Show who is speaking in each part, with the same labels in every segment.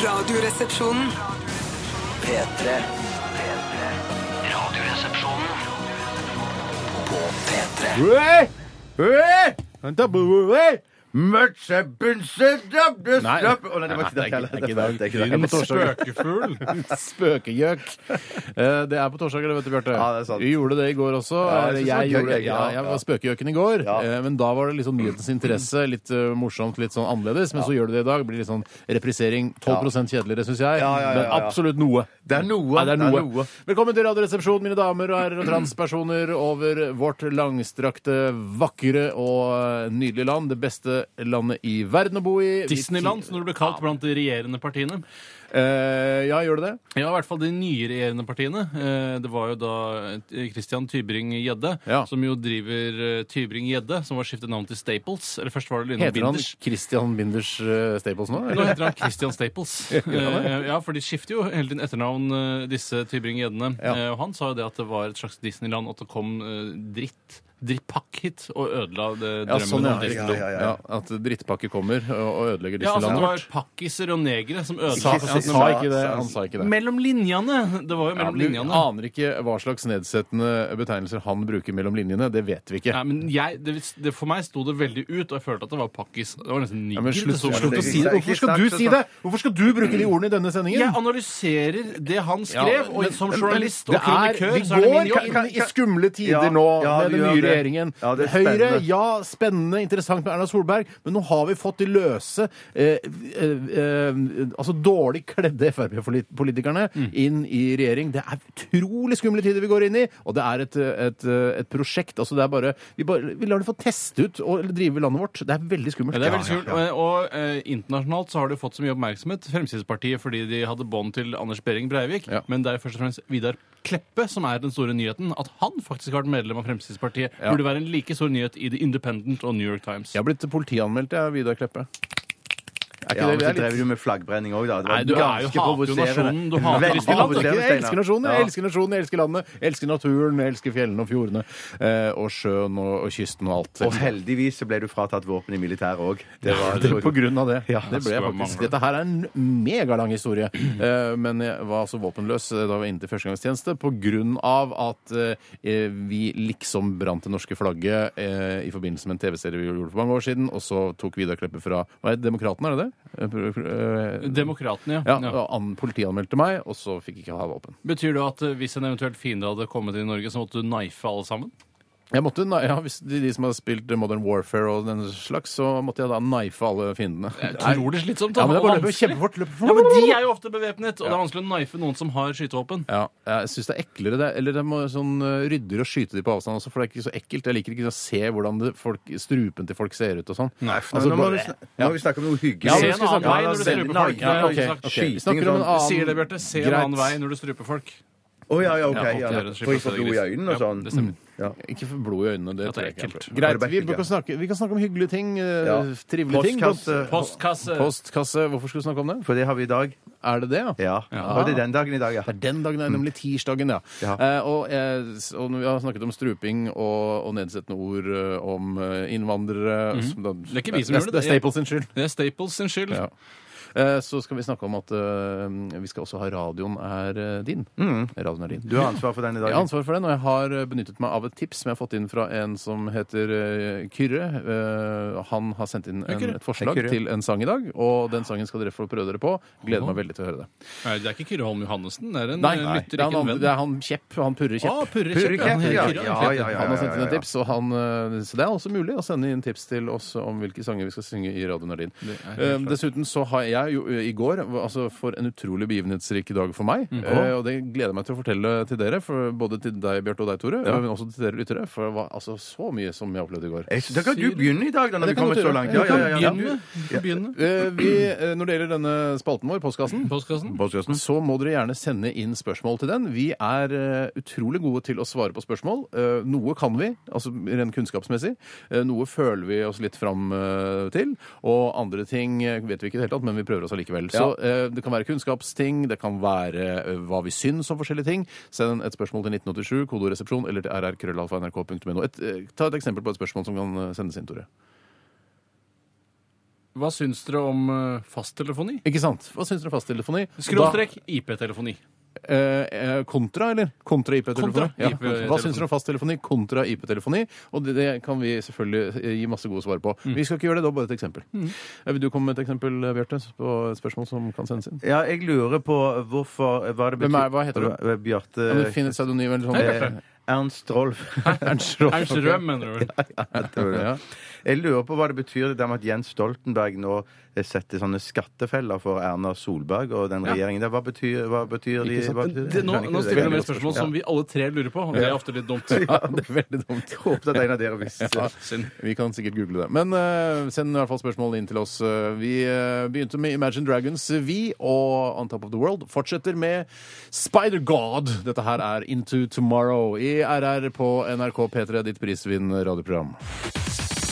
Speaker 1: Radioresepsjonen.
Speaker 2: P3. Radioresepsjonen. På P3.
Speaker 3: Ui! Ui! Da bor jeg! Møtse, bunse, dabbe,
Speaker 4: Nei.
Speaker 3: strapp Å, nei, det var ikke
Speaker 4: Nei,
Speaker 3: det heller.
Speaker 4: det er ikke i
Speaker 3: Det var-
Speaker 4: dag.
Speaker 3: det er ikke i
Speaker 4: Gryn
Speaker 3: dag.
Speaker 4: på torsdag. Spøkefugl. Spøkegjøk. Eh, Det er på torsdager, det vet du, Bjarte.
Speaker 3: Ja, det er sant.
Speaker 4: Vi gjorde det i går også. Eh,
Speaker 3: Ja, jeg synes
Speaker 4: jeg,
Speaker 3: det var gøy,
Speaker 4: gjorde,
Speaker 3: jeg.
Speaker 4: ja,
Speaker 3: Ja,
Speaker 4: jeg
Speaker 3: ja.
Speaker 4: var spøkegjøken i går,
Speaker 3: Ja.
Speaker 4: eh, men da var det liksom nyhetens interesse. Litt eh, morsomt, litt sånn annerledes. Men så gjør du det i dag. Blir litt sånn reprisering. 12 kjedeligere, syns
Speaker 3: Ja,
Speaker 4: jeg.
Speaker 3: ja, ja, ja.
Speaker 4: Men absolutt noe.
Speaker 3: Det er noe.
Speaker 4: Nei, det er noe. Velkommen til Radioresepsjonen, mine damer og herrer og transpersoner over vårt langstrakte, vakre og eh, nydelige land. Det beste landet i verden å bo i. Vi-
Speaker 5: Disneyland, som det ble kalt blant de regjerende partiene.
Speaker 4: Eh, ja, gjør det det?
Speaker 5: Ja, i hvert fall de nye regjerende partiene. Eh, Det var jo da eh, Christian Tybring-Gjedde,
Speaker 4: Ja.
Speaker 5: som jo driver eh, Tybring-Gjedde, som var skiftet navn til Staples. Eller først var det Lina
Speaker 4: Heter han
Speaker 5: Binders.
Speaker 4: Christian Binders eh, Staples nå?
Speaker 5: Nå
Speaker 4: eller?
Speaker 5: heter han Christian Staples. Eh, Ja, for de skifter jo hele tiden etternavn, eh, disse Tybring-Gjeddene.
Speaker 4: Ja.
Speaker 5: Eh, Og han sa jo det at det var et slags Disneyland, og at det kom eh, dritt, drittpakk hit, og ødela det
Speaker 4: Ja,
Speaker 5: drømmen
Speaker 4: sånn, ja.
Speaker 5: om
Speaker 4: ja,
Speaker 5: Disneyland.
Speaker 4: ja, ja. At drittpakke kommer og, og ødelegger
Speaker 5: Ja, altså
Speaker 4: Disneyland
Speaker 5: det var
Speaker 4: vårt.
Speaker 5: pakkiser og negre som
Speaker 4: Sa- Han
Speaker 5: ødela
Speaker 4: sa ikke det. Han sa ikke det.
Speaker 5: Mellom linjene! Det var
Speaker 4: Ja,
Speaker 5: jo mellom
Speaker 4: du
Speaker 5: linjene.
Speaker 4: aner ikke hva slags nedsettende betegnelser han bruker mellom linjene. Det vet vi ikke.
Speaker 5: Nei, men jeg, det, det, For meg sto det veldig ut, og jeg følte at det var pakkis. Det var nesten
Speaker 4: Ja, men
Speaker 5: nikkende.
Speaker 4: slutt,
Speaker 5: så-
Speaker 4: slutt å si det! Hvorfor skal du si det? Hvorfor skal du bruke de ordene i denne sendingen?
Speaker 5: Jeg analyserer det han skrev,
Speaker 4: Ja,
Speaker 5: og
Speaker 4: men-
Speaker 5: som
Speaker 4: men-
Speaker 5: journalist
Speaker 4: men
Speaker 5: og kronikør
Speaker 4: det
Speaker 5: så er det min
Speaker 4: Vi går inn
Speaker 5: jobb.
Speaker 4: i skumle tider
Speaker 3: Ja,
Speaker 4: nå
Speaker 3: ja,
Speaker 4: med
Speaker 3: vi
Speaker 4: den
Speaker 3: gjør
Speaker 4: nye
Speaker 3: det.
Speaker 4: regjeringen.
Speaker 3: Ja, det er
Speaker 4: Høyre,
Speaker 3: spennende.
Speaker 4: ja, spennende, interessant med Erna Solberg, men nå har vi fått de løse, eh, eh, eh, altså dårlig kledde Frp-politikerne
Speaker 5: Mm.
Speaker 4: inn i regjering. Det er utrolig skumle tider vi går inn i, og det er et, et, et prosjekt. Altså det er bare vi, bare vi lar det få teste ut og drive landet vårt. Det er veldig skummelt.
Speaker 5: Ja, det er veldig skummelt. Og, og eh, internasjonalt så har det fått så mye oppmerksomhet. Fremskrittspartiet fordi de hadde bånd til Anders Behring Breivik.
Speaker 4: Ja.
Speaker 5: Men det er først og fremst Vidar Kleppe som er den store nyheten. At han faktisk har vært medlem av Fremskrittspartiet,
Speaker 4: Ja.
Speaker 5: burde være en like stor nyhet i The Independent og New York Times.
Speaker 4: Jeg har blitt politianmeldt, jeg, Vidar Kleppe. Er
Speaker 3: Ja,
Speaker 4: ikke
Speaker 3: men
Speaker 4: det,
Speaker 3: så
Speaker 4: det er litt
Speaker 3: drev du med flaggbrenning òg, da. Det var
Speaker 5: Nei, du er jo-
Speaker 3: ganske
Speaker 5: hater jo
Speaker 3: provoserende.
Speaker 5: nasjonen, du hater
Speaker 3: Veldig
Speaker 5: Kristian Land,
Speaker 4: Jeg
Speaker 3: provoserende,
Speaker 4: elsker
Speaker 3: Steinar.
Speaker 4: nasjonen, jeg
Speaker 3: Ja.
Speaker 4: elsker nasjonen, jeg elsker landet, jeg elsker naturen, jeg elsker fjellene og fjordene. eh, Og sjøen og, og kysten og alt.
Speaker 3: Og heldigvis så ble du fratatt våpen i militæret òg. Det var
Speaker 4: Det er På grunn av det. det ble jeg
Speaker 5: skulle
Speaker 4: faktisk.
Speaker 5: mangle.
Speaker 4: Dette her er en megalang historie. Eh, Men jeg var altså våpenløs eh, da jeg var inne til førstegangstjeneste på grunn av at eh, vi liksom brant det norske flagget eh, i forbindelse med en TV-serie vi gjorde for mange år siden, og så tok Vidar Kleppe fra Hva er det, Demokratene, er det det? Eh, pro- pro- eh,
Speaker 5: Demokratene, ja.
Speaker 4: Ja, og an- politianmeldte meg, og så fikk jeg ikke ha våpen.
Speaker 5: Betyr det at eh, hvis en eventuelt fiende hadde kommet inn i Norge, så måtte du knife alle sammen?
Speaker 4: Jeg måtte, na- ja, hvis de, de som har spilt Modern Warfare og den slags, så måtte jeg da knife alle fiendene.
Speaker 5: Utrolig slitsomt. da.
Speaker 4: Ja, men det er bare å
Speaker 5: Og
Speaker 4: løpe
Speaker 5: vanskelig.
Speaker 4: kjempefort. Løpe
Speaker 5: Ja, men
Speaker 4: fort.
Speaker 5: de er jo ofte bevæpnet, og det er vanskelig å knife noen som har skytevåpen.
Speaker 4: Ja, jeg syns det er eklere. Det, er- eller det må sånn eh, rydder og skyte de på avstand også, for det er ikke så ekkelt. Jeg liker ikke å se hvordan det, folk, strupen til folk ser ut og sånn.
Speaker 3: Nei, for
Speaker 4: Altså,
Speaker 3: nå, må
Speaker 4: bare-
Speaker 3: vi snak- nå må vi snakke om noe hyggelig.
Speaker 4: Ja,
Speaker 5: Se
Speaker 4: men
Speaker 5: en annen vei når du
Speaker 3: veldig-
Speaker 5: struper
Speaker 3: Nei,
Speaker 5: folk. Det har
Speaker 3: ja, ok.
Speaker 5: jeg ikke sagt.
Speaker 4: ok. Vi
Speaker 3: Skyting
Speaker 4: snakker om en
Speaker 3: sånn.
Speaker 4: annen
Speaker 5: Sier det, Bjarte. Se en
Speaker 4: Greit.
Speaker 5: annen vei når du struper folk.
Speaker 3: Å ja, ja, OK.
Speaker 5: Ja,
Speaker 3: Ja,
Speaker 5: håndtere det,
Speaker 3: For jeg får
Speaker 5: slipper
Speaker 3: blod i
Speaker 5: å se
Speaker 3: øynene og
Speaker 5: gris. Ja,
Speaker 3: sånn.
Speaker 5: det stemmer.
Speaker 3: Ja.
Speaker 4: Ikke for blod i øynene. Det,
Speaker 5: Ja, det
Speaker 4: tror
Speaker 5: er
Speaker 4: jeg ikke. er
Speaker 5: ekkelt.
Speaker 4: bra. Greit,
Speaker 3: Det er
Speaker 4: vi,
Speaker 3: ekkelt,
Speaker 4: kan snakke, vi kan snakke om hyggelige ting. eh,
Speaker 3: Ja.
Speaker 4: Trivelige ting.
Speaker 3: Postkasse.
Speaker 5: Postkasse.
Speaker 4: Postkasse. Hvorfor skal du snakke om det?
Speaker 3: For det har vi i dag.
Speaker 4: Er det det, ja?
Speaker 3: Ja. Og det er den dagen i dag, ja.
Speaker 4: Det er den dagen, det er
Speaker 5: Mm.
Speaker 4: nemlig tirsdagen, ja.
Speaker 3: Ja.
Speaker 4: Eh, og, eh, s- og når vi har snakket om struping og, og nedsettende ord eh, om eh, innvandrere som da,
Speaker 5: er ikke vi som gjør Mm-hmm. det,
Speaker 4: Det er
Speaker 5: det er-
Speaker 4: Staples sin skyld.
Speaker 5: Det er Staples sin skyld.
Speaker 4: Ja. Eh, Så skal vi snakke om at eh, vi skal også ha radioen er eh, din.
Speaker 5: Mm.
Speaker 4: Radioen er din.
Speaker 3: Du har ansvar for den i dag.
Speaker 4: Jeg har ansvar for den, og jeg har eh, benyttet meg av et tips som jeg har fått inn fra en som heter eh, Kyrre. Eh, Han har sendt inn
Speaker 5: Hei,
Speaker 4: en,
Speaker 5: Kyrre.
Speaker 4: et forslag
Speaker 3: Hei, Kyrre.
Speaker 4: til en sang i dag, og den sangen skal dere få prøve dere på. Gleder meg veldig til å høre det.
Speaker 5: Nei, det er ikke Kyrre Holm Johannessen. Det er en
Speaker 4: Nei,
Speaker 5: eh,
Speaker 4: det
Speaker 5: lytter,
Speaker 4: er
Speaker 5: ikke en
Speaker 4: han,
Speaker 5: venn.
Speaker 4: det er han Kjepp. Han Purre Kjepp.
Speaker 5: Å, Purre
Speaker 3: Purre Kjepp,
Speaker 5: Kjepp, ja.
Speaker 3: ja.
Speaker 5: Kyrre,
Speaker 3: Ja,
Speaker 5: Kjepp,
Speaker 3: ja, ja.
Speaker 4: Han har sendt inn
Speaker 3: ja,
Speaker 4: et
Speaker 3: ja.
Speaker 4: tips, og han, eh, så det er også mulig å sende inn tips til oss om hvilke sanger vi skal synge i Radio Nardin. Eh, Dessuten så har jeg jo eh, i går var- altså for en utrolig begivenhetsrik dag for meg,
Speaker 3: Mm.
Speaker 4: eh, og det gleder jeg meg til å fortelle til dere, for både til deg, Bjarte, og deg, Tore, men også til dere lyttere, for det var altså så mye som jeg opplevde i går.
Speaker 3: Jeg- Da kan du begynne i dag, da,
Speaker 4: Ja,
Speaker 3: når
Speaker 4: det
Speaker 3: vi
Speaker 4: kan
Speaker 3: kommer
Speaker 4: godt
Speaker 3: så
Speaker 4: gjøre.
Speaker 3: langt.
Speaker 4: Du
Speaker 3: Ja, ja,
Speaker 4: kan
Speaker 3: ja, ja.
Speaker 5: Begynn med- begynn med
Speaker 4: Eh, Vi, eh, når det gjelder denne spalten vår, Postkassen,
Speaker 5: Postkassen.
Speaker 3: Postkassen.
Speaker 4: så må dere gjerne sende inn spørsmål til den. Vi er eh, utrolig gode til å svare på spørsmål. Eh, noe kan vi, altså rent kunnskapsmessig. Eh, noe føler vi oss litt fram eh, til. Og andre ting eh, vet vi ikke i det hele tatt, men vi prøver oss allikevel. Så eh, det kan være kunnskapsting, det kan være eh, hva vi syns om forskjellige ting. Send et spørsmål til 1987, kodoresepsjon, eller til rrkrøllalfa.nrk.no. Et, eh, ta et eksempel på et spørsmål som kan eh, sendes inn, Tore.
Speaker 5: Hva syns dere om eh, fasttelefoni?
Speaker 4: Ikke sant? Hva syns dere om fasttelefoni?
Speaker 5: Skråstrek IP-telefoni.
Speaker 4: Da, eh, eh, kontra, eller? Kontra IP-telefoni.
Speaker 5: Kontra
Speaker 4: Ja.
Speaker 5: IP-telefoni.
Speaker 4: Hva syns dere om fasttelefoni kontra IP-telefoni? Og det, det kan vi selvfølgelig eh, gi masse gode svar på.
Speaker 5: Mm.
Speaker 4: Vi skal ikke gjøre det, det var bare et eksempel. Eh, Vil du komme med et eksempel, eh, Bjarte, på et spørsmål som kan sendes inn?
Speaker 1: Ja, jeg lurer på hvorfor eh, Hva, det
Speaker 4: Hvem er- hva heter du?
Speaker 1: du? Bjarte eh,
Speaker 4: Ja, men Finn et pseudonym eller
Speaker 5: Eh, Hei,
Speaker 4: sånn.
Speaker 5: Bjarte.
Speaker 1: Ernst Rolf.
Speaker 4: Ernst Rolf.
Speaker 5: Ernst
Speaker 4: Ok.
Speaker 5: Røm, mener du vel?
Speaker 4: Ja.
Speaker 1: Jeg lurer på hva det betyr det der med at Jens Stoltenberg nå eh, setter sånne skattefeller for Erna Solberg og den regjeringen der. Hva betyr, hva betyr de
Speaker 4: Ikke sant?
Speaker 1: hva betyr
Speaker 5: Det, nå,
Speaker 1: Jeg skjønner ikke
Speaker 5: nå
Speaker 1: det.
Speaker 5: stiller vi
Speaker 1: Veldig
Speaker 5: et
Speaker 1: godt
Speaker 5: spørsmål
Speaker 1: Ja.
Speaker 5: som vi alle tre lurer på, og det er ofte litt dumt.
Speaker 4: ja, det er veldig dumt.
Speaker 1: Jeg håpet at en av dere visste.
Speaker 5: Synd.
Speaker 4: Vi kan sikkert google det. Men eh, send i hvert fall spørsmål inn til oss. Eh, Vi eh, begynte med Imagine Dragons, eh, vi, og On Top of the World fortsetter med Spider-God. Dette her er Into Tomorrow i RR på NRK P3, ditt prisvinn radioprogram.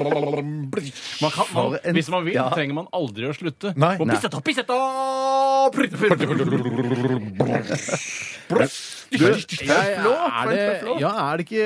Speaker 5: Man kan, man, hvis man vil, trenger man aldri å slutte.
Speaker 4: Nei.
Speaker 5: Og
Speaker 4: Nei.
Speaker 5: pisseta, pisseta, prytte, prytte,
Speaker 4: Jeg- er, det, ja, er, det ikke,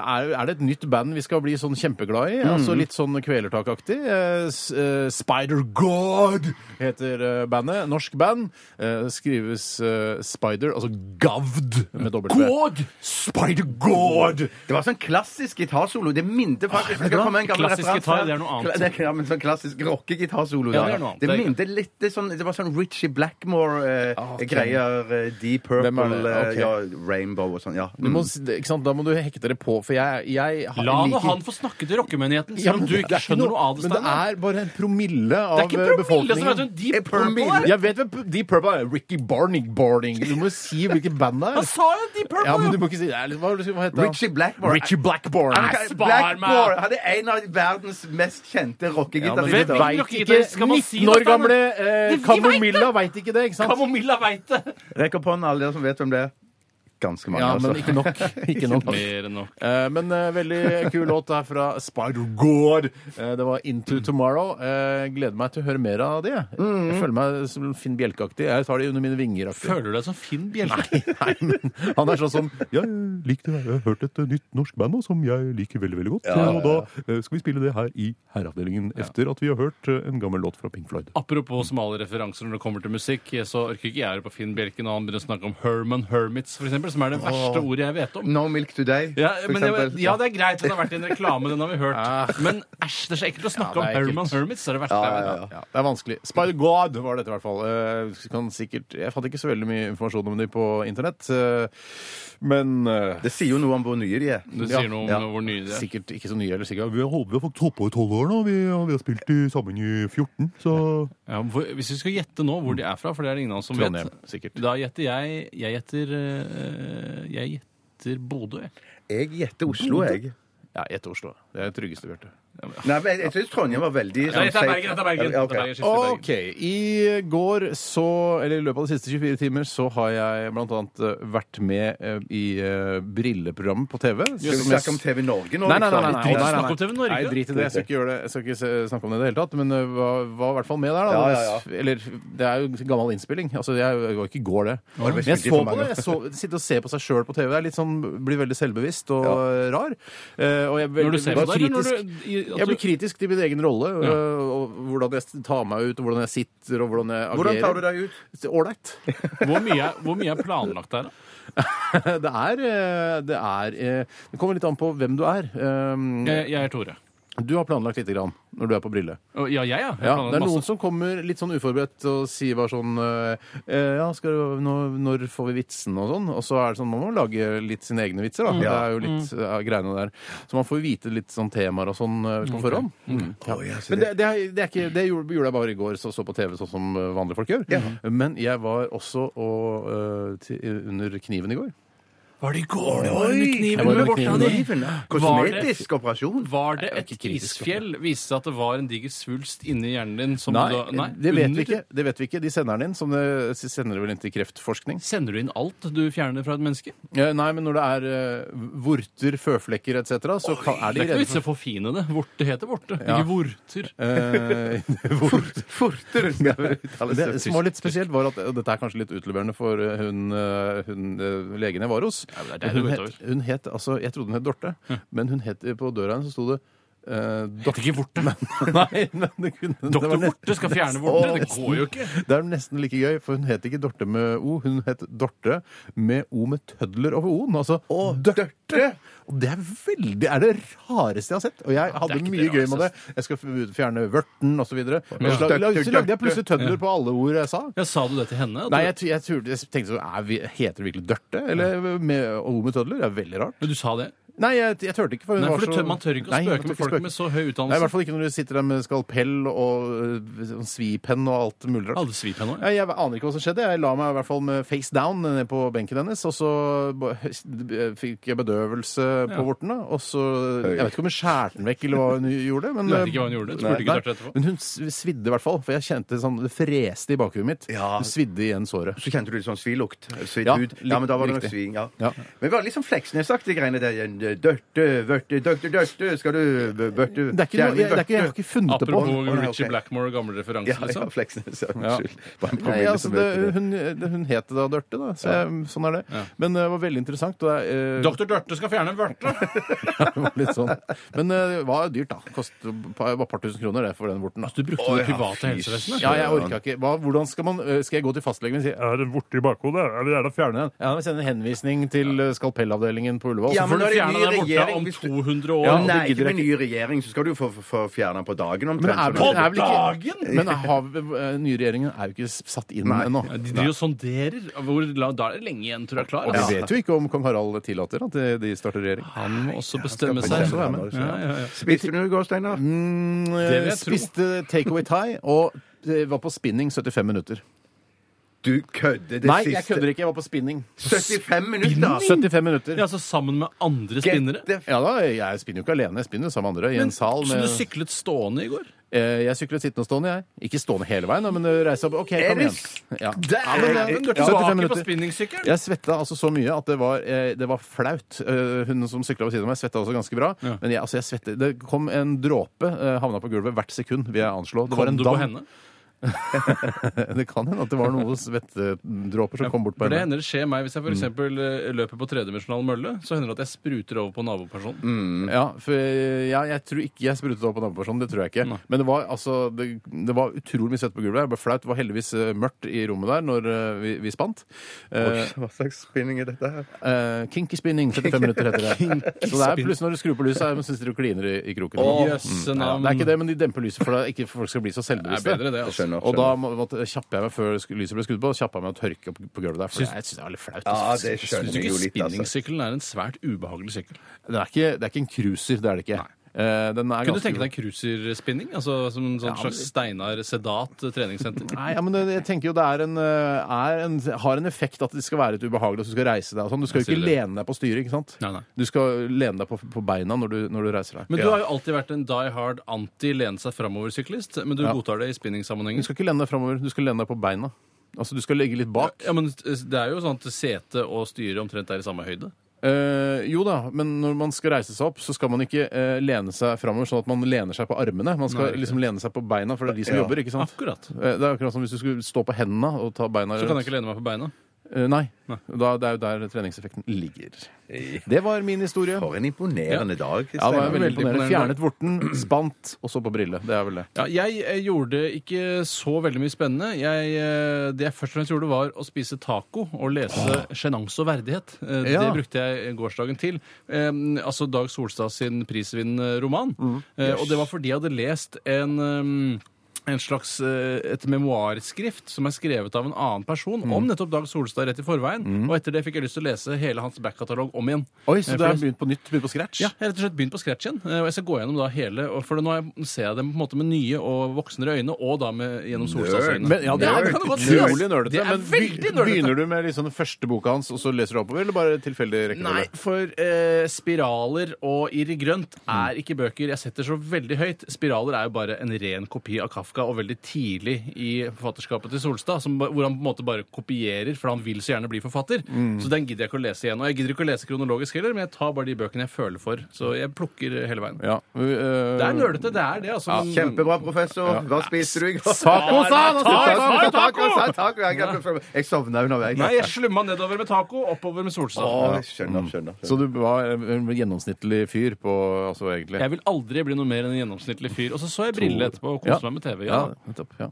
Speaker 4: er, er det et nytt band vi skal bli sånn kjempeglad i? Altså
Speaker 5: Mm.
Speaker 4: Litt sånn Kvelertak-aktig. Eh, s- eh, Spider God heter eh, bandet. Norsk band. Eh, skrives eh, Spider, altså Gavd med dobbelt V. God! Spider God!
Speaker 1: Det var sånn klassisk gitarsolo. Det minte
Speaker 5: Ah,
Speaker 1: faktisk det skal komme en gammel
Speaker 5: Klassisk
Speaker 1: referanse
Speaker 5: gitar,
Speaker 1: her.
Speaker 5: det er noe
Speaker 1: Kla-
Speaker 5: annet.
Speaker 1: det er- Ja, men sånn klassisk rockegitarsolo.
Speaker 5: Ja,
Speaker 1: Ja,
Speaker 5: det er noe annet.
Speaker 1: det
Speaker 5: Det er-
Speaker 1: minte litt det sånn Det var sånn Richie
Speaker 4: Ah, ok.
Speaker 1: Blackmore-greier. Eh, Deep
Speaker 4: Hvem er
Speaker 1: Purple,
Speaker 4: det?
Speaker 1: eh,
Speaker 4: Ok.
Speaker 1: ja, Rainbow og sånn. Ja.
Speaker 5: Mm.
Speaker 4: Du må, s- det- ikke sant? Da må du hekte dere på, for jeg, jeg har-
Speaker 5: La nå
Speaker 4: liker-
Speaker 5: han få snakke til rockemenigheten,
Speaker 4: Ja,
Speaker 5: selv om
Speaker 4: men
Speaker 5: du
Speaker 4: det er
Speaker 5: ikke skjønner noe av det.
Speaker 4: Men det
Speaker 5: Steinar.
Speaker 4: er bare en promille av
Speaker 5: det er ikke promille som
Speaker 4: befolkningen.
Speaker 5: vet om Deep Purple
Speaker 1: promille.
Speaker 5: er!
Speaker 4: Jeg vet hvem Deep Purple er. Ricky Barning Barning. Du må si hvilket band det er.
Speaker 5: Han sa jo Deep Purple!
Speaker 4: Ja, men du må ikke si det. er litt- Hva, hva heter han?
Speaker 1: Richie Blackmore.
Speaker 4: Richie Blackmore.
Speaker 5: Nei, spar meg!
Speaker 1: Blackmore hadde en av verdens mest kjente
Speaker 4: Ja, men
Speaker 1: rockegitarister.
Speaker 4: vet
Speaker 5: Hvem vet
Speaker 4: ikke
Speaker 5: ikke, skal man si
Speaker 4: 19 år
Speaker 5: dette, men-
Speaker 4: gamle eh,
Speaker 5: Det- vi vet
Speaker 4: Kamomilla veit ikke det, ikke sant?
Speaker 5: Kamomilla veit det!
Speaker 1: Rekk opp hånden, alle dere som vet hvem det er. Ganske mange,
Speaker 4: Ja,
Speaker 1: altså.
Speaker 4: men ikke nok. Ikke nok.
Speaker 5: Mer enn nok.
Speaker 4: Eh, men eh, veldig kul låt her fra Spider-Gård. Eh, det var 'Into Tomorrow'. Eh, gleder meg til å høre mer av det. jeg. Jeg føler meg som Finn Bjelke-aktig. Jeg tar de under mine vinger. aktig.
Speaker 5: Føler du deg som Finn Bjelke?
Speaker 4: Nei, nei, men han er sånn som Jeg likte Jeg har hørt et nytt norsk band nå, som jeg liker veldig veldig godt. Og da eh, skal vi spille det her i herreavdelingen etter at vi har hørt eh, en gammel låt fra Pink Floyd.
Speaker 5: Apropos smale referanser når det kommer til musikk, så orker ikke jeg å høre på Finn Bjelke når han begynner å snakke om Herman Hermits, for eksempel, som er det verste ordet jeg vet om.
Speaker 1: No Milk Today,
Speaker 5: Ja,
Speaker 1: for
Speaker 5: men det,
Speaker 1: eksempel.
Speaker 5: ja, det er greit, men det har vært i en reklame, den har vi hørt. Men æsj, det er så ekkelt å snakke
Speaker 4: Ah. Ja, det er
Speaker 5: om Herman
Speaker 4: ekkelt.
Speaker 5: Hermits. Det er det verste jeg vet. om.
Speaker 4: Ja, det er vanskelig. Spider-God var dette i hvert fall. Eh, kan sikkert, jeg fant ikke så veldig mye informasjon om dem på internett, eh, men eh,
Speaker 1: Det sier jo noe om hvor nye de er.
Speaker 5: Det
Speaker 4: Ja,
Speaker 5: sier noe om
Speaker 1: ja.
Speaker 5: hvor nye det er.
Speaker 4: Sikkert ikke så nye eller sikkert. Vi håper vi har fått holdt på i tolv år nå. Vi, og vi har spilt i, sammen i 14, så
Speaker 5: Ja, hvor, hvis vi skal gjette nå hvor de er fra, for det er det ingen av oss som
Speaker 4: Trondheim,
Speaker 5: vet,
Speaker 4: sikkert.
Speaker 5: da gjetter jeg Jeg gjetter eh, Jeg gjetter Bodø, jeg.
Speaker 1: Jeg gjetter
Speaker 5: Oh,
Speaker 1: Oslo, jeg.
Speaker 4: Ja, gjett Oslo. Det er det tryggeste, Bjarte.
Speaker 1: Nei, men jeg, jeg syns Trondheim var veldig sånn
Speaker 5: Nei, Dette er Bergen! Dette er Bergen.
Speaker 1: Ja,
Speaker 5: Dette
Speaker 1: ok.
Speaker 5: er Bergen, siste Bergen.
Speaker 4: Ok, i går så, eller i løpet av de siste 24 timer, så har jeg blant annet eh, vært med eh, i eh, brilleprogrammet på TV.
Speaker 1: Skal vi snakke om TV Norge nå?
Speaker 4: Nei, nei, nei. nei,
Speaker 1: liksom?
Speaker 4: nei, nei,
Speaker 5: Drit i å
Speaker 4: nei.
Speaker 5: snakke om TV Norge.
Speaker 4: Nei, drit i det. Jeg skal ikke, gjøre det. Jeg skal ikke se, snakke om det i det hele tatt. Men uh, var, var i hvert fall med der, da.
Speaker 1: Ja, ja,
Speaker 4: Eller det er jo gammel innspilling. Altså, jeg jeg var ikke i går, det. Men jeg så på det. Jeg så, sitter og ser på seg sjøl på TV. Det er litt sånn, Blir veldig selvbevisst og eh, rar. Eh, og jeg, blir-
Speaker 5: Når du ser
Speaker 4: blir
Speaker 5: på det, eller når
Speaker 4: kritisk.
Speaker 5: du- i- at
Speaker 4: Jeg blir
Speaker 5: du-
Speaker 4: kritisk til min egen rolle. eh, Og hvordan jeg tar meg ut, og hvordan jeg sitter, og hvordan jeg agerer.
Speaker 1: Hvordan tar du deg ut?
Speaker 4: Ålreit.
Speaker 5: Hvor mye, er- hvor mye er planlagt der, da?
Speaker 4: Det er, eh, det er eh, Det kommer litt an på hvem du er. Eh,
Speaker 5: Jeg, jeg er Tore.
Speaker 4: Du har planlagt lite grann når du er på Brille.
Speaker 5: Å, Ja, jeg, ja. Jeg
Speaker 4: Ja,
Speaker 5: har planlagt
Speaker 4: det er
Speaker 5: masse.
Speaker 4: noen som kommer litt sånn uforberedt og sier bare sånn eh, eh, Ja, skal du, når, når får vi vitsen og sånn? Og så er det sånn, man må lage litt sine egne vitser, da. Det er jo litt eh, greiene der. Så man får vite litt sånn temaer og sånn eh, på forhånd. Ja. Men det, det, er, det, er ikke, det gjorde, gjorde jeg bare i går, så så på TV sånn som eh, vanlige folk gjør. Men jeg var også og, eh, til, under kniven i går.
Speaker 5: Var det i går det var under
Speaker 4: Jeg
Speaker 5: kniven?
Speaker 4: var under
Speaker 5: med
Speaker 4: kniven.
Speaker 5: bortlandet?
Speaker 1: Kosmetisk operasjon?
Speaker 5: Var det
Speaker 4: Nei,
Speaker 5: et
Speaker 4: ikke kritisk,
Speaker 5: isfjell? Viste det seg at det var en diger svulst inni hjernen din? Som
Speaker 4: Nei,
Speaker 5: du da, nei,
Speaker 4: det vet
Speaker 5: under-
Speaker 4: vi ikke. Det vet vi ikke. De sender den inn, som det sender det vel inn til kreftforskning.
Speaker 5: Sender du inn alt du fjerner fra et menneske?
Speaker 4: Eh, Nei, men når det er eh, vorter, føflekker etc., så kan, er
Speaker 5: Det
Speaker 4: de
Speaker 5: er ikke
Speaker 4: redde
Speaker 5: vits i å forfine det. Vorte heter vorte,
Speaker 4: Ja.
Speaker 5: ikke vorter.
Speaker 4: Eh, vorter. Det som var litt spesielt, var at og Dette er kanskje litt utleverende for eh, hun, eh, hun eh, legen jeg var hos. Jones.
Speaker 5: Ja, men det er
Speaker 4: Men
Speaker 5: det
Speaker 4: hun,
Speaker 5: det går
Speaker 4: het, hun het, altså, Jeg trodde hun het Dorte, men hun het, eh, på døra hennes så sto det eh,
Speaker 5: Hm. Heter ikke Vorte.
Speaker 4: Dorte. Nei, men det kunne det var
Speaker 5: Doktor
Speaker 4: nest-
Speaker 5: Vorte skal fjerne
Speaker 4: Åh,
Speaker 5: Vorte. Det
Speaker 4: nesten.
Speaker 5: går jo ikke.
Speaker 4: Det er nesten like gøy, for hun het ikke Dorte med O, hun het Dorte med O med tødler over O-en. Altså Dørte. Og det er veldig Er det rareste jeg har sett. Og jeg hadde
Speaker 5: ikke det
Speaker 4: mye gøy med det.
Speaker 5: rareste.
Speaker 4: Jeg skal fjerne vørten osv. Men
Speaker 5: Ja.
Speaker 4: så lag-
Speaker 1: Dørte,
Speaker 4: så lagde jeg
Speaker 1: dørte.
Speaker 4: plutselig tødler på alle ord jeg sa.
Speaker 5: Ja, sa du det til henne? at
Speaker 4: Nei,
Speaker 5: du-
Speaker 4: jeg, t- jeg, turte- jeg tenkte sånn er vi- Heter det virkelig Dørte? Eller med O med tødler? Det er veldig rart.
Speaker 5: Men du sa det?
Speaker 4: Nei, jeg, jeg turte ikke. For hun
Speaker 5: Nei,
Speaker 4: var
Speaker 5: for du
Speaker 4: så-
Speaker 5: tør, Man tør ikke å
Speaker 4: Nei, man
Speaker 5: spøke
Speaker 4: tør
Speaker 5: med
Speaker 4: ikke
Speaker 5: folk
Speaker 4: spøke.
Speaker 5: med så høy
Speaker 4: Nei, I hvert
Speaker 5: utdannelse.
Speaker 4: fall ikke når du sitter der med skalpell og øh, sånn svipenn og alt mulig rart.
Speaker 5: Alle svip henne
Speaker 4: Ja, Jeg aner ikke hva som skjedde. Jeg la meg i hvert fall med face down ned på benken hennes. Og så ba- fikk jeg bedøvelse på vorten. da, Og så Jeg vet ikke om hun skjærte den vekk, eller hva hun gjorde. Men, eh,
Speaker 5: Du vet ikke hva hun gjorde? Spurte ikke
Speaker 4: Nei,
Speaker 5: Dorte etterpå?
Speaker 4: Men hun s- svidde i hvert fall. For jeg kjente sånn, det freste i bakhuet mitt.
Speaker 1: Ja.
Speaker 4: Hun svidde igjen såret.
Speaker 1: Så kjente du litt sånn svilukt. Svidd
Speaker 4: Ja,
Speaker 1: hud. Ja, men da var det nok
Speaker 4: riktig.
Speaker 1: sving. Ja.
Speaker 4: Ja.
Speaker 1: Men vi var litt sånn Fleksnes-aktige greiene der. Dørte, vørte, dørte, dørte. Skal du b- børte
Speaker 4: Det er ikke noe, jeg, det er ikke, jeg har ikke funnet det på.
Speaker 5: Apropos
Speaker 1: Å, nei,
Speaker 5: Richie
Speaker 1: ok.
Speaker 5: Blackmore og gamle
Speaker 1: Ja,
Speaker 5: referanser,
Speaker 1: ja,
Speaker 5: liksom.
Speaker 1: Fleksnes. ja, Unnskyld. Bare en
Speaker 4: Nei,
Speaker 1: promille
Speaker 4: altså,
Speaker 1: som
Speaker 4: det,
Speaker 1: bøter det.
Speaker 4: hun, det, hun het da Dørte, da. Så jeg, sånn er det. Men det var veldig interessant. Og det, er, eh,
Speaker 5: Doktor Dørte skal fjerne vørte!
Speaker 4: det var litt sånn. Men eh, det var dyrt, da. Kostet et par par tusen kroner det, for den vorten. da.
Speaker 5: Altså, Du brukte
Speaker 1: Å, ja,
Speaker 5: det
Speaker 1: fy
Speaker 5: private helsevesenet.
Speaker 4: Ja, jeg orka ikke. Hva, hvordan skal, man, øh, skal jeg gå til fastlegen og si Er det borte i bakhodet? Jeg vil gjerne fjerne den. Ja, men Send en henvisning til øh, skalpellavdelingen på Ullevål.
Speaker 1: Ja,
Speaker 4: Så
Speaker 1: men
Speaker 5: For du
Speaker 1: nå er det
Speaker 5: fjerna
Speaker 1: ny
Speaker 5: den borte
Speaker 1: regjering,
Speaker 5: om
Speaker 1: hvis du-
Speaker 5: 200 år.
Speaker 4: Ja,
Speaker 5: og det
Speaker 1: Nei, ikke
Speaker 5: gidder jeg
Speaker 1: med ny regjering, så skal du få, få, få fjerna på dagen
Speaker 4: Men
Speaker 1: omtrent.
Speaker 4: er,
Speaker 1: så
Speaker 4: vel-
Speaker 1: det-
Speaker 4: er vel ikke,
Speaker 5: dagen?
Speaker 4: men har, øh, nye regjeringen er jo ikke satt inn ennå.
Speaker 5: Ja, De driver og sonderer. Hvor, la- da er det lenge igjen til du er klar.
Speaker 4: Og vi
Speaker 5: altså.
Speaker 4: vet jo ikke om kong Harald tillater at de- de starter regjering.
Speaker 5: Han må også bestemme
Speaker 4: skal
Speaker 5: seg.
Speaker 4: bestemme seg, men-
Speaker 5: Ja, ja, ja.
Speaker 1: Spiste du noe i går, Steinar?
Speaker 4: Mm,
Speaker 5: vil jeg
Speaker 4: øh,
Speaker 5: tro.
Speaker 4: spiste takeaway thai og øh, var på spinning 75 minutter.
Speaker 1: Du kødder det
Speaker 4: Nei,
Speaker 1: siste.
Speaker 4: jeg kødder ikke. Jeg var på spinning.
Speaker 1: 75 minutter!
Speaker 4: 75 minutter.
Speaker 5: Ja, altså sammen med andre
Speaker 1: Get
Speaker 5: spinnere.
Speaker 1: the f-
Speaker 4: Ja da, jeg spinner jo ikke alene. Jeg spinner sammen med andre i en sal.
Speaker 5: Så
Speaker 4: med-
Speaker 5: du syklet stående i går?
Speaker 4: Eh, Jeg syklet sittende og stående, jeg. Ikke stående hele veien, da, men eh, reise opp. OK,
Speaker 1: det
Speaker 4: kom igjen. Ja. eh,
Speaker 5: Ja, men det er- men du er
Speaker 4: 75
Speaker 5: tilbake på
Speaker 4: minutter.
Speaker 5: spinningsykkelen.
Speaker 4: Jeg svetta altså så mye at det var, eh, det var flaut. Eh, Hun som sykla ved siden av meg, svetta også ganske bra.
Speaker 5: Ja.
Speaker 4: Men jeg, altså, jeg svette. det kom en dråpe, eh, havna på gulvet hvert sekund, vil jeg anslå. Det var
Speaker 5: Kom
Speaker 4: en
Speaker 5: du på
Speaker 4: dam.
Speaker 5: henne?
Speaker 4: Det kan hende at det var noen svettedråper som kom bort på
Speaker 5: For det
Speaker 4: henne. Mm.
Speaker 5: hender det skjer meg hvis jeg f.eks. løper på tredimensjonal mølle, så hender det at jeg spruter over på nabopersonen.
Speaker 4: Mm, Ja, for eh, ja, jeg tror ikke jeg sprutet opp på nabopersonen. Det tror jeg ikke. Men det var, altså, det, det var utrolig mye svett på gulvet. Jeg ble flaut. Det var heldigvis eh, mørkt i rommet der når eh, vi, vi spant. Eh,
Speaker 1: Hva slags spinning er dette her?
Speaker 4: Eh, kinky spinning, 75 minutter heter det. Så det er plutselig når du skrur på lyset, er det syns de kliner i, i kroken.
Speaker 5: Å,
Speaker 4: Mm.
Speaker 5: jøsse
Speaker 4: Ja,
Speaker 5: navn.
Speaker 4: det er ikke det, men de demper lyset for at ikke folk skal bli så
Speaker 5: Det er
Speaker 4: selvbevisste.
Speaker 5: bedre, det.
Speaker 1: Jeg
Speaker 5: altså.
Speaker 1: skjønner.
Speaker 4: Og da må- måtte kjappe jeg meg før sk- lyset ble skrudd på, kjappe jeg meg å tørke opp på gulvet der. For jeg syns det er litt flaut.
Speaker 1: Ja,
Speaker 4: ass.
Speaker 1: det skjønner
Speaker 5: Syns du
Speaker 1: jeg jo
Speaker 5: ikke
Speaker 1: litt, altså.
Speaker 5: spinningsykkelen er en svært ubehagelig sykkel?
Speaker 4: Det, er ikke, det er ikke en cruiser, det er det ikke. Eh, den er ganske-
Speaker 5: Kunne du tenke deg cruiserspinning? Altså som en sånn slags Steinar Sedat eh, treningssenter?
Speaker 4: Nei, ja, men det, jeg tenker jo det er en, eh, er en, har en effekt at det skal være litt ubehagelig at du skal reise deg og sånn. Du skal jo
Speaker 5: Jeg
Speaker 4: ikke
Speaker 5: ser det.
Speaker 4: lene deg på styret, ikke sant?
Speaker 5: Nei, nei.
Speaker 4: Du skal lene deg på, på beina når du, når du reiser deg.
Speaker 5: Men du
Speaker 4: Ja.
Speaker 5: har jo alltid vært en die hard anti-lene-seg-framover-syklist. Men du godtar det i
Speaker 4: Du
Speaker 5: spinningsammenhengen.
Speaker 4: skal ikke lene deg framover, du skal lene deg på beina. Altså, du skal legge litt bak.
Speaker 5: Ja, men det er jo sånn at sete og styre omtrent er i samme høyde.
Speaker 4: Eh, jo da, men når man skal reise seg opp, så skal man ikke eh, lene seg framover sånn at man lener seg på armene. Man skal liksom lene seg på beina, for det er de som jobber, ikke sant?
Speaker 5: Akkurat.
Speaker 4: Eh, Det er akkurat som hvis du skulle stå på hendene og ta beina Eh,
Speaker 5: Så kan jeg ikke lene meg på beina.
Speaker 4: nei. Da, det er jo der treningseffekten ligger. Det var min historie.
Speaker 1: For en imponerende dag.
Speaker 4: Ja, det var
Speaker 1: Steinar.
Speaker 4: veldig
Speaker 5: veldig
Speaker 4: imponerende.
Speaker 5: imponerende.
Speaker 4: Fjernet vorten, spant, og så på brille. Det er vel det.
Speaker 5: Ja, jeg eh, gjorde ikke så veldig mye spennende. Jeg, eh, det jeg først og fremst gjorde, var å spise taco og lese sjenanse og verdighet. Eh,
Speaker 4: Ah. Ja.
Speaker 5: Det brukte jeg gårsdagen til. Eh, altså Dag Solstad sin prisvinnende roman.
Speaker 4: Mm.
Speaker 5: Eh, og det var fordi jeg hadde lest en eh, en slags, eh, Et memoarskrift som er skrevet av en annen person
Speaker 4: Mm.
Speaker 5: om nettopp Dag Solstad rett i forveien. Og etter det fikk jeg lyst til å lese hele hans backkatalog om igjen.
Speaker 4: Oi,
Speaker 5: Eh,
Speaker 4: så
Speaker 5: for
Speaker 4: du har
Speaker 5: jeg-
Speaker 4: begynt på nytt? Begynt på scratch?
Speaker 5: ja, jeg har rett og slett begynt på scratch igjen. eh, Og jeg skal gå gjennom da hele, og for nå har jeg- ser jeg dem på en måte med nye og voksnere øyne, og da med, gjennom Solstads øyne.
Speaker 4: Men, ja, det
Speaker 5: Ja,
Speaker 4: er
Speaker 5: det kan du godt si, ass.
Speaker 4: utrolig nølete.
Speaker 5: Det er
Speaker 4: Men
Speaker 5: veldig
Speaker 4: be-
Speaker 5: nølete.
Speaker 4: begynner du med liksom den første boka hans, og så leser du oppover, eller bare tilfeldig rekkefølge?
Speaker 5: Nei, for eh, spiraler og irr i grønt er ikke bøker jeg setter så veldig høyt. Spiraler er jo bare en ren kopi av Kafka, og veldig tidlig i forfatterskapet til Solstad, som, ba- hvor han på en måte bare kopierer, for han vil så gjerne bli forfatter.
Speaker 4: Mm.
Speaker 5: Så den gidder jeg ikke å lese igjen. Og jeg gidder ikke å lese kronologisk heller, men jeg tar bare de bøkene jeg føler for. Så jeg plukker hele veien.
Speaker 4: Ja. eh,
Speaker 5: Det er nølete, det er det, altså. men-
Speaker 1: Kjempebra, professor. Hva spiste du i går?
Speaker 4: Taco, sa han!
Speaker 1: Taco,
Speaker 4: Taco,
Speaker 1: taco,
Speaker 4: taco!
Speaker 1: taco, taco. Jeg glemte å følge med. Jeg sovna underveis.
Speaker 5: Nei, jeg slumma nedover med taco, oppover med Solstad.
Speaker 1: Å, jeg skjønner, skjønner.
Speaker 4: Så du var en gjennomsnittlig fyr på altså, egentlig.
Speaker 5: Jeg vil aldri bli noe mer enn en gjennomsnittlig fyr. Og så så jeg briller etterpå og
Speaker 4: Ja.
Speaker 5: koste meg med TV. Ja.
Speaker 4: Ja, nettopp. Ja.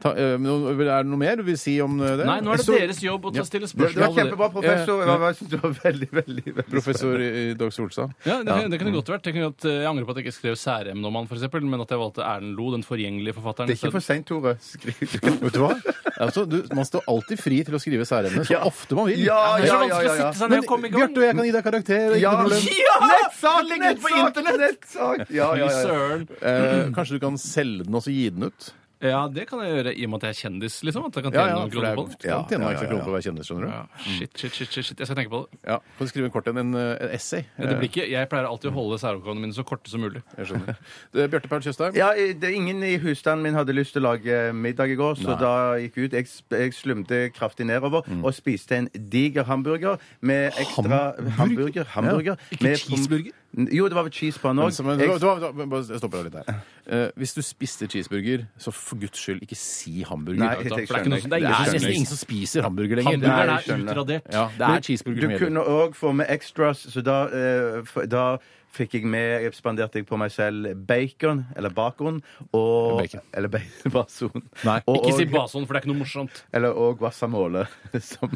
Speaker 4: Ta, eh, men er det noe mer du vil si om eh, det?
Speaker 5: Nei, nå er det
Speaker 4: Så-
Speaker 5: deres jobb å ta stille
Speaker 1: Det det
Speaker 5: spørsmål.
Speaker 1: var kjempebra, professor. Jeg var- jeg synes du var veldig, veldig, veldig
Speaker 4: Professor i- i Dag Solstad.
Speaker 5: Ja, det, det kunne godt vært. Det kunne godt, eh, jeg angrer på at jeg ikke skrev særemne om han, for eksempel, men at jeg valgte Erlend Lo, den forgjengelige forfatteren.
Speaker 1: Det er ikke for seint, Tore. Skriv.
Speaker 4: Vet du hva? Altså, du, man står alltid fri til å skrive særemne så ofte man vil.
Speaker 1: Ja,
Speaker 5: Det er så
Speaker 1: ja, ja,
Speaker 5: vanskelig
Speaker 1: ja,
Speaker 5: å
Speaker 1: ja.
Speaker 5: sitte seg
Speaker 4: Men
Speaker 5: ned og komme i gang.
Speaker 4: Bjarte og jeg kan gi deg karakter. Ikke noe problem.
Speaker 1: Nettsak!
Speaker 5: Ligger det på internett?
Speaker 1: nettsak. Ja, ja,
Speaker 5: Fy
Speaker 1: ja.
Speaker 5: søren.
Speaker 4: Eh, kanskje du kan selge den og så gi den ut?
Speaker 5: Ja, det kan jeg gjøre i og med at jeg er kjendis, liksom. At jeg kan tjene noen
Speaker 4: for det
Speaker 5: kroner
Speaker 4: er,
Speaker 5: på det.
Speaker 4: kan tjene noen ekstra kroner på å være kjendis, skjønner du.
Speaker 5: Ja, shit, shit, shit, shit, shit. Jeg skal tenke på det.
Speaker 4: Ja, Kan du skrive en kort en, en, en essay?
Speaker 5: Det blir ikke, jeg pleier alltid å holde særoppgavene mine så korte som mulig.
Speaker 4: Jeg Eh, skjønner. Du, Bjarte Paul Tjøstheim.
Speaker 1: Ja, eh, det, er ingen i husstanden min hadde lyst til å lage eh, middag i går, så da gikk jeg ut. Jeg, sp- jeg slumte kraftig nedover
Speaker 4: Mm.
Speaker 1: og spiste en diger hamburger med ekstra Hamburger? hamburger
Speaker 5: Ikke
Speaker 1: med pom-
Speaker 5: cheeseburger?
Speaker 1: Jo, det var vel cheese på den
Speaker 4: Men
Speaker 1: òg.
Speaker 4: som en- du- du- du- Bare jeg stopper deg litt der. Eh, hvis du spiste cheeseburger, så for guds skyld ikke si hamburger.
Speaker 1: Nei,
Speaker 4: Det
Speaker 1: jeg
Speaker 4: er
Speaker 5: for det er ikke noe
Speaker 1: skjønner
Speaker 5: som-
Speaker 1: ikke.
Speaker 5: det er
Speaker 1: Det er-
Speaker 4: nesten ingen som spiser hamburger lenger. Det
Speaker 5: Hamburgeren
Speaker 1: Nei,
Speaker 5: er
Speaker 1: jeg skjønner.
Speaker 5: utradert.
Speaker 4: Ja, det er
Speaker 1: Du
Speaker 4: cheeseburger som gjelder.
Speaker 1: kunne òg få med extras, så da, eh, f- da fikk jeg med jeg Spanderte jeg på meg selv bacon, eller bacon, og
Speaker 4: Bacon.
Speaker 1: Eller ba- bason.
Speaker 4: Nei,
Speaker 1: og,
Speaker 5: Ikke si
Speaker 1: og-
Speaker 5: bason, for det er ikke noe morsomt.
Speaker 1: Eller og guacamole. Som,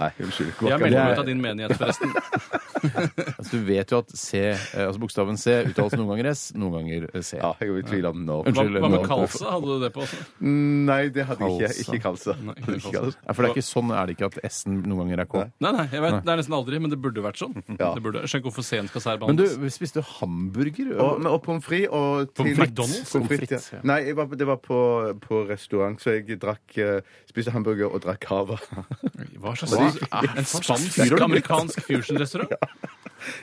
Speaker 1: nei, unnskyld.
Speaker 5: Jeg
Speaker 1: Guacamole.
Speaker 5: melder meg ut av din menighet, forresten.
Speaker 4: Altså, du vet jo at C, eh, altså bokstaven C uttales noen ganger S, noen ganger eh, C.
Speaker 1: Ja, jeg er i tvil om når.
Speaker 5: Hva,
Speaker 4: Unnskyld,
Speaker 5: hva med
Speaker 4: nå-
Speaker 5: Kalsa? Hadde du det på også?
Speaker 1: Nei, det hadde jeg ikke. Ikke kalsa.
Speaker 5: Nei, ikke kalsa.
Speaker 4: Ja, for det er ikke sånn er det ikke at S-en noen ganger er K.
Speaker 5: Nei, nei, jeg vet, det er nesten aldri, men det burde vært sånn. Det burde, jeg skjønner ikke hvorfor sent skal
Speaker 4: Men du,
Speaker 5: særbehandles.
Speaker 4: spiste du hamburger?
Speaker 1: Og, men- og pommes frites og
Speaker 5: Pommes frites? McDonald's?
Speaker 1: Pommes frites,
Speaker 4: Pommes frites,
Speaker 1: ja.
Speaker 4: ja.
Speaker 1: Nei, jeg var, på- det var på, på restaurant, så jeg drakk eh, spiste hamburger og drakk cava.
Speaker 5: Hva slags Ah, En spansk
Speaker 4: fyrer du?
Speaker 5: amerikansk fusion-restaurant?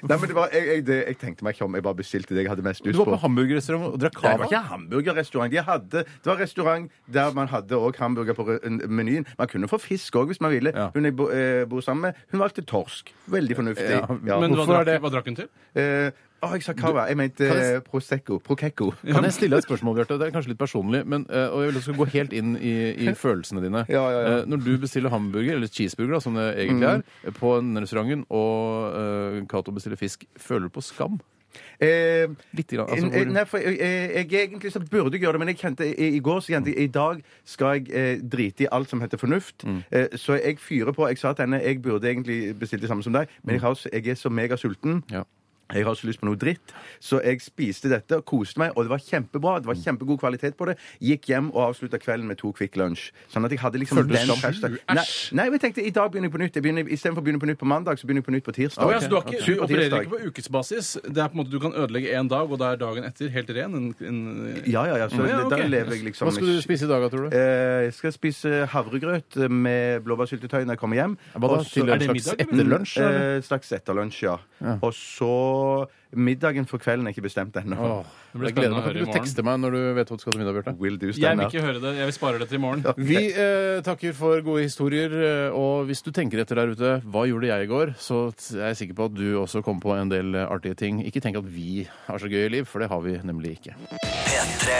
Speaker 1: Nei, men det var, jeg, jeg, det, jeg tenkte meg ikke om. Jeg bare bestilte det jeg hadde mest
Speaker 4: Du
Speaker 1: lyst
Speaker 4: var
Speaker 1: på.
Speaker 4: på hamburgerrestaurant og drakk
Speaker 1: Nei, det var
Speaker 4: cava?
Speaker 1: ikke hamburgerrestaurant. De hadde, det var restaurant der man hadde òg hamburger på re- menyen. Man kunne få fisk òg hvis man ville.
Speaker 4: Ja.
Speaker 1: Hun jeg bo, eh, bor sammen med, hun valgte torsk. Veldig fornuftig.
Speaker 4: Ja,
Speaker 1: Ja,
Speaker 5: Men hva
Speaker 4: Hvorfor er
Speaker 5: drakk,
Speaker 4: det-
Speaker 5: hva drakk hun til?
Speaker 1: Eh, å, jeg sa cava. Jeg mente
Speaker 4: Kan jeg-
Speaker 1: eh, prosecco. Prokekko.
Speaker 4: Kan jeg stille deg et spørsmål, Bjarte? Det er kanskje litt personlig, men, eh, og jeg vil at du skal gå helt inn i, i følelsene dine.
Speaker 1: Ja, ja, ja.
Speaker 4: Eh, Når du bestiller hamburger, eller cheeseburger, da, som det egentlig er, på en restaurant, og eh, Cato bestiller fisk, føler du på skam?
Speaker 1: Eh,
Speaker 4: Litt grann. Altså,
Speaker 1: eh,
Speaker 4: hvor...
Speaker 1: Nei, for jeg, jeg, jeg egentlig så burde jeg gjøre det, men jeg kjente i, i går så kjente jeg, I dag skal jeg eh, drite i alt som heter fornuft.
Speaker 4: Mm.
Speaker 1: Eh, så jeg fyrer på. Jeg sa til henne jeg burde egentlig bestilt det samme som deg, men jeg, har, så- jeg er så megasulten.
Speaker 4: Ja.
Speaker 1: Jeg har så lyst på noe dritt, så jeg spiste dette og koste meg. Og det var kjempebra. Det var kjempegod kvalitet på det. Gikk hjem og avslutta kvelden med to Kvikk Lunsj. Sånn at jeg hadde liksom
Speaker 4: Følte du skam?
Speaker 1: hashtag-
Speaker 5: Æsj!
Speaker 1: Nei, nei, men jeg tenkte i dag begynner jeg på nytt. Jeg begynner, istedenfor å begynne på nytt på mandag, så begynner jeg på nytt på tirsdag.
Speaker 5: Å ja, så du, har ikke, du
Speaker 1: Sur
Speaker 5: opererer
Speaker 1: tirsdag.
Speaker 5: ikke på ukesbasis. Det er på en måte Du kan ødelegge én dag, og da er dagen etter helt ren. En, en,
Speaker 1: Ja, ja, ja. Så
Speaker 5: Ja, ok.
Speaker 1: da lever jeg liksom
Speaker 4: Hva skal du spise i dag, tror du?
Speaker 1: Eh, jeg skal spise havregrøt med blåbærsyltetøy når jeg kommer hjem.
Speaker 4: Hva da?
Speaker 1: Og så- Mm.
Speaker 4: Til
Speaker 5: Er
Speaker 4: en
Speaker 5: det
Speaker 4: slags
Speaker 5: middag, eller?
Speaker 4: etterlunsj?
Speaker 1: Eh,
Speaker 4: eller?
Speaker 1: slags etterlunsj, ja. Og så Middagen for kvelden er ikke bestemt ennå.
Speaker 4: Åh,
Speaker 5: blir
Speaker 4: jeg gleder meg. Kan
Speaker 5: spennende å høre i
Speaker 4: ikke du tekste meg når du vet hva du skal til middag, Bjarte?
Speaker 1: Will do,
Speaker 5: jeg vil
Speaker 1: Steinar.
Speaker 5: ikke høre det. Jeg vil spare det til i morgen.
Speaker 4: Vi eh, takker for gode historier, eh, og hvis du tenker etter der ute hva gjorde jeg i går, så t- er jeg sikker på at du også kom på en del eh, artige ting. Ikke tenk at vi har så gøy i liv, for det har vi nemlig ikke.
Speaker 2: P3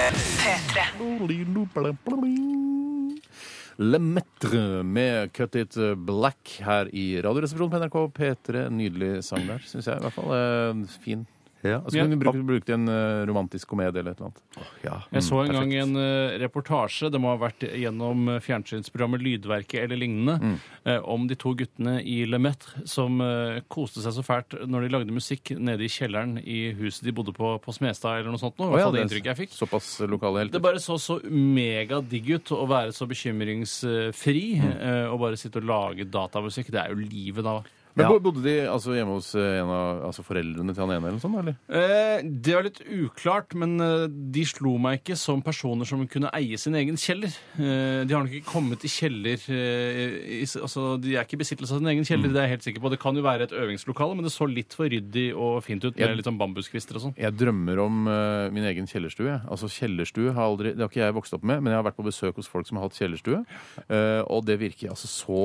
Speaker 4: Lemaitre med Cut It Black her i Radioresepsjonen på NRK P3. Nydelig sang der, syns jeg i hvert fall. Eh, fin.
Speaker 1: Ja.
Speaker 4: Altså, kunne du brukt, brukt i en eh, romantisk komedie eller et eller annet. Mm,
Speaker 1: Ja.
Speaker 5: Jeg så en gang en eh, reportasje, det må ha vært gjennom eh, fjernsynsprogrammet Lydverket eller lignende, eh, om de to guttene i Lemaitre som eh, koste seg så fælt når de lagde musikk nede i kjelleren i huset de bodde på på Smestad eller noe sånt. Nå, i hvert fall det inntrykket jeg fikk.
Speaker 4: Såpass lokale
Speaker 5: Det
Speaker 4: helter.
Speaker 5: bare så så megadigg ut å være så bekymringsfri eh, og bare sitte og lage datamusikk. Det er jo livet da.
Speaker 4: Men
Speaker 1: Ja.
Speaker 4: bo- Bodde de altså, hjemme hos eh, en av altså, foreldrene til han ene? eller noe sånt, eller?
Speaker 5: Eh, det er litt uklart, men eh, de slo meg ikke som personer som kunne eie sin egen kjeller. Eh, de har nok ikke kommet i kjeller eh, i, altså, De er ikke i besittelse av sin egen
Speaker 4: Mm.
Speaker 5: kjeller, det er jeg helt sikker på. Det kan jo være et øvingslokale, men det så litt for ryddig og fint ut med
Speaker 4: Ja.
Speaker 5: litt sånn bambuskvister og sånn.
Speaker 4: Jeg drømmer om eh, min egen kjellerstue. jeg. Altså kjellerstue har aldri, Det har ikke jeg vokst opp med, men jeg har vært på besøk hos folk som har hatt kjellerstue. eh, og det virker altså så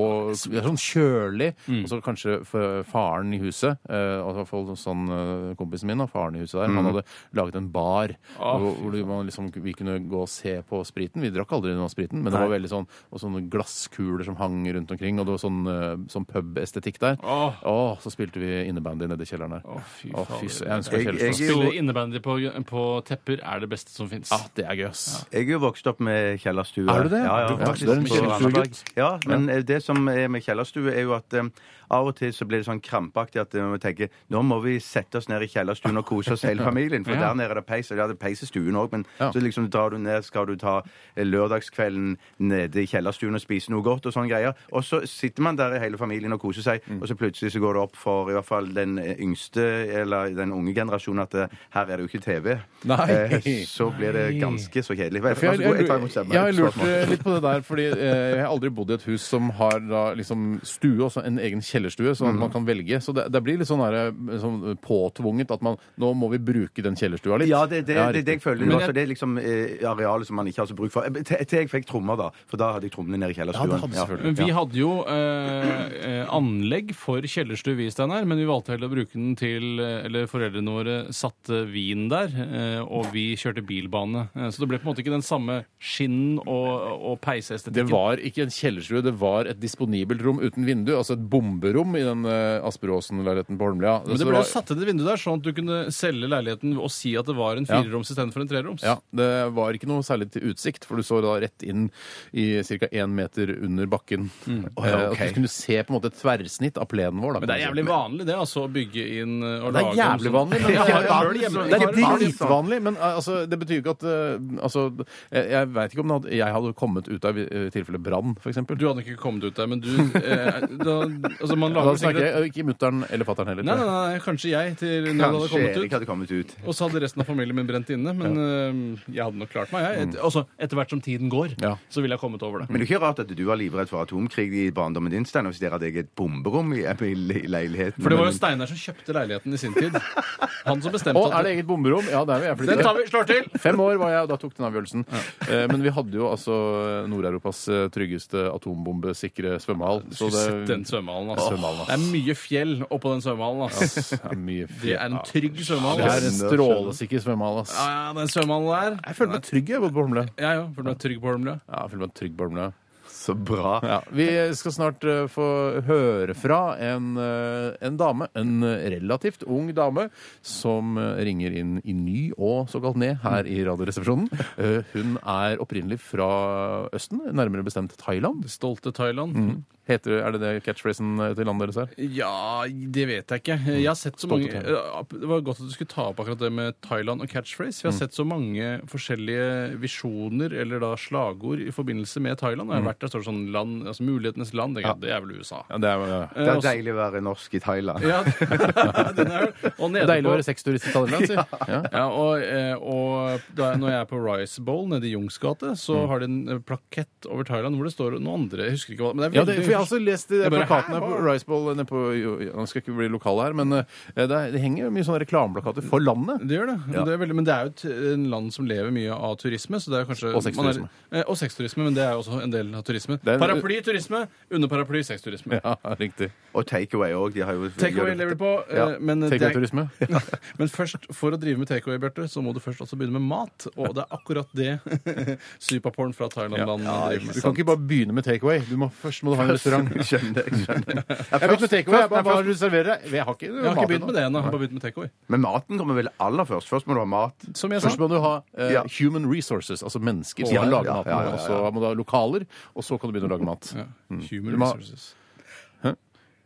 Speaker 4: det er Sånn kjølig. Og så kanskje f- faren i huset, eh, altså i hvert fall sånn eh, kompisen min, da, faren i huset der, han hadde laget en bar
Speaker 5: Ah,
Speaker 4: hvor, hvor man liksom, vi kunne gå og se på spriten. Vi drakk aldri noe av spriten, men det var veldig sånn og sånne glasskuler som hang rundt omkring, og det var sånn, eh, sånn pubestetikk der.
Speaker 5: Åh.
Speaker 4: Åh, så spilte vi innebandy nede i kjelleren der.
Speaker 5: Å, fy
Speaker 4: Å,
Speaker 5: fader.
Speaker 4: fy sø- Jeg ønsker
Speaker 1: Jeg-
Speaker 4: kjellerstue.
Speaker 1: jeg-
Speaker 5: Spille innebandy på, på tepper er det beste som fins.
Speaker 4: Ja, Ah, det er gøy, ass.
Speaker 1: Jeg er jo vokst opp med kjellerstue.
Speaker 4: Er du det?
Speaker 1: Ja, ja,
Speaker 4: Du er
Speaker 1: faktisk.
Speaker 4: vokst opp med
Speaker 1: På
Speaker 4: kjellerstue,
Speaker 1: Randaberg.
Speaker 4: gutt?
Speaker 1: Ja, men eh, det som er med kjellerstue, er jo at eh, av og til så blir det sånn krampaktig at eh, vi tenker nå må vi sette oss ned i kjellerstuen og kose oss hele familien, for
Speaker 5: Ja.
Speaker 1: der nede er det peis. Og de hadde peis i stuen òg, men
Speaker 4: Ja.
Speaker 1: så liksom drar du ned, skal du ta eh, lørdagskvelden nede i kjellerstuen og spise noe godt og sånne greier. Og så sitter man der i hele familien og koser seg,
Speaker 4: Mm.
Speaker 1: og så plutselig så går det opp for i hvert fall den eh, yngste eller den unge generasjonen at eh, her er det jo ikke TV.
Speaker 4: Nei.
Speaker 1: Eh, så blir det ganske så kjedelig. Vær
Speaker 4: For
Speaker 1: vær så
Speaker 4: jeg, jeg,
Speaker 1: Altså, god, jeg tar imot stemmen.
Speaker 4: jeg har lurt eh, litt på det der, fordi eh, jeg har aldri bodd i et hus som har da liksom stue, også en egen kjellerstue, sånn
Speaker 1: Mm.
Speaker 4: at man kan velge. Så det, det blir litt sånn, der, eh, sånn påtvunget at man nå må vi bruke den kjellerstua litt.
Speaker 1: Ja, det er det, det, er det jeg føler.
Speaker 5: Men
Speaker 1: nå,
Speaker 5: jeg-
Speaker 1: så det er liksom eh, arealet som man ikke har så bruk for. Eh, Til, til jeg fikk trommer, da. For da hadde jeg trommene nede i
Speaker 4: Ja,
Speaker 1: kjellerstuen.
Speaker 4: det hadde selvfølgelig.
Speaker 5: Men vi hadde jo eh, eh, anlegg for kjellerstue, vi, Steinar, men vi valgte heller å bruke den til eh, Eller foreldrene våre satte vin der, eh, og vi kjørte bilbane. Eh, så det ble på en måte ikke den samme skinn- og, og
Speaker 4: Det
Speaker 5: peiseestetikken.
Speaker 4: var ikke en kjellerstue, det var et disponibelt rom uten vindu, altså et bomberom i den eh, Asperåsen-leiligheten på Holmlia. Så
Speaker 5: Men det ble
Speaker 4: var-
Speaker 5: jo satt inn et vindu der, sånn at du kunne selge leiligheten og si at det var en fireroms istedenfor en treroms.
Speaker 4: Ja, Det var ikke noe særlig til utsikt, for du så da rett inn i ca. én meter under bakken. Eh,
Speaker 1: ok.
Speaker 4: At du kunne se på en måte et tverrsnitt av plenen vår. Da,
Speaker 5: Mm. Men det er jævlig vanlig, det, altså, å bygge inn eh, og
Speaker 4: Det
Speaker 5: lage
Speaker 4: er
Speaker 5: om
Speaker 4: jævlig
Speaker 5: sånn-
Speaker 4: vanlig, men
Speaker 5: Ja, jeg har
Speaker 1: vanlig,
Speaker 5: hørt det hjemme.
Speaker 1: så-
Speaker 4: Det
Speaker 5: Jeg
Speaker 4: er
Speaker 5: har
Speaker 4: ikke
Speaker 5: hørt det.
Speaker 4: dritvanlig, men eh, altså, det betyr ikke at eh, altså, Jeg, jeg veit ikke om det hadde, jeg hadde kommet ut av eh, tilfellet brann, f.eks.
Speaker 5: Du hadde ikke kommet ut der, men du eh, da, altså, man
Speaker 4: Da snakker
Speaker 5: lager sikkert
Speaker 4: jeg eh, ikke mutter'n eller fatter'n heller.
Speaker 5: Nei,
Speaker 4: tror
Speaker 5: nei,
Speaker 4: jeg.
Speaker 5: nei, kanskje jeg til når det hadde
Speaker 1: Kanskje
Speaker 5: kommet ut.
Speaker 1: Erik hadde kommet ut.
Speaker 5: Og så hadde resten av familien min brent inne, men øhm, jeg hadde nok klart meg. Jeg. Et, altså, etter hvert som tiden går,
Speaker 4: Mm. Ja.
Speaker 5: så ville jeg kommet over det.
Speaker 1: Men det er ikke rart at du var livredd for atomkrig i barndommen din, Steinar, hvis dere hadde eget bomberom i, i, i leiligheten.
Speaker 5: For det var jo
Speaker 1: Men-
Speaker 5: Steinar som kjøpte leiligheten i sin tid. Han som bestemte
Speaker 4: Og
Speaker 5: at
Speaker 4: er det eget bomberom? Ja, der vil jeg flytte.
Speaker 5: Den tar vi, slår til!
Speaker 4: Fem år var jeg, og da tok den avgjørelsen. Eh, Men vi hadde jo altså Nord-Europas eh, tryggeste atombombesikre svømmehall. Så
Speaker 5: Skulle sett den
Speaker 4: det
Speaker 5: svømmehallen, ass.
Speaker 4: Svømmehallen, ass.
Speaker 5: Det er mye fjell oppå den svømmehallen, ass.
Speaker 4: er mye
Speaker 5: Det er en trygg svømmehall.
Speaker 4: Det
Speaker 5: ass.
Speaker 4: er en strålesikker svømmehall, ass.
Speaker 5: Ja, ja, den svømmehallen der.
Speaker 4: Jeg føler meg trygg jeg, på Holmlia.
Speaker 5: Ja, ja, for du er trygg på Holmlia.
Speaker 4: Ja, jeg føler meg trygg på Holmlia.
Speaker 1: Så bra.
Speaker 4: Ja, vi skal snart eh, få høre fra en, eh, en dame, en relativt ung dame, som eh, ringer inn i ny og såkalt ned her i Radioresepsjonen. Eh, Hun er opprinnelig fra Østen, nærmere bestemt Thailand.
Speaker 5: Stolte Thailand.
Speaker 4: Mm. Heter, er det det catchphrasen eh, til landet deres er?
Speaker 5: Ja, det vet jeg ikke.
Speaker 4: Mm.
Speaker 5: Jeg har sett så
Speaker 4: Stolte
Speaker 5: mange Det var godt at du skulle ta opp akkurat det med Thailand og catchphrase.
Speaker 4: Mm.
Speaker 5: Vi har sett så mange forskjellige visjoner eller da slagord i forbindelse med Thailand. Og jeg har vært der står det sånn land, altså mulighetenes land. Det er, det er vel USA.
Speaker 4: Mm. Ja, det er, ja.
Speaker 1: Det er deilig å være norsk i Thailand.
Speaker 5: Ja, den er, og nede
Speaker 4: Deilig å
Speaker 5: på-
Speaker 4: være sexturist i Thailand, sier ja.
Speaker 5: Ja, og, eh, og da, når jeg er på Rice Bowl nede i Jungs gate, så
Speaker 4: Mm.
Speaker 5: har de en eh, plakett over Thailand hvor det står noen andre Jeg husker ikke hva men det er
Speaker 4: Ja,
Speaker 5: veldig,
Speaker 4: det, for jeg har også lest de
Speaker 5: Jeg bare,
Speaker 4: plakatene
Speaker 5: hæ,
Speaker 4: på
Speaker 5: hva?
Speaker 4: Rice Bowl nede på Nå skal jeg ikke bli lokal her, men eh, det, er- det henger jo mye sånne reklameplakater for landet.
Speaker 5: Det gjør det. det er veldig, men det er jo et en land som lever mye av turisme. Så det er jo kanskje,
Speaker 4: Og sexturisme.
Speaker 5: man Er, eh, og sexturisme, men det er jo også en del av turisme.
Speaker 4: er en-
Speaker 5: Paraplyturisme, under paraply sexturisme.
Speaker 4: Ja, riktig.
Speaker 1: Og takeaway òg. De har jo
Speaker 5: Takeaway lever de på, eh,
Speaker 1: Ja.
Speaker 5: men, det er-
Speaker 4: Takeaway-turisme.
Speaker 5: men først, for å drive med takeaway, Bjarte, så må du først også begynne med mat. Og det er akkurat det Sypaporn fra Thailand-land driver med.
Speaker 4: Du kan ikke bare begynne med takeaway. Du må, først må du ha en restaurant.
Speaker 1: Jeg skjønner, jeg skjønner.
Speaker 4: Jeg har begynt med takeaway. Jeg bare,
Speaker 1: Nei,
Speaker 4: Hva er det du serverer deg? Jeg har ikke,
Speaker 5: Jeg har ikke begynt med det ennå. jeg har Bare begynt med takeaway.
Speaker 1: Men maten kommer vel aller først. Først må du ha mat.
Speaker 5: Som jeg sa.
Speaker 4: Først må du ha eh,
Speaker 1: Ja.
Speaker 4: human resources, altså mennesker
Speaker 1: Ja,
Speaker 4: som kan lage
Speaker 1: ja, ja,
Speaker 4: maten.
Speaker 1: ja, ja.
Speaker 4: Og så må du ha lokaler, og så kan du begynne å lage mat.
Speaker 5: Ja.
Speaker 4: Du
Speaker 5: Human
Speaker 4: må-
Speaker 5: resources.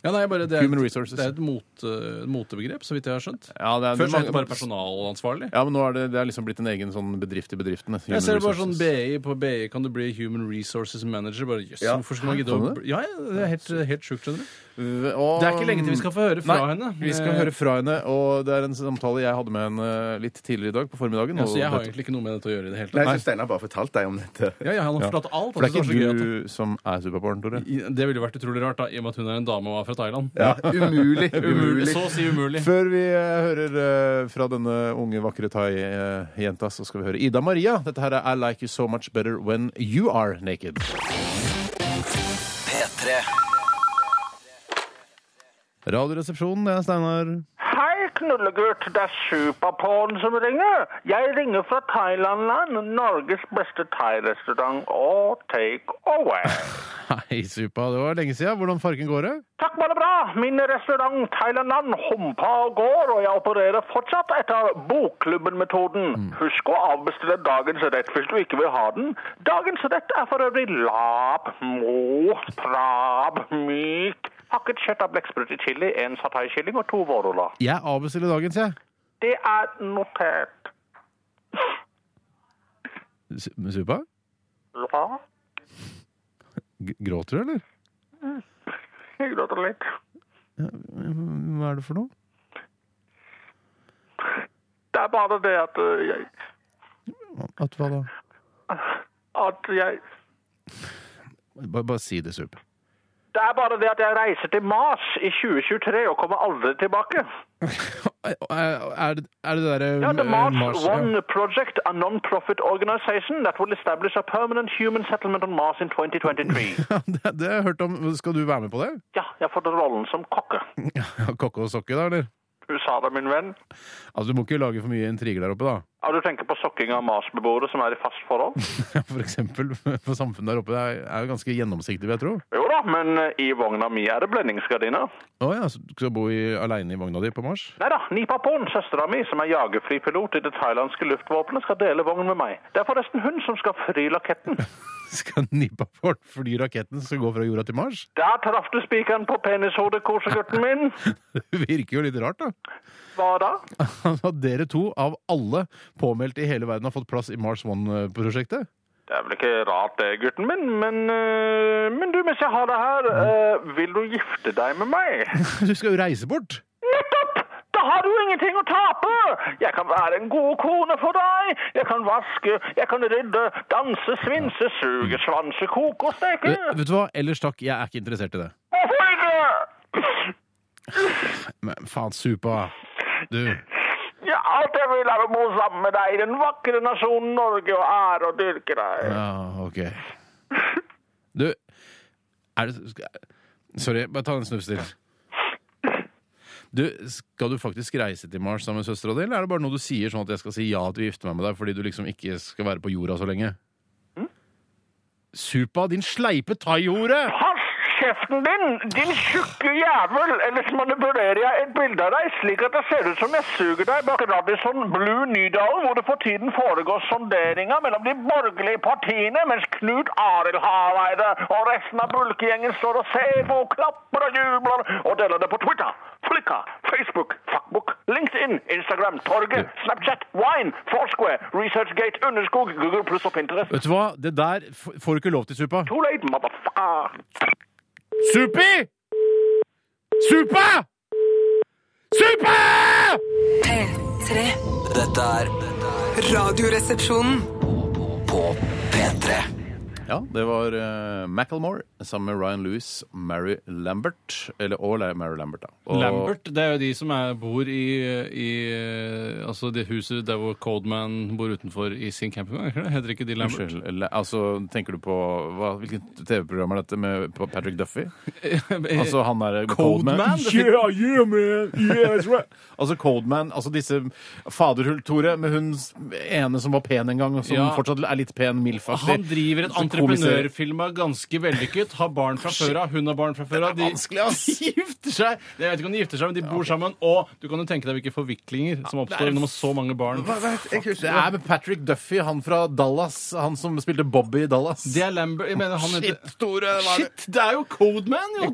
Speaker 5: Ja, nei, bare, det er,
Speaker 4: Mm. Human resources.
Speaker 5: Det er et mot, eh, motebegrep, så vidt jeg har skjønt.
Speaker 4: Ja, det er-
Speaker 5: Først
Speaker 4: mange-
Speaker 5: het det bare personalansvarlig.
Speaker 4: Ja, men nå er det, det er liksom blitt en egen sånn bedrift i bedriftene.
Speaker 5: Jeg ser det bare sånn
Speaker 4: Human resources.
Speaker 5: BI på BI kan du bli Human Resources Manager. Bare, jøss,
Speaker 1: Ja.
Speaker 5: hvorfor skal man gidde å
Speaker 4: Kan du det?
Speaker 5: Ja, ja, det er helt, helt sjukt, skjønner du.
Speaker 4: Og-
Speaker 5: Det er ikke lenge til vi skal få høre fra
Speaker 4: mm, Nei,
Speaker 5: henne.
Speaker 4: Vi skal
Speaker 5: Eh,
Speaker 4: høre fra henne, og det er en samtale jeg hadde med henne eh, litt tidligere i dag på formiddagen.
Speaker 5: Ja, så altså, jeg
Speaker 4: og
Speaker 5: har
Speaker 4: dette-
Speaker 5: egentlig ikke noe med dette å gjøre i det hele
Speaker 1: Nei,
Speaker 5: tatt.
Speaker 1: så Steinar bare fortalte deg om dette.
Speaker 5: Ja, ja, han har
Speaker 4: Ja.
Speaker 5: fortalt alt.
Speaker 4: For det
Speaker 5: altså,
Speaker 4: er
Speaker 5: så gøy at-
Speaker 4: ikke du som er superbarn, Tore.
Speaker 5: Det ville vært utrolig rart, da, i og med at hun er en dame og er fra Thailand.
Speaker 1: Ja, umulig. Umulig.
Speaker 5: Så å si umulig.
Speaker 4: Før vi eh, hører eh, fra denne unge, vakre thai-jenta, så skal vi høre Ida Maria. Dette her er I Like You So Much Better When You Are Naked.
Speaker 2: P3
Speaker 4: Radioresepsjonen, det er Steinar.
Speaker 6: Hei, knullegutt. Det er Superporn som ringer. Jeg ringer fra Thailandland, Norges beste thairestaurant og take away.
Speaker 4: Hei, Supa. Det var lenge siden. Hvordan farken går det?
Speaker 6: Takk, bare bra. Min restaurant Thailandland humpa og går, og jeg opererer fortsatt etter Bokklubben-metoden. Husk å avbestille dagens rett hvis du ikke vil ha den. Dagens rett er for øvrig lap, mo, trab, myk, hakket kjøtt av blekksprut i chili, en sataikylling og to vårruller.
Speaker 4: Jeg avbestiller dagens, jeg.
Speaker 6: Det er notert.
Speaker 4: Su- Supa?
Speaker 6: Ja.
Speaker 4: G gråter du, eller?
Speaker 6: Jeg gråter litt.
Speaker 4: Hva er det for noe?
Speaker 6: Det er bare det at øh, jeg
Speaker 4: At hva da?
Speaker 6: At jeg
Speaker 4: Bare, bare si det, Supa.
Speaker 6: Det er bare det at jeg reiser til Mars i 2023 og kommer aldri tilbake.
Speaker 4: Er, er det er det derre
Speaker 6: Ja, The Mars,
Speaker 4: Mm, øh, ja.
Speaker 6: One Project, a non-profit organization that will establish a permanent human settlement on Mars in 2023.
Speaker 4: det, det har jeg hørt om. Skal du være med på det?
Speaker 6: Ja, jeg har fått rollen som kokke.
Speaker 4: Ja, Kokke og sokke, da, eller?
Speaker 6: Du sa det, min venn.
Speaker 4: Altså, Du må ikke lage for mye intriger der oppe, da.
Speaker 6: Ja, du tenker på sokking av Mars-beboere som er i fast forhold?
Speaker 4: For eksempel. For samfunnet der oppe er, er jo ganske gjennomsiktig, vil jeg tro.
Speaker 6: Jo da, men øh, i vogna mi er det blendingsgardiner.
Speaker 4: Å ja, så du skal bo i, aleine i vogna di på Mars?
Speaker 6: Nei da, Nipapon, søstera mi, som er jagerflypilot i det thailandske luftvåpenet, skal dele vogn med meg. Det er forresten hun som skal fri laketten.
Speaker 4: Skal Nipaport fly raketten som går fra jorda til Mars?
Speaker 6: Der traff du spikeren på penishodet, kosegutten min.
Speaker 4: Det virker jo litt rart, da. Altså,
Speaker 6: Hva da?
Speaker 4: At dere to, av alle påmeldte i hele verden, har fått plass i Mars One-prosjektet?
Speaker 6: Det er vel ikke rart det, gutten min, men, øh, men du, mens jeg har deg her, øh, vil du gifte deg med meg?
Speaker 4: Du skal jo reise bort!
Speaker 6: Nettopp! Da har du ingenting å tape! Jeg kan være en god kone for deg. Jeg kan vaske, jeg kan rydde, danse, svinse, suge, svanse, koke og steke.
Speaker 4: Eh, Vet du hva, ellers takk, jeg er ikke interessert i det.
Speaker 6: Hvorfor ikke?
Speaker 4: Men faen, Supa. Du.
Speaker 6: Ja, alt jeg vil er å bo sammen med deg i den vakre nasjonen Norge og ære og dyrke deg.
Speaker 4: Ja, OK. Du Er det skal, Sorry, bare ta en snufs til. Du, Skal du faktisk reise til Mars sammen med søstera di, eller er det bare noe du sier sånn at jeg skal si ja til å gifte meg med deg fordi du liksom ikke skal være på jorda så lenge? Supa, din sleipe thaihore!
Speaker 6: Pass kjeften din, din tjukke jævel, ellers manipulerer jeg et bilde av deg slik at det ser ut som jeg suger deg bak Radisson Blue Nydalen, hvor det for tiden foregår sonderinger mellom de borgerlige partiene, mens Knut Arild Hareide og resten av bulkegjengen står og ser på, klapper og jubler, og deler det på Twitter, Flickr, Facebook, Fuckbook, LinkedIn, Instagram, Torget, Snapchat, Wine, Foursquare, Researchgate, Underskog, Google Plus og Pinterest.
Speaker 4: Vet du hva, det der f- får du ikke lov til, Supa.
Speaker 6: Too late, motherfucker.
Speaker 4: Supi! Supa! Supa!
Speaker 7: P3.
Speaker 2: Dette er
Speaker 7: Radioresepsjonen.
Speaker 2: På P3
Speaker 4: Ja, det var uh, Macclemore sammen med Ryan Lewis, Mary Lambert Eller og La- Mary Lambert, da. Og,
Speaker 5: Lambert, det er jo de som er, bor i, i eh, Altså det huset der hvor Codeman bor utenfor i sin campingvogn. er det ikke det? Heter ikke de Lambert?
Speaker 4: Unnskyld. La- Altså, tenker du på hva, Hvilket TV-program er dette med på Patrick Duffy?
Speaker 5: Eh,
Speaker 4: Altså han er
Speaker 5: Codeman?
Speaker 4: Yeah, yeah, man. Yeah, that's right. altså Codeman. Altså disse Faderhull-Tore med hun s- ene som var pen en gang, og som
Speaker 5: Ja.
Speaker 4: fortsatt er litt pen, milfaktig.
Speaker 5: Han driver et
Speaker 4: Komiserer.
Speaker 5: entreprenørfirma ganske vellykket, Knut har barn fra før av, hun har barn fra før av. De de gifter seg! Jeg vet ikke om de gifter seg, men de bor sammen. Og du kan jo tenke deg hvilke forviklinger som oppstår når man har så mange barn.
Speaker 1: Hva- hva- Jeg husker
Speaker 4: Det er med Patrick Duffy, han fra Dallas. Han som spilte Bobby i Dallas.
Speaker 5: Det er Lambert Jeg mener, han heter
Speaker 4: Shit, Tore! hva er det?
Speaker 5: Shit! Det er jo Codeman! Jo.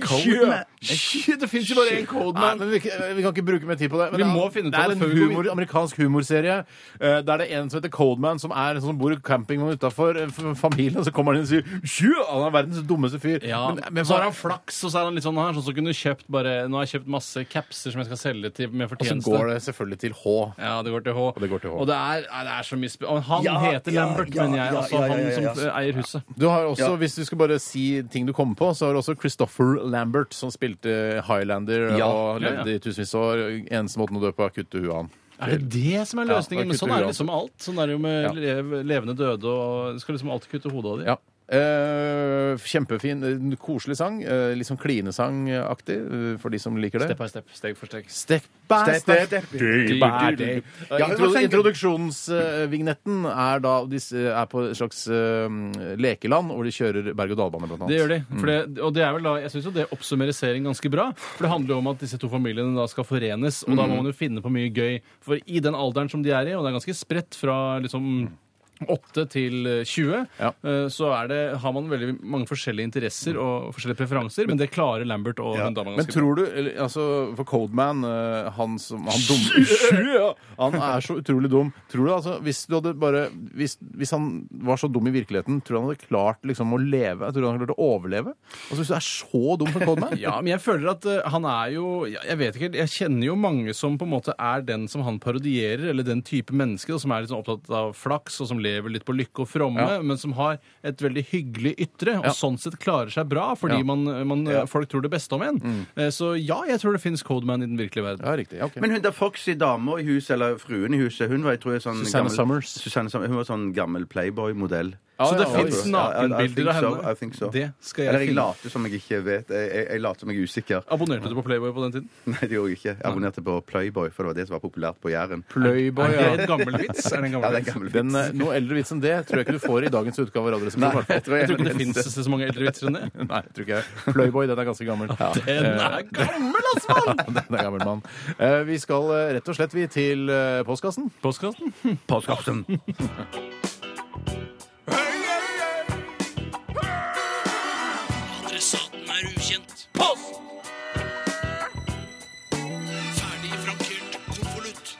Speaker 4: Coleman.
Speaker 5: Shit, Shit, det fins jo bare én
Speaker 4: Nei,
Speaker 5: Codeman.
Speaker 4: men vi, vi kan ikke bruke mer tid på det. Men
Speaker 5: Vi
Speaker 4: det er-
Speaker 5: må finne ut
Speaker 4: det
Speaker 5: av
Speaker 4: er
Speaker 5: det
Speaker 4: en
Speaker 5: før vi går
Speaker 4: humor, amerikansk humorserie eh, der det er en som heter Coldman, som er en sånn som bor i campingvogn utafor eh, familien, og så kommer han inn og sier «Tju, Han er verdens dummeste fyr.
Speaker 5: Ja,
Speaker 4: Men- men
Speaker 5: Så
Speaker 4: hva-
Speaker 5: har han flaks, og så er han litt sånn her, sånn som kunne kjøpt bare Nå har jeg kjøpt masse capser som jeg skal selge til med
Speaker 4: og så
Speaker 5: fortjeneste.
Speaker 4: går det selvfølgelig til H.
Speaker 5: Ja, det går til H.
Speaker 4: det går til H.
Speaker 5: Og det er, nei, det er så mye sp og Han
Speaker 1: Ja,
Speaker 5: heter
Speaker 1: ja,
Speaker 5: Lambert,
Speaker 1: ja,
Speaker 5: mener jeg.
Speaker 1: ja,
Speaker 5: Altså
Speaker 1: ja, ja, ja, ja.
Speaker 5: han som eier huset.
Speaker 4: Du har også, Hvis du skal bare si ting du kommer på, så har du også Christopher Lambert, som spilte Highlander
Speaker 5: Ja.
Speaker 4: og
Speaker 5: Ja, ja.
Speaker 4: levde i tusenvis av år. Eneste måten å dø på er å kutte huet av han.
Speaker 5: Er det det som er
Speaker 4: Ja,
Speaker 5: løsningen?
Speaker 4: det er
Speaker 5: Men sånn er det
Speaker 4: kulturelt.
Speaker 5: liksom med alt. Sånn er det jo med le- levende døde, og du skal liksom alltid kutte hodet av dem.
Speaker 4: Ja. Eh, kjempefin, eh, koselig sang. eh, litt sånn klinesangaktig eh, for de som liker det.
Speaker 5: Step by step, steg for steg.
Speaker 4: Step by
Speaker 1: Step by step.
Speaker 4: Day by day.
Speaker 1: Ja, hun var
Speaker 4: Intro-
Speaker 1: flink.
Speaker 4: Introduksjonsvignetten er da de s- er på et slags eh, lekeland hvor de kjører berg-og-dal-bane, blant annet.
Speaker 5: Det gjør de. For det, og det er vel da, jeg syns jo det oppsummerer serien ganske bra. For det handler jo om at disse to familiene da skal forenes, og da
Speaker 4: Mm.
Speaker 5: må man jo finne på mye gøy. For i den alderen som de er i, og det er ganske spredt fra liksom 8 til eh, 20,
Speaker 4: Ja.
Speaker 5: eh, så er det, har man veldig mange forskjellige interesser og forskjellige preferanser, men det klarer Lambert og hun dama
Speaker 4: Men
Speaker 5: ganske bra.
Speaker 4: tror du eller, altså, For Codeman, eh, han som han, dum, Ja, han er så utrolig dum. Tror du altså, Hvis du hadde bare hvis, hvis han var så dum i virkeligheten, tror du han hadde klart liksom, å leve? Tror du han hadde klart å overleve? Altså, Hvis du er så dum som Codeman
Speaker 5: Ja, men jeg føler at eh, han er jo ja, Jeg vet ikke, jeg kjenner jo mange som på en måte er den som han parodierer, eller den type menneske da, som er litt sånn opptatt av flaks, og som lever litt på lykke og fromme,
Speaker 4: Ja.
Speaker 5: men som har et veldig hyggelig ytre, og
Speaker 4: Ja.
Speaker 5: sånn sett klarer seg bra, fordi
Speaker 4: Ja.
Speaker 5: man, man, eh, folk tror det beste om en.
Speaker 1: Mm.
Speaker 5: Eh, Så ja, jeg tror det fins Codeman i den virkelige verden.
Speaker 4: Ja, riktig. Ja, ok.
Speaker 1: Men hun der Foxy, dama i huset, eller fruen i huset, hun var jeg tror jeg sånn gammel,
Speaker 4: Susanne Summers.
Speaker 1: Susanne Summers. Hun var sånn gammel playboy-modell.
Speaker 4: Ja,
Speaker 5: Så det
Speaker 4: ja,
Speaker 1: ja,
Speaker 5: fins
Speaker 1: ja. I- I think
Speaker 5: nakenbilder av
Speaker 1: so,
Speaker 5: henne.
Speaker 1: I think so.
Speaker 5: Det skal
Speaker 1: Eller
Speaker 5: jeg
Speaker 1: jeg
Speaker 5: finne.
Speaker 1: later som jeg ikke vet. Jeg, jeg, jeg later som jeg er usikker.
Speaker 5: Abonnerte du på Playboy på den tiden?
Speaker 1: Nei, det gjorde jeg ikke. Jeg abonnerte på Playboy, for det var det som var populært på Jæren.
Speaker 4: Playboy,
Speaker 5: Det er en gammel vits. Er det en
Speaker 1: Ja, det
Speaker 5: gammel
Speaker 1: er
Speaker 5: vits?
Speaker 1: gammel vits.
Speaker 4: Den, eh, noe eldre vits enn det tror jeg ikke du får i dagens utgave av Radioresepsjonen. i hvert fall.
Speaker 1: jeg tror
Speaker 5: Jeg tror ikke det
Speaker 1: jeg-
Speaker 5: fins så mange eldre vitser enn det.
Speaker 4: Nei, jeg tror ikke jeg. Playboy, den er ganske gammel.
Speaker 5: Den er gammel, ass, mann!
Speaker 4: Den er gammel mann. Eh, Vi skal eh, rett og slett vi til eh, postkassen.
Speaker 5: Postkassen?
Speaker 1: Postkassen.
Speaker 8: Adressaten er ukjent. Post! Ferdig frankert konvolutt.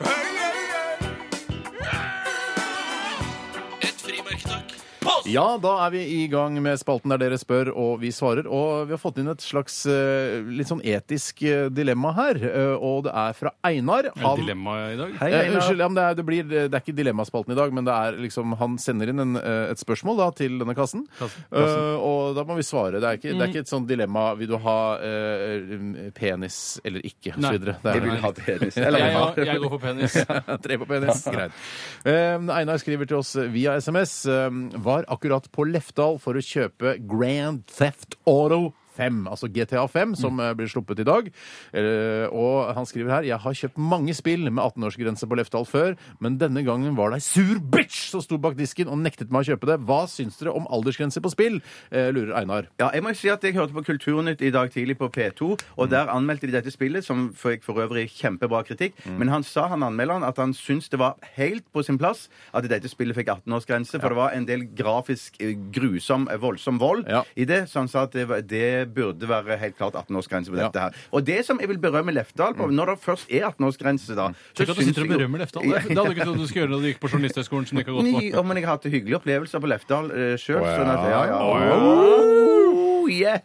Speaker 8: Et frimerke, takk. Post!
Speaker 4: Ja, da er vi i gang med spalten der dere spør og vi svarer. Og vi har fått inn et slags eh, litt sånn etisk eh, dilemma her, eh, og det er fra Einar.
Speaker 5: Er det dilemma i dag?
Speaker 1: Hei,
Speaker 4: Eh,
Speaker 1: Einar.
Speaker 4: unnskyld, ja, men det, er, det, blir, det er ikke Dilemmaspalten i dag, men det er liksom, han sender inn en, eh, et spørsmål da, til denne kassen. Eh, og da må vi svare. Det er ikke, det
Speaker 5: Mm.
Speaker 4: er ikke et sånt dilemma vil du ha eh, penis eller ikke,
Speaker 5: Nei.
Speaker 4: osv.
Speaker 1: Jeg vil ha penis. Eller
Speaker 5: Jeg,
Speaker 1: vil ha-
Speaker 5: jeg, jeg går for penis.
Speaker 4: Tre på penis. Greit. Eh, Einar skriver til oss via SMS. eh, var akkurat på Lefdal for å kjøpe Grand Theft Auto. 5, altså GTA 5, som eh, blir sluppet i dag. Eh, og han skriver her Jeg har kjøpt mange spill med 18-årsgrense på Lefdal før, men denne gangen var det ei sur bitch som sto bak disken og nektet meg å kjøpe det. Hva syns dere om aldersgrense på spill? Eh, lurer Einar.
Speaker 1: Ja, jeg må jo si at jeg hørte på Kulturnytt i dag tidlig på P2,
Speaker 5: Mm.
Speaker 1: og der anmeldte de dette spillet, som fikk for øvrig kjempebra kritikk.
Speaker 5: Mm.
Speaker 1: Men han sa, han anmelderen, at han syntes det var helt på sin plass at dette spillet fikk 18-årsgrense, for det var en del grafisk eh, grusom, eh, voldsom vold
Speaker 4: Ja.
Speaker 1: i det, så han sa at det, var- det burde være helt klart 18-årsgrense på
Speaker 4: Ja.
Speaker 1: dette her. Og det som jeg vil berømme Lefdal på, når det først er 18-årsgrense, da så
Speaker 5: Mm. Tenk at du sitter og
Speaker 1: jeg jo-
Speaker 5: berømmer Lefdal. Det det hadde du ikke trodd du skulle gjøre når du gikk på Journalisthøgskolen. som du ikke har gått
Speaker 1: Ny,
Speaker 5: på.
Speaker 1: ja, men jeg har hatt hyggelige opplevelser på Lefdal uh, sjøl.
Speaker 4: Wow.
Speaker 1: Sånn at, ja, ja. Oh, yeah.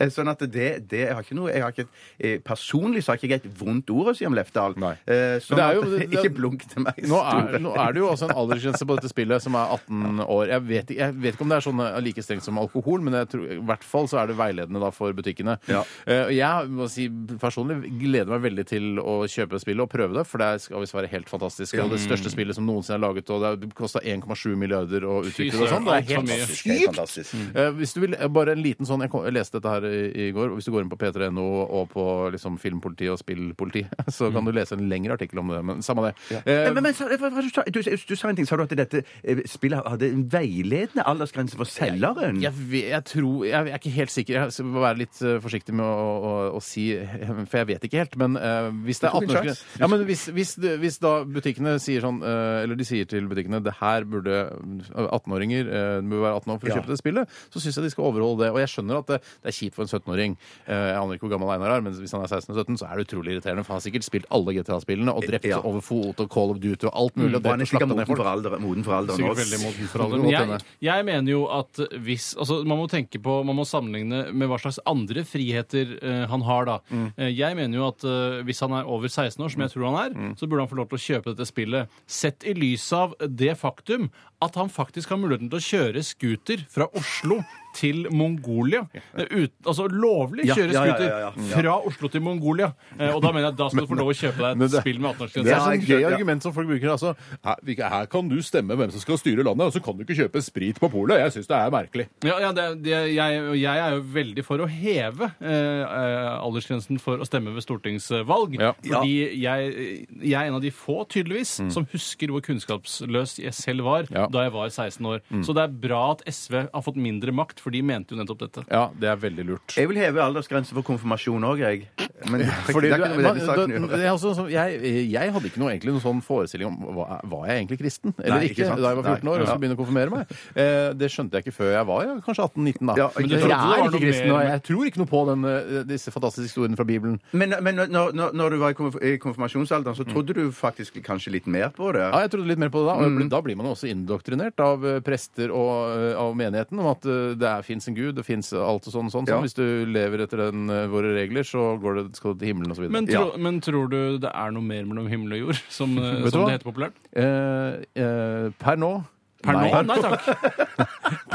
Speaker 1: Eh, Sånn at det, det jeg har ikke noe jeg har ikke, et- eh, Personlig så har ikke jeg et vondt ord å si om Lefdal.
Speaker 4: Nei.
Speaker 1: Eh, sånn
Speaker 4: Men det er jo-
Speaker 1: at,
Speaker 4: det- det-
Speaker 1: ikke blunk til meg.
Speaker 4: Nå er, nå er det jo også en aldersgrense på dette spillet som er 18 år. Jeg vet, ikke- jeg vet ikke om det er sånn eh, like strengt som alkohol, men jeg tror, i hvert fall så er det veiledende da for butikkene.
Speaker 1: Ja.
Speaker 4: Eh, og jeg må si personlig gleder meg veldig til å kjøpe spillet og prøve det, for det skal visst være helt fantastisk. Og det største spillet som noensinne er laget, og det kosta 1,7 milliarder å utvikle det og sånn.
Speaker 5: søren,
Speaker 4: Det Mm. er
Speaker 5: alt for
Speaker 4: helt
Speaker 5: mye.
Speaker 1: Helt fantastisk.
Speaker 4: Eh, Hvis du vil, eh, bare en liten sånn Jeg, kom, jeg leste dette her her i, i går. Og hvis du går inn på p3.no og på liksom, filmpoliti og spillpoliti, så
Speaker 5: Mm.
Speaker 4: kan du lese en lengre artikkel om det. Men samme det. Eh,
Speaker 1: Men, men, men sa- hva- hva- du, sa- du, du sa en ting. Sa du at dette eh, spillet hadde en veiledende aldersgrense for selgeren?
Speaker 4: Jeg, ve- jeg tror Jeg er ikke helt sikker. Jeg må være litt eh, forsiktig med å, å, å si eh, For jeg vet ikke helt. Men eh, hvis det er
Speaker 1: tok en
Speaker 4: 18
Speaker 1: sjanse.
Speaker 4: ja, men hvis, hvis, det- hvis da butikkene sier sånn eh, Eller de sier til butikkene det her burde 18-åringer eh, det burde være 18 år for å
Speaker 1: Ja.
Speaker 4: kjøpe det spillet, så syns jeg de skal overholde det. Og jeg skjønner at det, det er kjipt for en 17-åring. Eh, jeg aner ikke hvor gammel Einar er, men hvis han er 16-17, så er det utrolig irriterende. For han har sikkert spilt alle GTA-spillene og drept
Speaker 1: Ja.
Speaker 4: over fot og Call of Duty og alt mulig. og
Speaker 1: Og han
Speaker 4: drept
Speaker 1: er sikkert
Speaker 4: og slaktet ned
Speaker 1: moden
Speaker 4: folk.
Speaker 1: for alder- moden for alderen
Speaker 4: Sikkert
Speaker 1: også.
Speaker 4: veldig moden for alderen.
Speaker 5: Men
Speaker 4: Godt hende.
Speaker 5: jeg, jeg mener jo at hvis altså Man må tenke på, man må sammenligne med hva slags andre friheter eh, han har. da. Eh, jeg mener jo at eh, hvis han er over 16 år, som jeg tror han er, så burde han få lov til å kjøpe dette spillet. Sett i lys av det faktum at han faktisk har muligheten til å kjøre scooter fra Oslo til Mongolia. Eh, Ut, altså lovlig
Speaker 1: Ja,
Speaker 5: kjøre
Speaker 1: ja, ja,
Speaker 5: scooter
Speaker 1: ja, ja.
Speaker 5: fra Oslo til Mongolia. Eh, og da mener jeg at da skal du få lov å kjøpe deg
Speaker 4: Men
Speaker 5: et
Speaker 4: det-
Speaker 5: spill med
Speaker 4: Det er
Speaker 5: 18-årsgrense.
Speaker 1: Ja,
Speaker 4: sånn
Speaker 1: ikke sant,
Speaker 4: gøy
Speaker 1: ja.
Speaker 4: argument som folk bruker. altså. Her, vi- her kan du stemme hvem som skal styre landet, og så kan du ikke kjøpe sprit på polet. Jeg syns det er merkelig.
Speaker 5: Ja, ja det, det, jeg, og jeg er jo veldig for å heve eh, eh, aldersgrensen for å stemme ved stortingsvalg.
Speaker 4: Ja. Mm.
Speaker 5: Fordi jeg, jeg er en av de få, tydeligvis, som husker hvor kunnskapsløs jeg selv var
Speaker 4: Ja. Mm.
Speaker 5: da jeg var 16 år. Så det er bra at SV har fått mindre makt, for de mente jo nettopp dette.
Speaker 4: Ja, det er veldig lurt.
Speaker 1: Jeg vil heve aldersgrensen for konfirmasjon òg, jeg. Men det er
Speaker 4: Fordi
Speaker 1: ikke
Speaker 4: du,
Speaker 1: det er ikke noe med denne saken å
Speaker 4: da-
Speaker 1: gjøre.
Speaker 4: det er altså sånn- jeg, jeg hadde ikke noe, egentlig noen sånn forestilling om hva, var jeg egentlig kristen eller
Speaker 1: Nei,
Speaker 4: ikke,
Speaker 1: ikke sant.
Speaker 4: da jeg var 14 år og
Speaker 1: Nei.
Speaker 4: så begynte jeg å konfirmere meg. Eh, det skjønte jeg ikke før jeg var ja, kanskje 18-19, da.
Speaker 1: Ja,
Speaker 4: Men
Speaker 1: ikke
Speaker 4: jeg
Speaker 1: sant.
Speaker 4: er
Speaker 5: Jeg trodde det var
Speaker 4: ikke
Speaker 5: noe
Speaker 4: kristen,
Speaker 5: mer-
Speaker 4: og jeg tror ikke noe på den, eh, disse fantastiske historiene fra Bibelen.
Speaker 1: Men, men når, når, når du var i konf- i konfirmasjonsalderen, så trodde du faktisk kanskje litt mer på det?
Speaker 4: Mm. Ja, jeg trodde litt mer på det da. Og jeg
Speaker 5: Mm.
Speaker 4: ble, da blir man jo også indoktrinert av eh, prester og eh, av menigheten om at eh, det fins en gud, det fins alt og sånn. sånn, sånn.
Speaker 1: Ja.
Speaker 4: Hvis du lever etter den, eh, våre regler, så går det, skal du til himmelen osv.
Speaker 5: Men, tro, men tror du det er noe mer mellom himmel og jord, som, eh,
Speaker 4: Vet du
Speaker 5: som
Speaker 4: hva?
Speaker 5: det heter populært?
Speaker 4: Eh, eh, per nå
Speaker 5: Per
Speaker 4: nei.
Speaker 5: nå? Nei takk.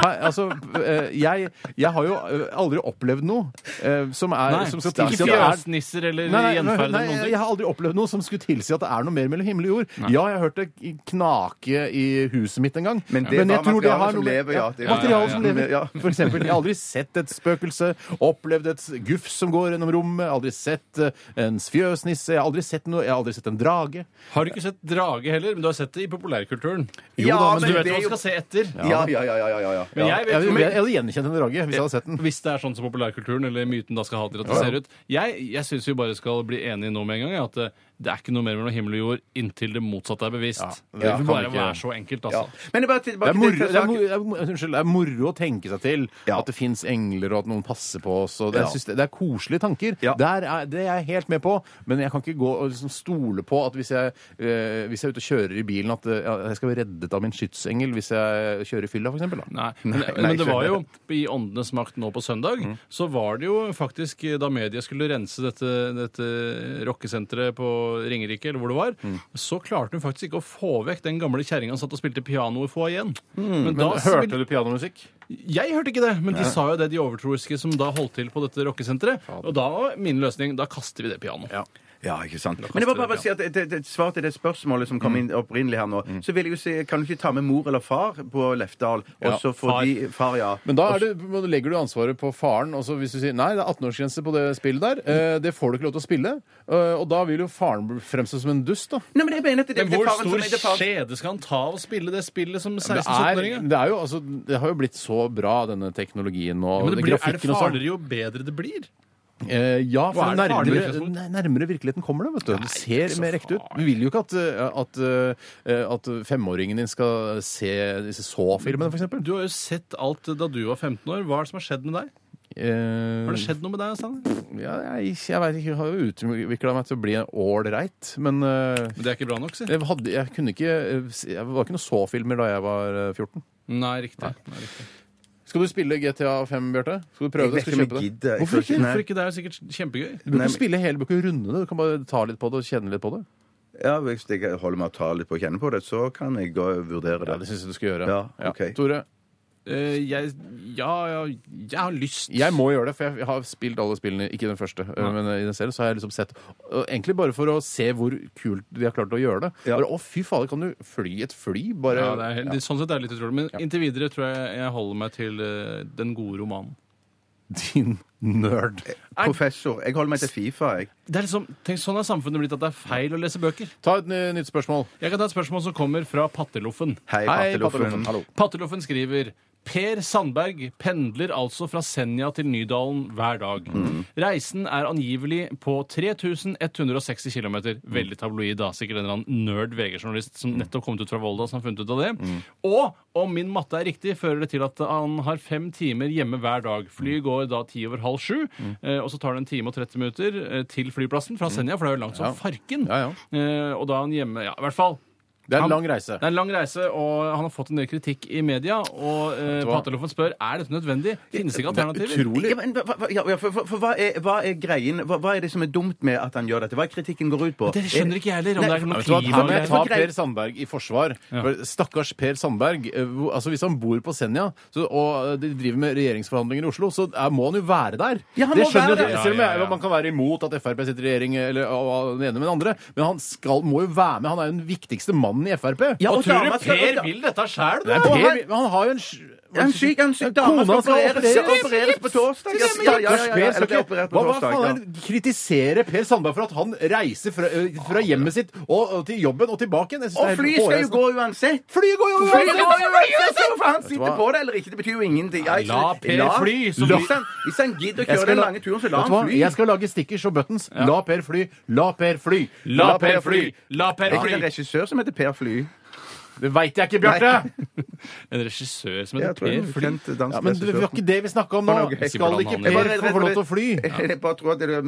Speaker 4: Nei, altså, eh, jeg, jeg har jo eh, aldri opplevd noe eh, som, er,
Speaker 5: Nei,
Speaker 4: som skal tilsi at det
Speaker 5: ikke
Speaker 4: er
Speaker 5: fjøsnisser eller
Speaker 4: Nei, nei,
Speaker 5: gjenferd
Speaker 4: nei,
Speaker 5: eller noen
Speaker 4: jeg,
Speaker 5: ting.
Speaker 4: jeg har aldri opplevd noe som skulle tilsi at det er noe mer mellom himmel og jord. Ja, jeg har hørt det knake i huset mitt en gang.
Speaker 1: Men det er bare materialet som lever, ja. Det er-
Speaker 4: materialet som
Speaker 1: ja, ja.
Speaker 4: lever.
Speaker 1: Ja.
Speaker 4: For eksempel, jeg har aldri sett et spøkelse, opplevd et gufs som går gjennom rommet, jeg har aldri sett eh, en fjøsnisse, jeg har aldri sett noe, jeg har aldri sett en drage.
Speaker 5: Har du ikke sett drage heller, men du har sett det i populærkulturen.
Speaker 1: Jo Ja, da, men
Speaker 5: men du
Speaker 1: det
Speaker 5: vet
Speaker 1: er jo-
Speaker 5: hva du skal se etter.
Speaker 1: Ja, ja, ja, ja, ja, ja.
Speaker 5: Men
Speaker 1: ja.
Speaker 5: jeg
Speaker 4: Jeg,
Speaker 5: vet
Speaker 4: jeg,
Speaker 5: jo
Speaker 4: jeg hadde gjenkjent en drage hvis jeg hadde sett den.
Speaker 5: Hvis det er sånn som populærkulturen eller myten da skal ha til at det ser ut. Jeg, jeg syns vi bare skal bli enige nå med en gang ja, at eh, det er ikke noe mer mellom himmel og jord inntil det motsatte er bevist.
Speaker 4: det
Speaker 5: det
Speaker 4: kan
Speaker 5: får bare
Speaker 4: ikke-
Speaker 5: være så enkelt,
Speaker 1: Ja.
Speaker 5: altså.
Speaker 1: Men det er bare tilbake
Speaker 4: Det er, moro,
Speaker 1: til
Speaker 4: det, er moro, det, er, moro- unnskyld, det er moro å tenke seg til
Speaker 1: Ja.
Speaker 4: at det fins engler, og at noen passer på oss. Og det,
Speaker 1: Ja.
Speaker 4: jeg synes det, det er koselige tanker.
Speaker 1: Ja.
Speaker 4: Der er, det er jeg helt med på, men jeg kan ikke gå og liksom stole på at hvis jeg, eh, hvis jeg er ute og kjører i bilen, at eh, ja, jeg skal være reddet av min skytsengel hvis jeg kjører i fylla, f.eks.
Speaker 5: Nei, men,
Speaker 1: nei,
Speaker 5: men det var jo
Speaker 1: skjønner.
Speaker 5: i Åndenes makt nå på søndag, så var det jo faktisk eh, da media skulle rense dette, dette rockesenteret på Ringerike, eller hvor det var, så klarte hun faktisk ikke å få vekk den gamle kjerringa som satt og spilte piano i foajeen. Men, da vil-
Speaker 4: du pianomusikk?
Speaker 5: Jeg hørte ikke det, men de sa jo det, de overtroiske som da holdt til på dette rockesenteret. Og da var min løsning da kaster vi det pianoet.
Speaker 4: Ja.
Speaker 1: Ja, ikke sant. Men jeg må bare si at det, det, det, svar til det spørsmålet som kom
Speaker 4: Mm.
Speaker 1: inn opprinnelig her nå, så vil jeg jo si Kan du ikke ta med mor eller far på Lefdal, og
Speaker 4: Ja,
Speaker 1: så få
Speaker 5: far.
Speaker 1: de Far, ja.
Speaker 4: Men da, er det, da legger du ansvaret på faren. Og så hvis du sier nei, det er 18-årsgrense på det spillet der, eh, det får du ikke lov til å spille. Eh, og da vil jo faren fremstå som en dust, da.
Speaker 1: Nei, men jeg mener at det,
Speaker 5: Men
Speaker 1: det er
Speaker 5: hvor
Speaker 1: faren som er
Speaker 5: stor
Speaker 1: det faren.
Speaker 5: skjede skal han ta av å spille det spillet som
Speaker 4: Det,
Speaker 5: 16-17-åring?
Speaker 4: er, det, er jo, altså, det har jo blitt så bra, denne teknologien og
Speaker 5: Men det blir, er det
Speaker 4: grafikken og sånn.
Speaker 5: farligere jo bedre det blir?
Speaker 4: Eh, ja,
Speaker 5: Hva
Speaker 4: for
Speaker 5: er det farligere
Speaker 4: nærmere,
Speaker 5: virkeligheten?
Speaker 4: nei, nærmere virkeligheten kommer det. vet du. Det ser
Speaker 5: så
Speaker 4: mer ekte ut.
Speaker 5: farlig.
Speaker 4: Vi vil jo ikke at, eh, at, eh, at femåringen din skal se disse så-filmene, f.eks.
Speaker 5: Du har jo sett alt da du var 15 år. Hva er det som har skjedd med deg? Har det skjedd noe med deg, Steiner?
Speaker 4: Eh, Ja, jeg jeg vet ikke. Jeg har jo utvikla meg til å bli ålreit, men eh,
Speaker 5: Men det er ikke bra nok, si.
Speaker 4: jeg, hadde, jeg kunne ikke eh, se- Jeg var ikke noen så-filmer da jeg var eh, 14.
Speaker 5: Nei, riktig. Nei, riktig.
Speaker 4: Skal du spille GTA 5, Bjarte? Skal du
Speaker 1: Jeg
Speaker 4: prøve det?
Speaker 1: vet
Speaker 4: Skal
Speaker 1: ikke
Speaker 4: du
Speaker 1: om jeg
Speaker 4: kjøpe det?
Speaker 1: gidder. jeg
Speaker 4: Hvorfor
Speaker 1: tror
Speaker 4: ikke?
Speaker 1: Nei.
Speaker 5: For ikke det er jo sikkert kjempegøy.
Speaker 4: Du kan
Speaker 1: Nei,
Speaker 4: ikke
Speaker 1: men-
Speaker 4: spille hele, du kan ikke runde det. Du kan bare ta litt på det og kjenne litt på det.
Speaker 1: Ja, Hvis jeg holder meg å ta litt på å kjenne på det, så kan jeg gå og vurdere
Speaker 4: Ja,
Speaker 1: det.
Speaker 4: det syns jeg du skal gjøre.
Speaker 1: Ja, ok.
Speaker 4: Tore,
Speaker 5: Eh, jeg, ja, ja, jeg har lyst.
Speaker 4: jeg må gjøre det, for jeg har spilt alle spillene, ikke den første, men i den serien, så har jeg liksom sett og Egentlig bare for å se hvor kult de har klart å gjøre det.
Speaker 1: Ja.
Speaker 4: Bare, å, fy fader, kan du fly et fly? Bare
Speaker 5: Ja, det er,
Speaker 4: Ja.
Speaker 5: det, sånn sett er det litt utrolig. Men inntil videre tror jeg jeg holder meg til eh, den gode romanen.
Speaker 4: Din nerd.
Speaker 1: Professor. Jeg holder meg til Fifa, jeg.
Speaker 5: Det er liksom, tenk, Sånn er samfunnet blitt at det er feil å lese bøker.
Speaker 4: Ta et ny- nytt spørsmål.
Speaker 5: Jeg kan ta et spørsmål som kommer fra Patteloffen.
Speaker 1: Hei, Patteloffen.
Speaker 4: Hallo.
Speaker 5: Patteloffen skriver Per Sandberg pendler altså fra Senja til Nydalen hver dag. Reisen er angivelig på 3160 km. Veldig tabloid, da. Sikkert en eller annen nerd VG-journalist som nettopp kom ut fra Volda, som har funnet ut av det. Og om min matte er riktig, fører det til at han har fem timer hjemme hver dag. Flyet går da ti over halv sju, eh, og så tar det en time og 30 minutter eh, til flyplassen fra Senja, for det er jo langt som farken.
Speaker 4: Ja,
Speaker 5: Eh, Og da er han hjemme Ja, i hvert fall.
Speaker 4: Det er en
Speaker 5: Han-
Speaker 4: lang reise.
Speaker 5: Det er en lang reise, og han har fått en del kritikk i media. Og eh,
Speaker 4: hva?
Speaker 5: Patteloffen spør er dette nødvendig. Finnes det ikke
Speaker 4: Det er
Speaker 5: alternativer?
Speaker 4: utrolig.
Speaker 1: Ja, men, hva- hva- ja, ja, for, for, for hva, er, hva er greien? Hva, hva er det som er dumt med at han gjør dette? Hva er kritikken går ut på?
Speaker 5: Det skjønner ikke jeg heller.
Speaker 1: Nei,
Speaker 5: om det er noe
Speaker 4: Vet du hva, Her må jeg
Speaker 5: klima-
Speaker 4: ta
Speaker 1: greit.
Speaker 4: Per Sandberg i forsvar. For stakkars Per Sandberg. eh, hvor- Altså Hvis han bor på Senja så, og eh, de driver med regjeringsforhandlinger i Oslo, så er, må han jo være der.
Speaker 1: Ja, han
Speaker 4: det
Speaker 1: må
Speaker 4: skjønner
Speaker 1: være
Speaker 4: jeg,
Speaker 1: der.
Speaker 4: Selv om
Speaker 5: Ja,
Speaker 4: jeg,
Speaker 5: ja, ja.
Speaker 4: man kan være imot at Frp sitter i regjering, eller og, og den ene med den andre, men han skal, må jo være med. Han er jo den viktigste mannen i Frp.
Speaker 1: Ja,
Speaker 5: Og tror
Speaker 1: dama
Speaker 5: du
Speaker 1: skal-
Speaker 5: Per vil dette sjøl,
Speaker 4: Det er
Speaker 5: da?
Speaker 4: per,
Speaker 1: og han-
Speaker 4: men han har jo en sj- hva
Speaker 1: En
Speaker 4: skal jeg
Speaker 1: syk,
Speaker 4: si?
Speaker 1: en syk dame
Speaker 4: Kona
Speaker 1: skal opereres,
Speaker 4: opereres.
Speaker 1: opereres på torsdag. Ja, ja, ja, ja,
Speaker 4: Stakkars
Speaker 1: ja,
Speaker 4: Per,
Speaker 1: eller
Speaker 4: skal
Speaker 1: blir
Speaker 4: ikke-
Speaker 1: operert på
Speaker 4: Hva, hva
Speaker 1: torsdag.
Speaker 4: faen
Speaker 1: ja.
Speaker 4: er det? Kritisere Per Sandberg for at han reiser fra, ø, fra hjemmet sitt og, og til jobben og tilbake igjen? Jeg synes
Speaker 1: Og
Speaker 4: det er
Speaker 1: flyet skal jo
Speaker 4: hårreisende.
Speaker 1: gå uansett.
Speaker 4: Flyet går jo
Speaker 1: Flyet går jo
Speaker 4: uansett!
Speaker 1: uansett, så hvorfor han sitter på det eller ikke, det betyr jo ingenting. Jeg-
Speaker 5: La Per fly, så
Speaker 1: La-
Speaker 5: blir-
Speaker 1: Hvis han- Hvis han gidder å
Speaker 4: Jeg
Speaker 1: kjøre
Speaker 4: skal
Speaker 1: den
Speaker 4: la-
Speaker 1: lange turen, så la
Speaker 4: Vet du hva?
Speaker 1: han fly.
Speaker 4: Jeg skal lage stickers og buttons. La Per fly, la Per fly,
Speaker 5: La Per fly! La Per
Speaker 1: Er ikke det en
Speaker 5: fly!
Speaker 1: regissør som heter Per Fly?
Speaker 4: Det veit jeg ikke, Bjarte!
Speaker 5: En regissør som
Speaker 1: Jeg
Speaker 5: heter
Speaker 1: tror det er
Speaker 5: Per
Speaker 1: en
Speaker 5: Fly.
Speaker 1: kjent dansk
Speaker 4: Ja, men det var
Speaker 1: regissør.
Speaker 4: ikke det vi snakka om nå.
Speaker 1: Ok.
Speaker 4: Skal ikke
Speaker 5: Jeg
Speaker 4: Per få lov til å fly?
Speaker 1: Jeg bare tror at det er,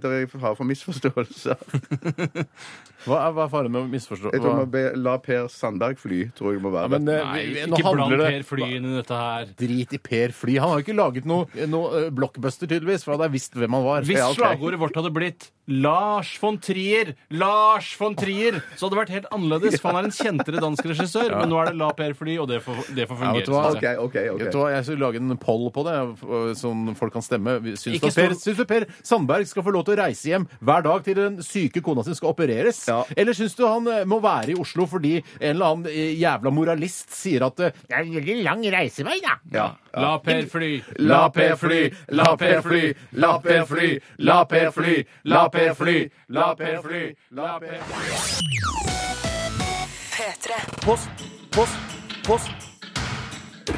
Speaker 1: det er fare for misforståelser.
Speaker 4: Hva er, hva er faren med å misforstå?
Speaker 1: Jeg tror
Speaker 4: Hva-
Speaker 1: man be, La Per Sandberg fly, tror jeg må være
Speaker 4: Ja, men,
Speaker 1: det.
Speaker 4: eh,
Speaker 5: Nei,
Speaker 4: vi- vi- nå
Speaker 5: ikke
Speaker 4: handler
Speaker 5: bland
Speaker 4: det-
Speaker 5: Per Fly inn i dette her.
Speaker 4: Drit i Per Fly. Han har jo ikke laget noe, noe eh, blockbuster, tydeligvis, for han hadde visst hvem han var.
Speaker 5: Hvis
Speaker 4: Ja, ok.
Speaker 5: slagordet vårt hadde blitt Lars von Trier, Lars von Trier, så hadde det vært helt annerledes. For han er en kjentere dansk regissør, men nå er det La Per fly, og det får, det får
Speaker 4: Ja, vet
Speaker 5: fungere.
Speaker 4: du hva?
Speaker 5: synes jeg.
Speaker 1: Ok, ok, ok.
Speaker 4: Jeg, tror jeg skal lage en poll på det, eh, som folk kan stemme. Vi- Syns
Speaker 5: Ikke
Speaker 4: du, at per,
Speaker 5: stå-
Speaker 4: syns du Per Sandberg skal få lov til å reise hjem hver dag til den syke kona sin skal opereres?
Speaker 1: Ja.
Speaker 4: Eller syns du han eh, må være i Oslo fordi en eller annen eh, jævla moralist sier at eh, det er en veldig lang reisevei, da?
Speaker 1: Ja.
Speaker 5: La Per fly!
Speaker 4: La Per fly, la Per fly, la Per fly, la Per fly, la Per fly, la Per fly, la Per fly.
Speaker 7: P3.
Speaker 8: Post, post, post.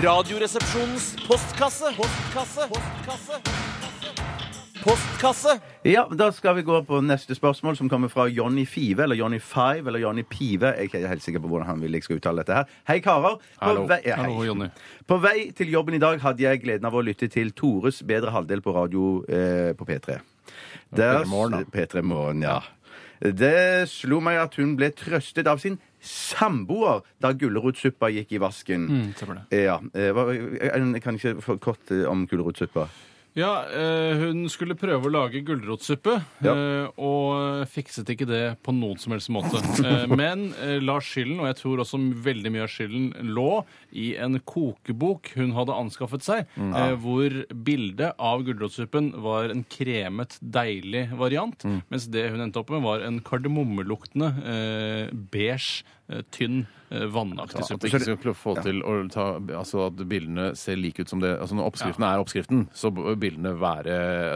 Speaker 8: Radioresepsjonens postkasse. Postkasse. Postkasse. Postkasse.
Speaker 1: Ja, Da skal vi gå på neste spørsmål, som kommer fra Johnny Five, eller Johnny Five, eller Johnny Pive. Jeg er ikke helt sikker på hvordan han vil jeg skal uttale dette her. Hei, karer. På
Speaker 4: Hallo.
Speaker 1: vei- ja, hei.
Speaker 5: Hallo, Johnny.
Speaker 1: På vei til jobben i dag hadde jeg gleden av å lytte til Tores bedre halvdel på radio eh, på P3. Der-
Speaker 4: P3 Morgen,
Speaker 1: P3 Morgen, ja. Det slo meg at hun ble trøstet av sin samboer da gulrotsuppa gikk i vasken.
Speaker 5: stemmer
Speaker 1: Ja, eh, hva, jeg, jeg kan ikke få kort eh, om gulrotsuppa.
Speaker 5: Ja, eh, hun skulle prøve å lage gulrotsuppe,
Speaker 1: Ja.
Speaker 5: eh, og fikset ikke det på noen som helst måte. Eh, men eh, la skylden, og jeg tror også veldig mye av skylden, lå i en kokebok hun hadde anskaffet seg,
Speaker 4: Mm.
Speaker 5: eh, hvor bildet av gulrotsuppen var en kremet, deilig variant,
Speaker 4: Mm.
Speaker 5: mens det hun endte opp med, var en kardemommeluktende, eh, beige, eh, tynn, eh, vannaktig
Speaker 4: At
Speaker 5: suppe.
Speaker 4: vi ikke skal få til å ta, altså at bildene ser like ut som det altså Når oppskriften er oppskriften, så bør bildene være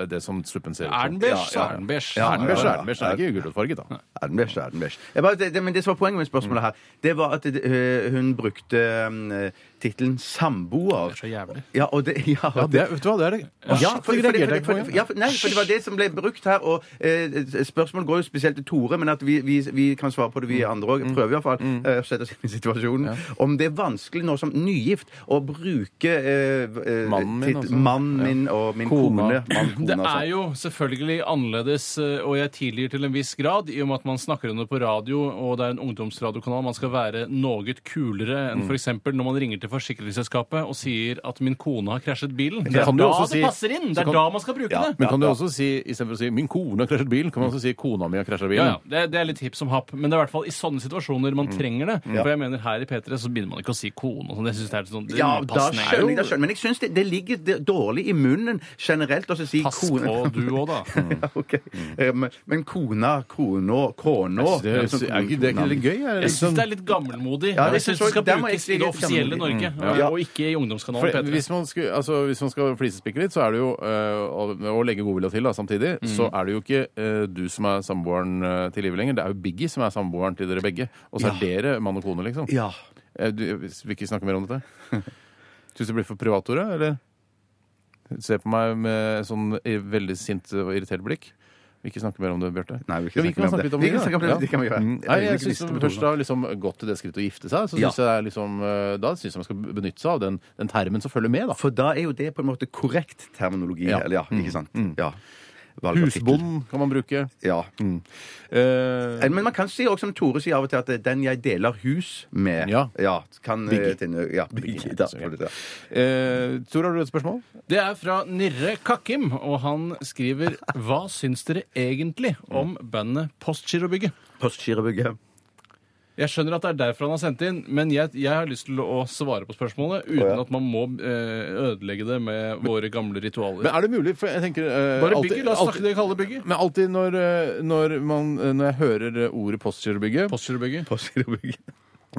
Speaker 4: eh, det som suppen ser ut
Speaker 5: Er den beige, så er den beige.
Speaker 4: Er den beige,
Speaker 1: ja,
Speaker 4: er den beige. Den er ikke gulrotfarget, da.
Speaker 1: Er den bæsj, er den bæsj. Jeg bare- det- det- Men det som var poenget med spørsmålet her, det var at øh, hun brukte øh, tittelen samboer.
Speaker 5: så jævlig.
Speaker 1: Ja, og det, ja,
Speaker 4: Ja, det, vet du hva, det er det.
Speaker 1: Ja, for,
Speaker 4: Shit,
Speaker 1: for,
Speaker 4: det
Speaker 1: for,
Speaker 4: reagerer jeg
Speaker 1: for,
Speaker 4: ikke
Speaker 1: for,
Speaker 4: på.
Speaker 1: ja, for, nei, for det var det som ble brukt her. Og eh, spørsmålet går jo spesielt til Tore, men at vi, vi, vi kan svare på det,
Speaker 4: Mm.
Speaker 1: vi andre òg. Prøver iallfall eh, å sette oss inn i situasjonen. Om det er vanskelig nå som nygift å bruke eh, eh,
Speaker 4: Mannen min,
Speaker 1: titt-
Speaker 4: altså.
Speaker 1: mannen min og min
Speaker 4: Kona.
Speaker 1: kone. Mann, kone
Speaker 5: Det
Speaker 1: altså.
Speaker 5: er jo selvfølgelig annerledes, eh, og jeg tilgir til en viss grad, i og med at man snakker om det på radio, og det er en ungdomsradiokanal. Man skal være noe kulere
Speaker 4: Mm.
Speaker 5: enn f.eks. når man ringer til forsikringsselskapet og sier at 'min kone har krasjet bilen'. Det er
Speaker 4: kan du
Speaker 5: da
Speaker 4: også
Speaker 5: det
Speaker 4: si-
Speaker 5: passer inn! Det
Speaker 4: så
Speaker 5: er
Speaker 4: kan-
Speaker 5: da man skal bruke det.
Speaker 4: Men kan du også si, istedenfor å si 'min kone har krasjet bilen', kan man også si 'kona mi har krasjet bilen'?
Speaker 5: Ja, ja. Det, er- det er litt hipp som happ, men det er i hvert fall i sånne situasjoner
Speaker 4: Mm.
Speaker 5: man trenger det. For jeg mener her i P3 så begynner man ikke å si kone og sånn. Jeg synes det er sånn det er
Speaker 1: Ja, da
Speaker 5: upassende.
Speaker 1: skjønner jeg, da skjønner jeg. Men jeg syns det, det ligger d- dårlig i munnen generelt å si
Speaker 5: Pass
Speaker 1: kone.
Speaker 5: på du òg, da.
Speaker 1: Ja, ok. Eh, men- Men kona, krona, kona
Speaker 4: Det, er, er, ikke- det er ikke litt sånn- gøy? Er,
Speaker 5: Jeg syns det er litt gammelmodig.
Speaker 1: Ja, det
Speaker 5: jeg syns
Speaker 1: synes
Speaker 5: det skal
Speaker 1: jeg- der må jeg
Speaker 5: brukes
Speaker 1: si
Speaker 5: i det
Speaker 1: litt
Speaker 5: offisielle
Speaker 1: gammelmodig.
Speaker 5: ikke.
Speaker 1: ja.
Speaker 5: Og ikke i ungdomskanalen
Speaker 4: For
Speaker 5: P3.
Speaker 4: hvis man, skulle, altså, hvis man skal flisespikke litt, så er det jo øh, å, å legge godvilja til da, samtidig,
Speaker 5: Mm.
Speaker 4: så er det jo ikke øh, du som er samboeren øh, til livet lenger. Det er jo Biggie som er samboeren til dere begge. Og så er dere mann og kone, liksom.
Speaker 1: Ja.
Speaker 4: Eh, Du, vil ikke snakke mer om dette? Syns du blir for privat, Tore? Eller? Se på meg med sånn i- veldig sint og irritert blikk. Vil ikke snakke mer om det, Bjarte.
Speaker 1: Nei, vi vil ikke
Speaker 4: Jo,
Speaker 1: snakke mer om det. Mm.
Speaker 4: litt
Speaker 1: Vi kan snakke om det,
Speaker 4: da.
Speaker 1: det kan vi gjøre. Det er
Speaker 4: Nei, jeg
Speaker 1: litt
Speaker 4: synes
Speaker 1: gnist
Speaker 4: når
Speaker 1: på
Speaker 4: man først har liksom gått til det skrittet å gifte seg, så
Speaker 1: Ja.
Speaker 4: synes jeg det er liksom, eh, da synes jeg man skal benytte seg av den, den termen som følger med. da.
Speaker 1: For da er jo det på en måte korrekt terminologi.
Speaker 4: Ja.
Speaker 1: Eller ja, Mm. ikke sant? Ja. Valg av tittel.
Speaker 4: Husbond kan man bruke. Mm.
Speaker 1: Ja.
Speaker 4: Eh,
Speaker 1: Men man kan si også, som Tore sier av og til, at det er den jeg deler hus med,
Speaker 4: Ja.
Speaker 1: kan
Speaker 4: Biggie.
Speaker 1: eh, tenne- ja, Biggie, da, for det der.
Speaker 4: eh, Tor, har du et spørsmål?
Speaker 5: Det er fra Nirre Kakkim, og han skriver Hva syns dere egentlig om bandet Postgirobygget?
Speaker 1: Postgirobygget.
Speaker 5: Jeg skjønner at det er derfor han har sendt inn, men jeg, jeg har lyst til å svare på spørsmålet uten
Speaker 1: Å, ja.
Speaker 5: at man må eh, ødelegge det med våre gamle ritualer.
Speaker 4: Men er det mulig? For jeg tenker eh,
Speaker 5: Bare
Speaker 4: alltid-
Speaker 5: bygget, la oss
Speaker 4: alltid-
Speaker 5: snakke det vi kaller bygget.
Speaker 4: Men alltid når, eh, når, man, eh, når jeg hører eh, ordet postgirobygget,
Speaker 5: Postgirobygget.
Speaker 1: Postgirobygget.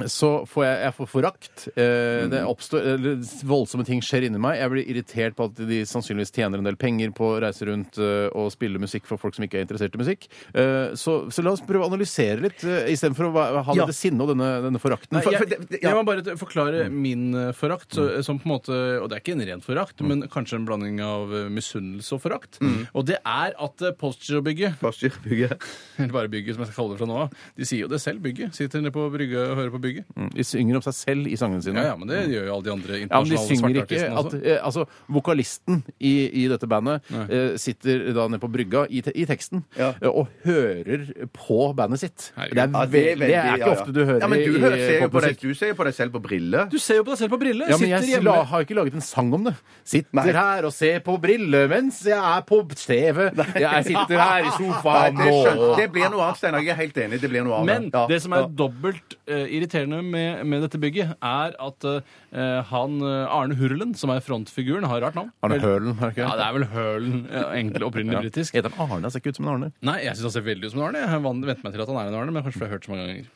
Speaker 4: så får jeg, jeg får forakt. Eh, det oppstår, eller, voldsomme ting skjer inni meg. Jeg blir irritert på at de sannsynligvis tjener en del penger på å reise rundt eh, og spille musikk for folk som ikke er interessert i musikk. Eh, så, så la oss prøve å analysere litt, eh, istedenfor å va- ha
Speaker 1: Ja.
Speaker 4: dette sinnet og denne, denne forakten.
Speaker 5: Nei,
Speaker 1: for-
Speaker 5: jeg,
Speaker 1: for det- det- ja.
Speaker 5: jeg må bare t- forklare
Speaker 4: Mm.
Speaker 5: min eh, forakt, så, som på en måte Og det er ikke en ren forakt,
Speaker 4: Mm.
Speaker 5: men kanskje en blanding av eh, misunnelse og forakt. Og det er at eh, Postgirobygget
Speaker 1: Postgirobygget.
Speaker 5: Eller bare bygget, som jeg skal kalle det fra nå av. De sier jo det selv, bygget. Sitter nede på brygga og hører på bygget.
Speaker 4: Mm, De synger om seg selv i sangene sine.
Speaker 5: Ja, ja, men det gjør jo alle de andre
Speaker 4: Ja, men de
Speaker 5: internasjonale
Speaker 4: synger
Speaker 5: svarte
Speaker 4: ikke
Speaker 5: artistene
Speaker 4: at,
Speaker 5: også.
Speaker 4: eh, altså, Vokalisten i, i dette bandet
Speaker 5: Nei.
Speaker 4: eh, sitter da nede på brygga i, te, i teksten
Speaker 1: Ja.
Speaker 4: eh, og hører på bandet sitt.
Speaker 5: Herregud.
Speaker 4: Det er,
Speaker 1: Ja,
Speaker 4: veldig, det er
Speaker 1: veldig- ja,
Speaker 4: ikke
Speaker 1: ja.
Speaker 4: ofte du hører
Speaker 1: ja, men du
Speaker 4: i-
Speaker 1: hører, ser
Speaker 4: i
Speaker 1: jo på deg,
Speaker 4: popmusikk.
Speaker 1: Du ser jo på deg selv på briller.
Speaker 5: Du ser jo på deg selv på brille!
Speaker 4: Ja, men
Speaker 5: sitter
Speaker 4: jeg
Speaker 5: hjemme
Speaker 4: la, har ikke laget en sang om det. Sitter
Speaker 1: Nei.
Speaker 4: her og ser på briller mens jeg er på TV. Jeg sitter her i sofaen
Speaker 1: Nei, det, skjønner-
Speaker 4: og
Speaker 1: det blir noe annet, Steinar. Jeg er helt enig. Det blir noe annet.
Speaker 5: Men
Speaker 1: Ja.
Speaker 5: det som er
Speaker 1: Ja.
Speaker 5: dobbelt eh, irriterende med, med dette bygget, er at eh, han eh, Arne Hurlen, som er frontfiguren, har rart navn.
Speaker 4: Arne
Speaker 5: Vel-
Speaker 4: Hølen, har ikke
Speaker 5: Ja, det er vel Hølen, ja, egentlig opprinnelig britisk.
Speaker 4: Heter han Arne? Han Ser ikke ut som en Arne.
Speaker 5: Nei, jeg syns han ser veldig ut som en Arne. Jeg har van- vent meg til at han er en Arne, men kanskje fordi jeg har hørt så mange ganger.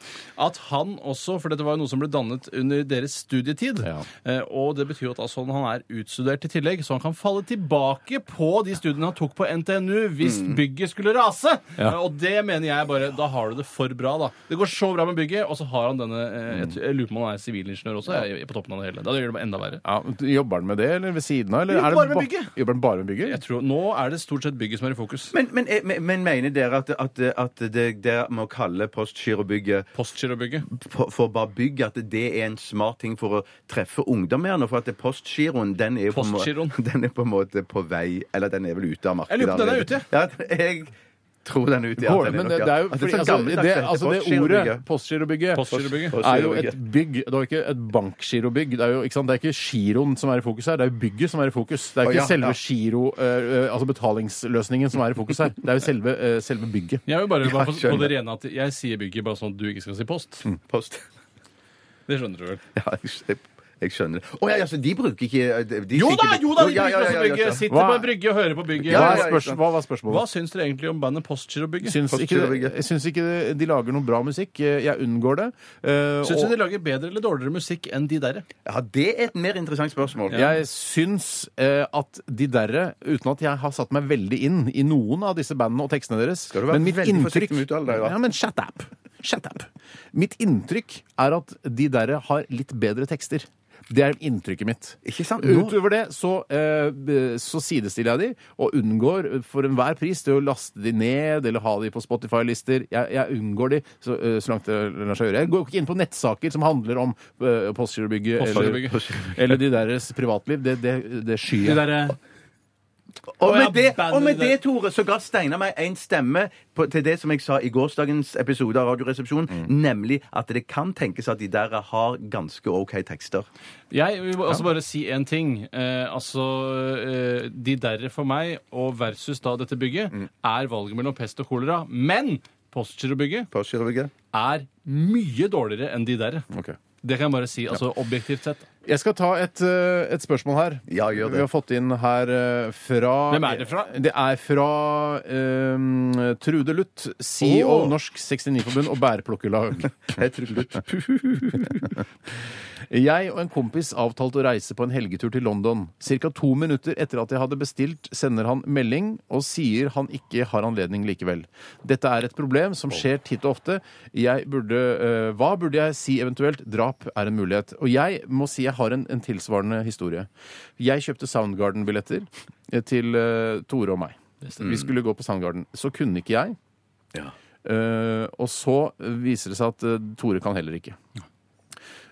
Speaker 5: At han også, for dette var jo noe som ble dannet under deres studietid,
Speaker 4: Ja.
Speaker 5: eh, og det betyr jo at altså, han er utstudert i tillegg, så han kan falle tilbake på de studiene han tok på NTNU hvis bygget skulle rase. Eh, Og det mener jeg bare Da har du det for bra, da. Det går så bra med bygget, og så har han denne eh, Jeg, t- jeg lurer på om han er sivilingeniør også, jeg, på toppen av det hele. Da gjør det bare enda verre.
Speaker 4: Ja, jobber han med det, eller ved siden av? Eller
Speaker 5: Jobber
Speaker 4: er det
Speaker 5: bare med
Speaker 4: ba-
Speaker 5: bygget.
Speaker 4: Jobber han bare med bygget?
Speaker 5: Jeg tror, nå er det stort sett bygget som er i fokus.
Speaker 1: men, men, eh, men, men mener dere at, at, at det, det med å kalle Postgirobygget
Speaker 5: Postgirobygget.
Speaker 1: for, for bare bygg, at det er en smart ting for å treffe ungdom mer nå? For at det- postgiroen, den er, jo på en må-
Speaker 5: Postgiroen.
Speaker 1: den er på en måte på vei Eller den er vel ute av markedet.
Speaker 5: Jeg lurer på om den er
Speaker 1: allerede.
Speaker 5: ute.
Speaker 1: Ja, den- jeg tror den er ute. ja,
Speaker 4: Går
Speaker 1: den
Speaker 4: det,
Speaker 1: er
Speaker 4: men
Speaker 1: nok,
Speaker 4: det,
Speaker 1: ja.
Speaker 4: det er jo
Speaker 1: At
Speaker 4: fordi,
Speaker 1: så
Speaker 4: altså,
Speaker 1: gammeldags,
Speaker 4: det,
Speaker 1: heter
Speaker 4: altså, det ordet
Speaker 1: postgirobygget.
Speaker 4: postgirobygget
Speaker 5: Postgirobygget.
Speaker 4: er jo et bygg. Det er jo ikke et bankgirobygg. Det er jo ikke, sant? Det er ikke giroen som er i fokus her, det er jo bygget som er i fokus. Det er
Speaker 1: Å,
Speaker 4: ikke
Speaker 1: ja, ja.
Speaker 4: selve giro, eh, eh, altså betalingsløsningen som er i fokus her. Det er jo selve, eh, selve bygget.
Speaker 5: Jeg vil bare, bare på, på
Speaker 1: skjønner.
Speaker 5: det rene at jeg sier bygget bare sånn at du ikke skal si post.
Speaker 1: Post.
Speaker 5: Det skjønner du vel?
Speaker 1: Ja, jeg, jeg, jeg skjønner det. Å ja, ja, så de bruker ikke de, de
Speaker 5: Jo
Speaker 1: sier
Speaker 5: da,
Speaker 1: ikke-
Speaker 5: jo da! Vi
Speaker 1: ja, ja, ja,
Speaker 5: bruker også
Speaker 1: ja, ja.
Speaker 5: bygget. Sitter
Speaker 4: Hva-
Speaker 5: på en brygge og hører på bygget.
Speaker 1: Ja,
Speaker 4: Hva,
Speaker 1: ja,
Speaker 4: er
Speaker 1: ja,
Speaker 4: spørs,
Speaker 1: ikke sant.
Speaker 4: hva var
Speaker 5: Hva
Speaker 4: spørsmålet?
Speaker 5: syns dere egentlig om bandet Postgirobygget?
Speaker 4: Syns ikke,
Speaker 1: Postgirobygget.
Speaker 4: jeg syns ikke det- de lager noe bra musikk. Eh, Jeg unngår det. Eh, og-
Speaker 5: Syns du de lager bedre eller dårligere musikk enn de derre?
Speaker 1: Ja, det er et mer interessant spørsmål.
Speaker 4: Jeg syns eh, at de derre, uten at jeg har satt meg veldig inn i noen av disse bandene og tekstene deres
Speaker 1: Skal du være
Speaker 4: men mitt
Speaker 1: veldig
Speaker 4: inntrykk-
Speaker 1: forsiktig med å uttale deg, da?
Speaker 4: Ja, men shut up. Shut up. Mitt inntrykk er at de derre har litt bedre tekster. Det er inntrykket mitt.
Speaker 1: Ikke sant? Nå-
Speaker 4: Utover det så, eh, b- så sidestiller jeg de, og unngår eh, for enhver pris det å laste de ned eller ha de på Spotify-lister. Jeg, jeg unngår de så, eh, så langt det lar seg gjøre. Jeg går ikke inn på nettsaker som handler om eh, Postgirobygget eller,
Speaker 5: Postgirobygget.
Speaker 4: eller de deres privatliv. Det, det, det
Speaker 5: De
Speaker 4: skyer jeg.
Speaker 5: derre
Speaker 1: Og
Speaker 5: Å, ja,
Speaker 1: med, det,
Speaker 5: bandet
Speaker 1: og med
Speaker 5: der.
Speaker 1: det, Tore, så ga Steinar meg en stemme på, til det som jeg sa i gårsdagens episode av Radioresepsjonen,
Speaker 4: Mm.
Speaker 1: nemlig at det kan tenkes at de der har ganske OK tekster.
Speaker 5: Jeg vil også bare si én ting. Eh, altså, eh, De derre for meg og versus da dette bygget er valget mellom pest og kolera. Men Postgirobygget
Speaker 1: Postgirobygget.
Speaker 5: er mye dårligere enn de derre.
Speaker 4: Ok.
Speaker 5: Det kan jeg bare si. altså Objektivt sett.
Speaker 4: Jeg skal ta et, eh, et spørsmål her.
Speaker 1: Ja, gjør det.
Speaker 4: Vi har fått inn her eh, fra
Speaker 5: Hvem er det fra?
Speaker 4: Det er fra eh, Trude Luth, CEO
Speaker 1: Åh.
Speaker 4: Norsk 69-forbund og bærplukkerlag.
Speaker 1: Jeg tror slutt.
Speaker 4: Jeg og en kompis avtalte å reise på en helgetur til London. Cirka to minutter etter at jeg hadde bestilt, sender han melding og sier han ikke har anledning likevel. Dette er et problem som skjer titt og ofte. Jeg burde, eh, hva burde jeg si eventuelt? Drap er en mulighet. Og jeg må si jeg har en, en tilsvarende historie. Jeg kjøpte Soundgarden-billetter eh, til eh, Tore og meg. Vi skulle gå på Soundgarden. Så kunne ikke jeg. Eh, og så viser det seg at eh, Tore kan heller ikke.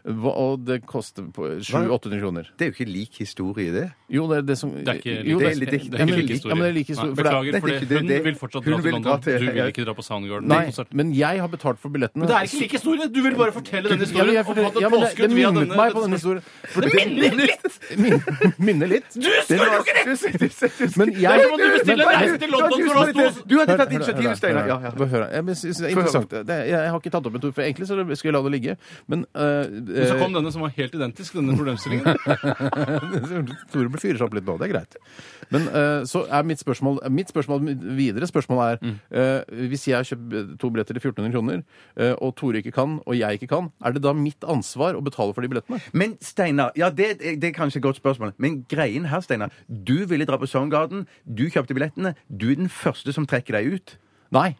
Speaker 4: Hva, og det koster på 700-800 kroner.
Speaker 1: Det er jo ikke lik historie, det.
Speaker 4: Jo, det er det som
Speaker 5: Det er ikke
Speaker 4: jo,
Speaker 1: det
Speaker 5: det
Speaker 1: er litt-
Speaker 5: er ikke
Speaker 1: det er ikke
Speaker 5: like
Speaker 1: like
Speaker 5: historie.
Speaker 4: Ja, men det er like historie,
Speaker 5: Nei,
Speaker 4: for det er-
Speaker 5: Beklager,
Speaker 1: det er
Speaker 5: for
Speaker 1: ikke-
Speaker 5: det-
Speaker 1: det-
Speaker 5: hun
Speaker 1: det-
Speaker 5: vil fortsatt
Speaker 1: hun
Speaker 5: dra til
Speaker 1: vil dra
Speaker 5: London.
Speaker 1: til-
Speaker 5: Du vil
Speaker 1: ja.
Speaker 5: ikke dra på Soundgarden.
Speaker 4: Nei,
Speaker 5: på konsert.
Speaker 4: men jeg har betalt for billettene.
Speaker 5: Men det er ikke like historie! Du vil bare fortelle denne
Speaker 4: Ja,
Speaker 5: historien.
Speaker 4: men jeg
Speaker 5: og
Speaker 4: forteller-
Speaker 5: ta
Speaker 4: ja, men det-
Speaker 5: påskudd
Speaker 4: det
Speaker 5: via
Speaker 4: minner
Speaker 5: denne-
Speaker 4: meg på denne historien. For
Speaker 5: Det minner litt!
Speaker 4: Min- minner litt.
Speaker 5: Du skulle jo ikke det!
Speaker 4: Men jeg
Speaker 5: Derfor måtte du bestille en reise til London for å ha stor
Speaker 1: Du hadde
Speaker 4: Hør-
Speaker 1: tatt
Speaker 4: hør- hør-
Speaker 1: initiativet, Steinar.
Speaker 4: hør-
Speaker 1: Ja, ja.
Speaker 4: hør- hør- hør- Jeg men synes det er interessant. Det, jeg, jeg har ikke tatt opp en tur, for egentlig så skulle jeg la det ligge. Men eh,
Speaker 5: Men så kom denne som var helt identisk, denne problemstillingen.
Speaker 4: Tore ble fyrer seg opp litt nå, det er greit. Men eh, så er mitt spørsmål Mitt spørsmål, mitt videre spørsmål er eh, Hvis jeg har kjøpt eh, to billetter til 1400 kroner, eh, og Tore ikke kan, og jeg ikke kan, er det da mitt ansvar å betale for de billettene?
Speaker 1: Men Steinar, ja, det, det er kanskje et godt spørsmål, men greien her, Steinar Du ville dra på Soundgarden, du kjøpte billettene, du er den første som trekker deg ut.
Speaker 4: Nei.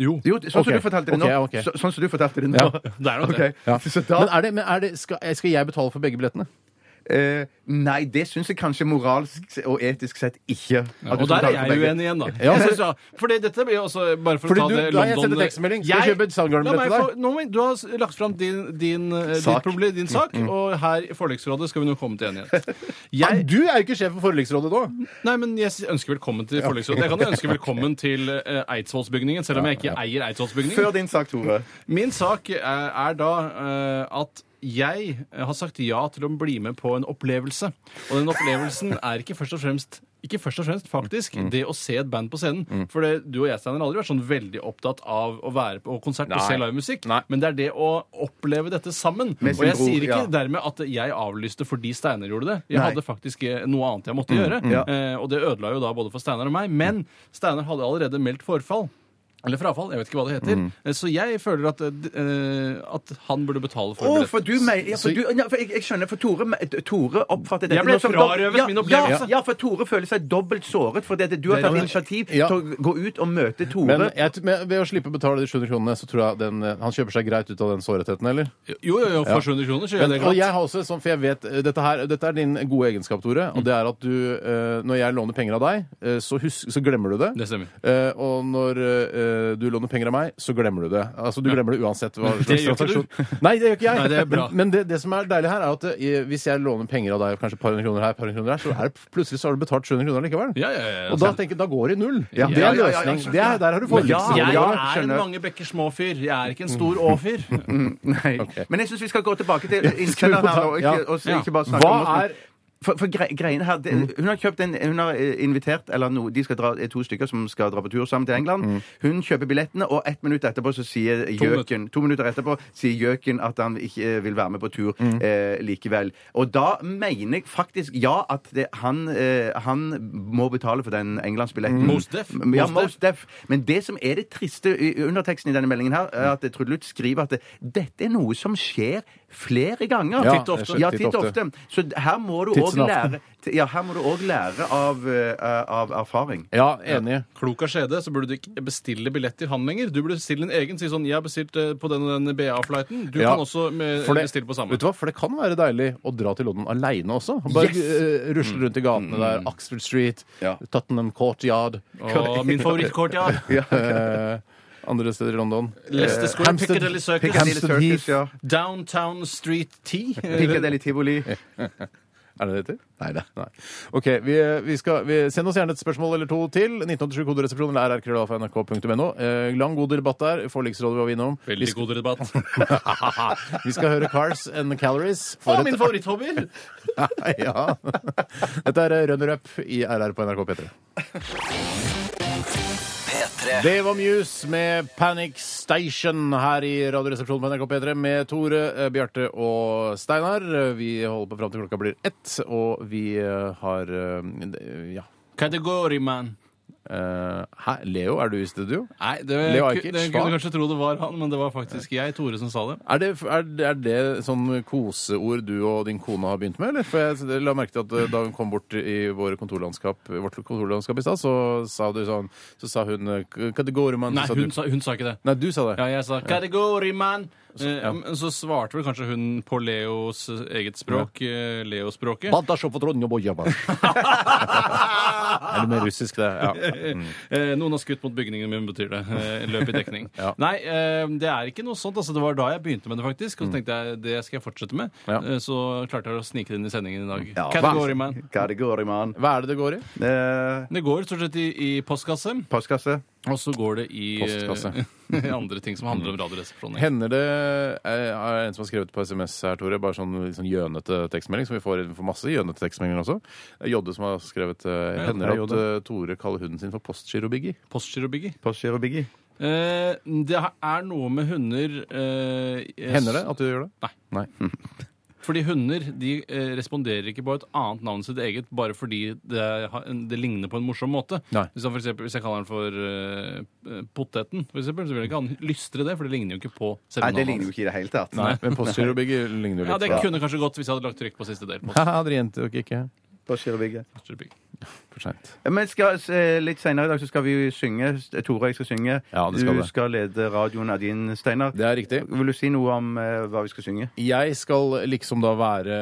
Speaker 5: Jo.
Speaker 1: Jo, sånn
Speaker 4: Ok,
Speaker 1: som du fortalte det nå.
Speaker 4: ok, ok.
Speaker 1: Så, sånn som du fortalte det nå.
Speaker 4: Ja,
Speaker 5: det er nok det.
Speaker 1: Ok, Så da,
Speaker 4: Men, er det, men er det, skal, eh, skal jeg betale for begge billettene?
Speaker 1: eh, nei, det syns jeg kanskje moralsk og etisk sett ikke. at du
Speaker 5: og
Speaker 1: skal
Speaker 5: der er
Speaker 1: betale for
Speaker 5: jeg
Speaker 1: begge.
Speaker 5: uenig igjen, da.
Speaker 4: Ja,
Speaker 5: Jeg
Speaker 4: men-
Speaker 5: synes, ja, fordi dette blir jo også bare for
Speaker 4: Fordi
Speaker 5: å ta
Speaker 4: du-
Speaker 5: det
Speaker 4: da har jeg
Speaker 5: London-
Speaker 4: sendt en tekstmelding. Skal jeg kjøpe et Soundgarden-billett
Speaker 5: La meg
Speaker 4: til deg?
Speaker 5: få- nå må- Du har s- lagt fram din, din, eh, ditt
Speaker 1: Sak.
Speaker 5: problem, din sak, og her i forliksrådet skal vi nå komme til enighet.
Speaker 4: Nei,
Speaker 5: Jeg,
Speaker 4: du er jo ikke sjef for forliksrådet nå!
Speaker 5: nei, men jeg s- ønsker velkommen til forliksrådet. Jeg kan jo ønske velkommen til eh, Eidsvollsbygningen, selv om jeg ikke eier Eidsvollsbygningen.
Speaker 1: Før din sak, Tore.
Speaker 5: Min sak er, er da eh, at jeg har sagt ja til å bli med på en opplevelse. Og den opplevelsen er ikke først og fremst ikke først og fremst, faktisk,
Speaker 1: Mm.
Speaker 5: det å se et band på scenen. For det, du og jeg Steiner, har aldri vært sånn veldig opptatt av å være på konsert og se livemusikk. Men det er det å oppleve dette sammen.
Speaker 1: Med
Speaker 5: Og
Speaker 1: sin
Speaker 5: jeg
Speaker 1: bror,
Speaker 5: sier ikke
Speaker 1: ja.
Speaker 5: dermed at jeg avlyste fordi Steiner gjorde det. Jeg
Speaker 1: Nei. Mm.
Speaker 5: hadde faktisk eh, noe annet jeg måtte gjøre.
Speaker 1: ja.
Speaker 5: Eh, og det ødela jo da både for Steinar og meg. Men Steinar hadde allerede meldt forfall. Eller frafall, jeg vet ikke hva det heter.
Speaker 4: Mm.
Speaker 5: Eh, Så jeg føler at, eh, d- eh, at han burde betale for
Speaker 1: Å,
Speaker 5: billett.
Speaker 1: for du mener ja, for du, ja, for jeg, jeg skjønner, for Tore, me- Tore oppfatter dette
Speaker 5: Jeg ble
Speaker 1: nå som
Speaker 5: frarøvet
Speaker 1: ja,
Speaker 5: min opplevelse.
Speaker 1: Ja, ja, for Tore føler seg dobbelt såret fordi at du har
Speaker 5: Det er
Speaker 1: tatt
Speaker 5: det.
Speaker 1: initiativ
Speaker 4: Ja.
Speaker 1: til å gå ut og møte Tore.
Speaker 4: Men, jeg, t- men ved å slippe å betale de 700 kronene, så tror jeg den, eh, han kjøper seg greit ut av den sårheten, eller?
Speaker 5: Jo, jo, jo,
Speaker 4: Ja.
Speaker 5: for 700 kroner, så gjør jeg
Speaker 4: Men,
Speaker 5: det
Speaker 4: og
Speaker 5: glatt.
Speaker 4: jeg har også, et sånt, for jeg vet, eh, dette, her, dette er din gode egenskap, Tore.
Speaker 5: Mm.
Speaker 4: Og det er at du, eh, når jeg låner penger av deg, eh, så, husk, så glemmer du det.
Speaker 5: Det stemmer.
Speaker 4: Eh, og når eh, du låner penger av meg, så glemmer du det. Altså, du glemmer det uansett hva
Speaker 5: Men det
Speaker 4: slags
Speaker 5: gjør ikke du.
Speaker 4: transaksjon. Nei, det gjør ikke jeg.
Speaker 5: Nei, det er bra.
Speaker 4: Men, men det, det som er deilig her, er at eh, hvis jeg låner penger av deg, kanskje et par hundre kroner her, et par hundre kroner her, så er det, plutselig så har du betalt 700 kroner likevel.
Speaker 5: Ja, ja, ja, ja.
Speaker 4: Og da tenker jeg, da går det i null.
Speaker 1: Ja.
Speaker 4: Det
Speaker 1: Ja, ja,
Speaker 4: er
Speaker 1: ja, ja,
Speaker 4: løsning.
Speaker 1: skjønner.
Speaker 4: Det er, der har du forliksrådet.
Speaker 5: Jeg
Speaker 1: Ja,
Speaker 5: er en
Speaker 1: skjønner.
Speaker 5: mange bekker små-fyr. Jeg er ikke en stor å-fyr.
Speaker 1: Nei. Men jeg syns vi skal gå tilbake til
Speaker 4: gå
Speaker 1: innsenderen her, og
Speaker 4: ta-
Speaker 1: ikke,
Speaker 4: ja.
Speaker 1: og så
Speaker 5: Ja.
Speaker 1: ikke bare snakke om
Speaker 4: Hva
Speaker 1: Morten.
Speaker 4: er
Speaker 1: For, for gre greien her,
Speaker 5: Mm.
Speaker 1: det, Hun har kjøpt en, hun har eh, invitert eller no, de skal dra, er to stykker som skal dra på tur sammen til England. Hun kjøper billettene, og ett minutt etterpå så sier Gjøken to minutter etterpå sier Gjøken at han ikke eh, vil være med på tur eh, likevel. Og da mener jeg faktisk ja at det, han, eh, han må betale for den Englandsbilletten.
Speaker 5: Most def.
Speaker 1: Ja,
Speaker 5: Most
Speaker 1: most def. Men det som er det triste i i underteksten i denne meldingen her, er at Trude Lutz skriver at det, dette er noe som skjer flere ganger.
Speaker 4: Ja, Titt og ofte.
Speaker 1: Ja,
Speaker 4: titt
Speaker 1: titt
Speaker 4: og
Speaker 1: ofte. Så d- her må du òg
Speaker 4: Tidsen aften.
Speaker 1: lære, t- ja, her må du også lære av, eh, av erfaring.
Speaker 4: Ja, enig.
Speaker 5: Klok av skjede, så burde du ikke bestille billett til han lenger. Du burde bestille en egen. Si sånn, jeg har bestilt eh, på den og den BA-flighten. Du
Speaker 4: Ja.
Speaker 5: kan også eh,
Speaker 4: For det,
Speaker 5: bestille på samme.
Speaker 4: Vet du hva, for det kan være deilig å dra til London aleine også. Bare
Speaker 5: Yes! Mm.
Speaker 4: eh, rusle rundt i gatene der. Oxford Street,
Speaker 1: Ja.
Speaker 4: Tottenham Courtyard
Speaker 5: Og min favorittkort, ja.
Speaker 4: eh, Andre steder i London. Eh,
Speaker 5: Leicester Square,
Speaker 4: Hampstead-
Speaker 5: Piccadilly Circus,
Speaker 1: Piccadilly
Speaker 4: Hampstead
Speaker 1: Circus,
Speaker 4: Heath.
Speaker 1: ja.
Speaker 5: Downtown Street T. eh,
Speaker 1: Piccadilly Tivoli.
Speaker 4: Er det det heter? Nei, det. Nei. OK, vi, vi skal vi, Send oss gjerne et spørsmål eller to til. 1987 koderesepsjon eller rrkrøllalfa.nrk.no. Eh, lang, god debatt der. Forliksrådet var vi innom. Vi
Speaker 5: Veldig
Speaker 4: skal,
Speaker 5: god debatt.
Speaker 4: vi skal høre Cars and Calories. For
Speaker 5: Og
Speaker 4: et-
Speaker 5: min favoritthobbyer!
Speaker 4: ja. Dette er Runner Up i RR på NRK P3.
Speaker 2: P3
Speaker 4: Det var Muse med Panic Station her i Radioresepsjonen på NRK P3 med Tore, eh, Bjarte og Steinar. Eh, Vi holder på fram til klokka blir ett, og vi eh, har eh, d- Ja.
Speaker 5: Kategoriman.
Speaker 4: Eh, Hæ? Leo, er du i studio?
Speaker 5: Nei, det,
Speaker 4: Leo
Speaker 5: ku-
Speaker 4: Ajkic,
Speaker 5: det
Speaker 4: hva?
Speaker 5: kunne kanskje tro det var han, men det var faktisk jeg, Tore, som sa det.
Speaker 4: Er det, er, det- er det sånn koseord du og din kone har begynt med, eller? For jeg la merke til at eh, da hun kom bort i våre kontorlandskap, vårt kontorlandskap i stad, så sa du sånn Så sa hun eh, k- Kategorimann.
Speaker 5: Nei,
Speaker 4: så sa
Speaker 5: hun
Speaker 4: du,
Speaker 5: sa, hun sa ikke det.
Speaker 4: Nei, du sa det.
Speaker 5: Ja, jeg sa 'kategoriman'. Så,
Speaker 4: ja.
Speaker 5: så svarte vel kanskje hun på Leos eget språk, eh, Leospråket.
Speaker 4: Er det mer russisk, det? Ja.
Speaker 5: Eh, Noen har skutt mot bygningen min, betyr det. Eh, Løp i dekning.
Speaker 4: Ja.
Speaker 5: Nei, eh, det er ikke noe sånt. Altså, det var da jeg begynte med det, faktisk. Og så tenkte jeg det skal jeg fortsette med.
Speaker 4: Mm. Ja.
Speaker 5: Eh, Så klarte jeg å snike det inn i sendingen i dag.
Speaker 1: Ja,
Speaker 5: Category man.
Speaker 1: Kategori, mann.
Speaker 4: Hva er det det går i?
Speaker 1: Eh,
Speaker 5: Det går stort sett i, i postkasse,
Speaker 1: postkasse.
Speaker 5: og så går det i eh,
Speaker 4: Postkasse.
Speaker 5: i andre ting som handler om Radioresepsjonen.
Speaker 4: Hender det eh, er en som har skrevet på SMS her, Tore, bare sånn litt sånn gjønete tekstmelding, som vi får, vi får masse gjønete tekstmeldinger også. Det er Jodde som har skrevet eh, Hender
Speaker 1: hei,
Speaker 4: det at
Speaker 1: Jodde.
Speaker 4: eh, Tore kaller hunden sin for Postgirobiggie?
Speaker 5: Postgirobyggi.
Speaker 1: Postgiro Biggie.
Speaker 5: Eh, det er noe med hunder eh, jeg-
Speaker 4: Hender det at du gjør det? Nei.
Speaker 5: Fordi hunder de eh, responderer ikke på et annet navn enn sitt eget bare fordi det, har en- det ligner på en morsom måte.
Speaker 4: Nei.
Speaker 5: Hvis, han for eksempel, hvis jeg kaller den for eh, Poteten, for eksempel, så vil ikke han lystre det, for det ligner jo ikke på
Speaker 1: Nei,
Speaker 5: selve
Speaker 1: det ligner jo
Speaker 5: navnet.
Speaker 1: ikke i det hele tatt.
Speaker 4: Nei. Men Postgirobiggie ligner jo
Speaker 5: Ja,
Speaker 4: litt.
Speaker 5: Det kunne kanskje gått hvis jeg hadde lagt trykk på siste del. på
Speaker 4: Haha, dere jenter og ikke
Speaker 1: Postgiro Biggie.
Speaker 5: Postgirobyggi.
Speaker 4: for seint.
Speaker 1: Men skal, eh, litt senere i dag så skal vi jo synge. eh, Tore og jeg skal synge.
Speaker 4: Ja, det skal
Speaker 1: du
Speaker 4: det.
Speaker 1: skal lede radioen av din, Steinar.
Speaker 4: Det er riktig.
Speaker 1: Vil du si noe om eh, hva vi skal synge?
Speaker 4: Jeg skal liksom da være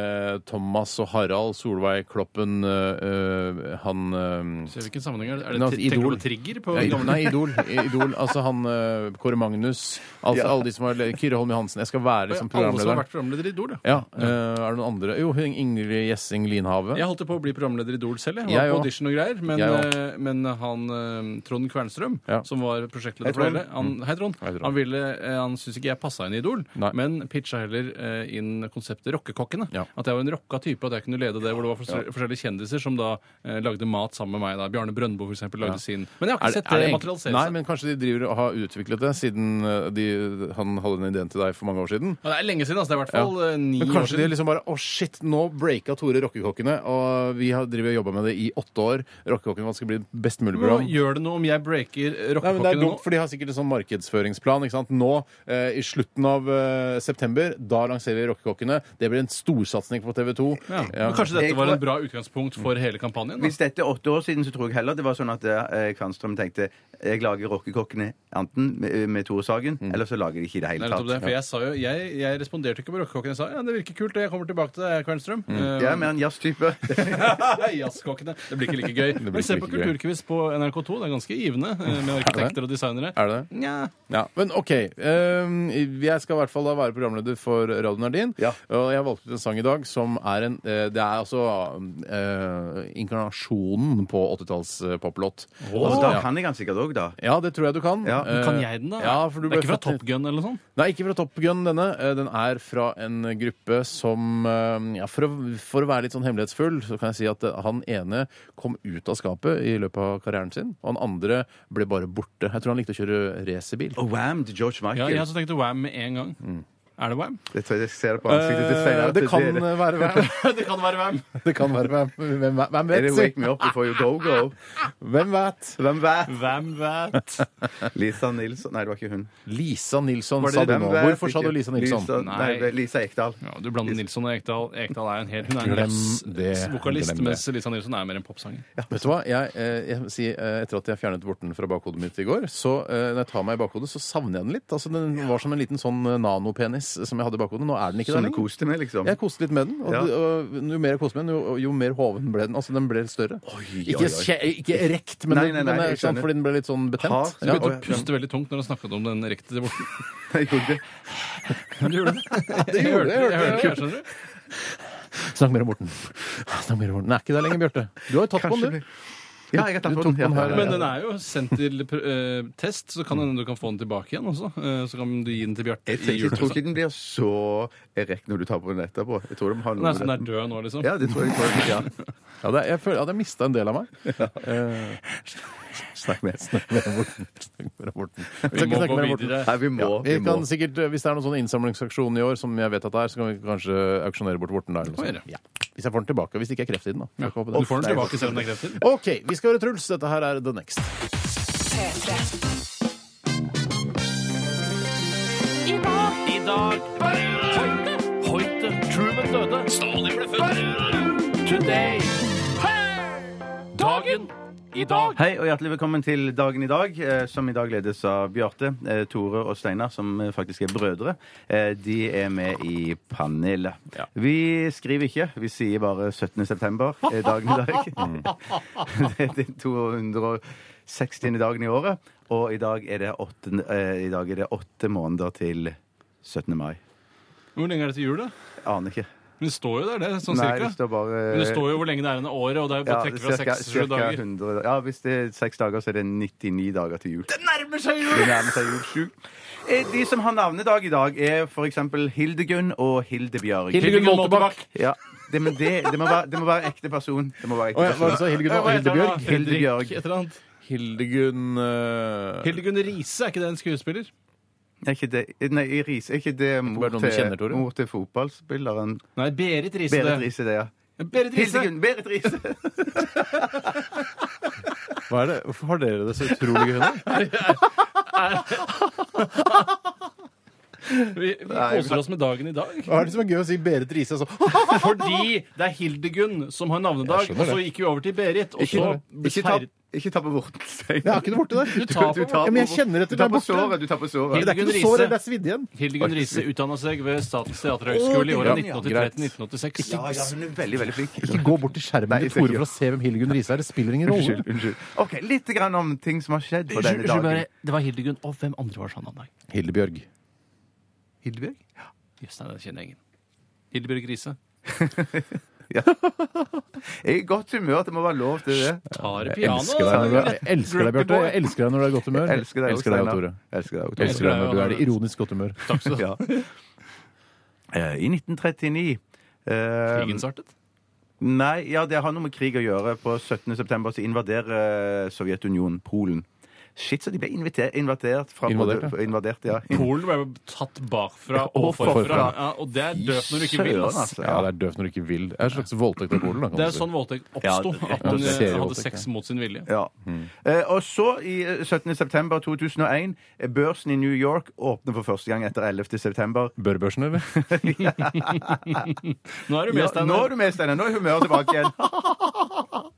Speaker 4: Thomas og Harald Solveig Kloppen øh, øh, Han øh,
Speaker 5: Så Hvilken sammenheng er det?
Speaker 4: Nei,
Speaker 5: Er det
Speaker 4: altså,
Speaker 5: tri- tenker du
Speaker 4: Idol.
Speaker 5: på trigger? På
Speaker 4: Ja, Idol-
Speaker 5: gamle-
Speaker 4: Nei, Idol. Idol. Altså han eh, Kåre Magnus. Altså alle de som har le- Kyrre Holm Johansen. Jeg skal være liksom
Speaker 5: Alle som har
Speaker 4: programleder.
Speaker 5: vært programleder i Idol, ja.
Speaker 4: Ja, eh, er det noen andre? Jo, hun Ingrid Gjessing Linhave.
Speaker 5: Jeg holdt på å bli programleder i Idol selv. Jeg var
Speaker 4: Jeg
Speaker 5: på
Speaker 4: òg.
Speaker 5: audition og greier. Men,
Speaker 4: Jeg òg.
Speaker 5: eh, men han eh, Trond Kvernstrøm,
Speaker 4: Ja. Mm.
Speaker 5: som var prosjektleder
Speaker 1: Hei,
Speaker 5: for
Speaker 1: Trond.
Speaker 5: hele han, Hei, Trond.
Speaker 4: Hei, Trond.
Speaker 5: Han, ville, eh, han syntes ikke jeg passa inn i Idol,
Speaker 4: Nei.
Speaker 5: men pitcha heller eh, inn konseptet Rockekokkene.
Speaker 4: Ja.
Speaker 5: At jeg var en rocka type, at jeg kunne lede det, hvor det var forskjell- forskjellige kjendiser som da eh, lagde mat sammen med meg. da Bjarne Brøndbo, for eksempel,
Speaker 4: Ja.
Speaker 5: lagde sin. Men jeg har
Speaker 4: Er
Speaker 5: ikke
Speaker 4: det-
Speaker 5: sett
Speaker 4: er
Speaker 5: det,
Speaker 4: det egentlig-
Speaker 5: materialisere
Speaker 4: Nei,
Speaker 5: seg.
Speaker 4: men kanskje de driver og har utviklet det siden eh, de, han hadde den ideen til deg for mange år siden?
Speaker 5: Ja, det er lenge siden, altså. Det er i hvert
Speaker 4: Ja.
Speaker 5: fall eh, ni
Speaker 4: Men
Speaker 5: år
Speaker 4: kanskje de
Speaker 5: siden.
Speaker 4: liksom bare Å, shit, nå breaka Tore Rockekokkene, og vi har drevet og jobba med det i åtte år. Rockekokkene hva skal bli et best mulig
Speaker 5: Men hva
Speaker 4: program.
Speaker 5: gjør det noe om jeg breaker
Speaker 4: Nei,
Speaker 5: eh,
Speaker 4: men det er
Speaker 5: rockekokkene nå?
Speaker 4: dumt, for De har sikkert en sånn markedsføringsplan. ikke sant? Nå, eh, I slutten av eh, september, da lanserer vi Rockekokkene. Det blir en storsatsing på TV 2.
Speaker 5: Ja. Men kanskje
Speaker 1: Jeg
Speaker 5: dette var
Speaker 1: tror-
Speaker 5: en bra utgangspunkt
Speaker 4: Mm.
Speaker 5: for hele kampanjen? Da?
Speaker 1: Hvis dette er åtte år siden, så tror jeg heller det var sånn at eh, Kvanstrøm tenkte jeg lager rockekokkene enten med, eh, med Tore Sagen, eller så lager de ikke i Mm. det
Speaker 5: Det
Speaker 1: hele
Speaker 5: er nettopp det,
Speaker 1: tatt.
Speaker 5: for jeg, sa jo, jeg, jeg responderte ikke på rockekokken. Jeg sa ja, det virker kult, og jeg kommer tilbake til deg, Kvernstrøm.
Speaker 4: Mm.
Speaker 5: Eh,
Speaker 1: Jeg er mer en jazztype.
Speaker 5: Jazzkokkene. Det blir ikke like gøy.
Speaker 4: blir
Speaker 5: Men se
Speaker 4: ikke
Speaker 5: på
Speaker 4: like gøy.
Speaker 5: Kulturquiz på NRK2. Det er ganske givende eh, med arkitekter og designere.
Speaker 4: Er det det?
Speaker 5: Nja.
Speaker 4: Ja, Men OK. ehm, jeg skal i hvert fall da være programleder for Radio Nardin.
Speaker 1: Ja.
Speaker 4: Og jeg valgte ut en sang i dag som er en eh, Det er altså eh, inkarnasjonen på 80-talls eh, poplåt.
Speaker 1: Og
Speaker 4: Altså,
Speaker 1: da
Speaker 4: ja.
Speaker 1: kan jeg han sikkert òg, da.
Speaker 4: ja, det tror jeg du kan.
Speaker 1: Ja, men
Speaker 5: Kan
Speaker 4: Eh,
Speaker 5: jeg den, da?
Speaker 4: Ja, for du
Speaker 5: det er
Speaker 4: ble
Speaker 5: ikke fra
Speaker 4: født i-
Speaker 5: Top Gun eller noe sånt?
Speaker 4: Nei, ikke fra Top Gun, denne. Eh, Den er fra en gruppe som eh, ja, for, å, for å være litt sånn hemmelighetsfull, så kan jeg si at eh, han ene kom ut av skapet i løpet av karrieren sin, og han andre ble bare borte. Jeg tror han likte å kjøre racerbil.
Speaker 1: Og Wham til George
Speaker 5: Ja,
Speaker 1: Michael.
Speaker 5: jeg også tenkte Wam med en gang.
Speaker 4: Mm.
Speaker 5: Er det Wam?
Speaker 1: Det tror jeg jeg ser på ansiktet til Steinar.
Speaker 4: Eh,
Speaker 1: at
Speaker 4: det kan
Speaker 1: det-
Speaker 4: være hvem,
Speaker 5: det kan være Wam.
Speaker 4: det kan være hvem, hvem, hvem
Speaker 1: Er
Speaker 4: vet,
Speaker 1: det Wake
Speaker 4: si?
Speaker 1: Me Up Before You Go Go?
Speaker 4: Hvem vet?
Speaker 1: Hvem vet?
Speaker 5: Wam vet.
Speaker 1: Lisa Nilsson Nei, det var ikke hun.
Speaker 4: Lisa Nilsson
Speaker 1: Var det
Speaker 4: sa du
Speaker 1: hvem
Speaker 4: nå.
Speaker 1: vet
Speaker 4: Hvorfor sa du
Speaker 1: ikke?
Speaker 4: Lisa Nilsson?
Speaker 1: Lisa, nei,
Speaker 5: Nei.
Speaker 1: Lisa Ekdal.
Speaker 5: Ja, du blander Nilsson og Ekdal. Ekdal er en helt, hun er en
Speaker 4: Glem det.
Speaker 5: jazzvokalist,
Speaker 4: Glem det.
Speaker 5: mens Lisa Nilsson er mer en popsanger.
Speaker 4: Vet du hva? Jeg, eh, jeg må si, eh, etter at jeg fjernet vorten fra bakhodet mitt i går, så eh, når jeg tar meg i bakhodet, så savner jeg den litt. Altså, Den var som en liten sånn eh, nanopenis som jeg hadde i bakhodet. Nå er den ikke
Speaker 1: Som
Speaker 4: der
Speaker 1: du
Speaker 4: lenger.
Speaker 1: koste med, liksom.
Speaker 4: Jeg koste litt med den, og,
Speaker 1: Ja.
Speaker 4: og, jo mer jeg koste med den, jo, jo mer hoven ble den. Altså, den ble litt større.
Speaker 1: oi,
Speaker 4: Ikke,
Speaker 1: oi.
Speaker 4: skje- ikke rekt, men,
Speaker 1: Nei,
Speaker 4: den-
Speaker 1: nei, nei,
Speaker 4: men, eh,
Speaker 1: jeg
Speaker 4: sånn,
Speaker 1: skjønner.
Speaker 4: fordi den ble litt sånn
Speaker 1: Hard.
Speaker 4: betent.
Speaker 1: Så
Speaker 4: Ja,
Speaker 1: begynte
Speaker 5: Du
Speaker 1: å
Speaker 4: og-
Speaker 5: puster veldig tungt når han snakket om den rekte til borten.
Speaker 1: Jeg gjorde det.
Speaker 5: Du gjorde det.
Speaker 4: det gjorde jeg, jeg
Speaker 5: Jeg
Speaker 4: hørte
Speaker 5: hører
Speaker 4: det.
Speaker 5: ikke, skjønner du.
Speaker 4: Snakk mer om vorten. Snakk mer om vorten. Den er ikke der lenger, Bjarte. Du har jo tatt på
Speaker 1: Kanskje
Speaker 4: den,
Speaker 1: det.
Speaker 4: du.
Speaker 1: Ja, jeg har tatt
Speaker 4: Du
Speaker 1: på
Speaker 4: tok
Speaker 1: den. Ja,
Speaker 4: den her.
Speaker 1: ja, ja.
Speaker 5: Men den er jo sendt til eh, test, så kan hende du kan få den tilbake igjen også. Eh, så kan du gi den til Bjarte
Speaker 1: Jeg,
Speaker 5: i liksom.
Speaker 1: tenker, jeg tror
Speaker 5: julepresang.
Speaker 1: ikke den blir så erekt når du tar på den etterpå. Jeg tror de har
Speaker 5: Den
Speaker 1: noe
Speaker 5: er sånn der død nå, liksom.
Speaker 1: Ja, det tror jeg. Tror jeg ja.
Speaker 4: Ja, det, jeg føler at jeg mista en del av meg. Eh,
Speaker 1: Snakk med.
Speaker 4: Snakk med Morten. Snakk med Morten.
Speaker 5: Vi må
Speaker 4: Snakk
Speaker 5: gå
Speaker 4: med Morten.
Speaker 5: videre.
Speaker 1: Nei, vi må.
Speaker 4: Ja, vi
Speaker 1: vi må.
Speaker 4: kan sikkert, Hvis det er noen sånn innsamlingsaksjon i år, som jeg vet at det er, så kan vi kanskje auksjonere bort Morten da. Eller noe
Speaker 5: Det kan
Speaker 4: sånt. Ja. Hvis jeg får den tilbake. Hvis det ikke er kreft i den, da. Får jeg håpe det.
Speaker 5: Du får den tilbake selv om det er krefter.
Speaker 4: OK, vi skal høre Truls. Dette her er The Next.
Speaker 7: P3.
Speaker 5: I dag Hoite, Hoite, Truman døde. Stalin ble født. Today. Dagen i dag.
Speaker 1: Hei og hjertelig velkommen til Dagen i dag, eh, som i dag ledes av Bjarte, eh, Tore og Steinar, som eh, faktisk er brødre. Eh, De er med i panelet. Vi skriver ikke, vi sier bare 17. september er dagen i dag. Det er den 260. dagen i året, og i dag er det åtte, eh, i dag er det åtte måneder til 17. mai.
Speaker 5: Hvor lenge er det til jul, da?
Speaker 1: Aner ikke.
Speaker 5: Men det står jo der, det. Sånn
Speaker 1: Nei,
Speaker 5: cirka.
Speaker 1: det står bare
Speaker 5: Men det står jo hvor lenge det er igjen av året, og det er jo
Speaker 1: ja,
Speaker 5: bare å trekke fra
Speaker 1: cirka-
Speaker 5: seks-sju
Speaker 1: cirka
Speaker 5: dager.
Speaker 1: 100, ja, hvis det er seks dager, så er det 99 dager til jul.
Speaker 5: Nærmer seg jul!
Speaker 1: Det nærmer seg jul sjukt. Eh, De som har navnedag i dag, er f.eks. Hildegunn og Hildebjørg.
Speaker 4: Hildegunn Moltebakk.
Speaker 1: Ja, det, men det, det, må være, det må være ekte person. Det må være ekte
Speaker 4: Å ja, hva
Speaker 1: person.
Speaker 4: sa Hildegunn
Speaker 5: Hva heter han da?
Speaker 4: Hildebjørg?
Speaker 5: Fredrik
Speaker 1: Hildebjørg.
Speaker 5: et eller annet.
Speaker 4: Hildegunn eh,
Speaker 5: Hildegunn Riise, er ikke det en skuespiller?
Speaker 1: Er ikke det, nei, i Riise er ikke det mor
Speaker 4: bare noen du
Speaker 1: til,
Speaker 4: kjenner, Tore?
Speaker 1: mor til fotballspilleren
Speaker 5: Nei, Berit Riise.
Speaker 1: Berit Riise, det, ja.
Speaker 5: det. Berit Riise.
Speaker 1: Hildegunn Berit Riise!
Speaker 4: Hva er det? Hvorfor har dere det så utrolig gøy nå?
Speaker 5: Vi, vi koser oss med dagen i dag.
Speaker 4: Hva er det som er gøy å si Berit Riise? Altså?
Speaker 5: Fordi det er Hildegunn som har navnedag,
Speaker 4: Jeg
Speaker 5: og
Speaker 4: skjønner det.
Speaker 5: så gikk vi over til Berit. Og så
Speaker 1: Ikke ta, ikke ta på vorten,
Speaker 4: Jeg
Speaker 1: Steinar.
Speaker 4: har ikke noe borte der.
Speaker 5: Du tar på-
Speaker 1: på
Speaker 4: ja, men jeg
Speaker 1: vorten.
Speaker 4: kjenner etter
Speaker 1: Du tar
Speaker 4: det er
Speaker 1: på
Speaker 4: borte.
Speaker 1: såret. Du tar på såret.
Speaker 4: Det er ikke noe sår, det er svidd igjen.
Speaker 5: Hildegunn Riise utdanna seg ved Statens teaterhøgskole i
Speaker 4: Å,
Speaker 5: åra
Speaker 4: det-
Speaker 5: 1983 til 1986.
Speaker 1: Ja, ja, hun er veldig, veldig flink.
Speaker 4: Ikke gå bort til skjermen til Tore for å se hvem Hildegunn Riise er. Det spiller ingen rolle.
Speaker 1: Unnskyld. unnskyld. OK, litt grann om ting som har skjedd på denne
Speaker 5: Unnskyld,
Speaker 1: dagen.
Speaker 5: bare, det var Hildegunn. Og hvem andre var sånn navnedag?
Speaker 4: Hildebjørg.
Speaker 1: Hildebjørg?
Speaker 5: Jøss, nei, det kjenner jeg ingen. Hildebjørg Riise.
Speaker 1: Ja. Jeg er i godt humør. Det må være lov til det.
Speaker 5: Tar altså.
Speaker 4: Jeg elsker deg, når
Speaker 5: pianoet.
Speaker 4: du, jeg elsker deg Bjarte. Jeg elsker deg når du er i godt humør.
Speaker 1: Jeg elsker deg,
Speaker 4: elsker deg
Speaker 1: Steinar.
Speaker 4: Tore.
Speaker 1: Jeg elsker deg,
Speaker 4: Jeg
Speaker 1: Tore.
Speaker 4: elsker deg når du er i ironisk godt humør.
Speaker 1: Ja. Eh, I 1939 eh,
Speaker 5: Krigen startet.
Speaker 1: Nei, ja, det har noe med krig å gjøre. På 17. september så invaderer eh, Sovjetunionen Polen. Shit, så de ble invitert, invadert fra
Speaker 4: Invadert,
Speaker 1: både- invadert, ja.
Speaker 5: Polen ble tatt bakfra og
Speaker 1: og
Speaker 5: forfra.
Speaker 1: forfra.
Speaker 5: Ja, og det er døvt når du ikke vil.
Speaker 1: Søren,
Speaker 5: ass.
Speaker 1: altså.
Speaker 4: Ja, det er døvt når du ikke vil. Det er en slags voldtekt av Polen. da, kan
Speaker 5: Det
Speaker 4: man
Speaker 5: er
Speaker 4: si.
Speaker 5: sånn voldtekt
Speaker 1: Ja,
Speaker 5: oppsto.
Speaker 1: det-
Speaker 5: At hun
Speaker 4: Ja,
Speaker 5: eh,
Speaker 4: serievoldtekt,
Speaker 5: hadde sex
Speaker 4: ja.
Speaker 5: mot sin vilje.
Speaker 1: Ja.
Speaker 4: Hmm.
Speaker 1: Eh, og så, i eh, 17. september 2001, eh, børsen i New York åpner for første gang etter 11. september.
Speaker 4: Børbørsen, eller?
Speaker 5: Nå er
Speaker 1: Ja,
Speaker 5: du med,
Speaker 1: nå er
Speaker 5: Steinar.
Speaker 1: du med, Steinar. Nå er humøret tilbake igjen.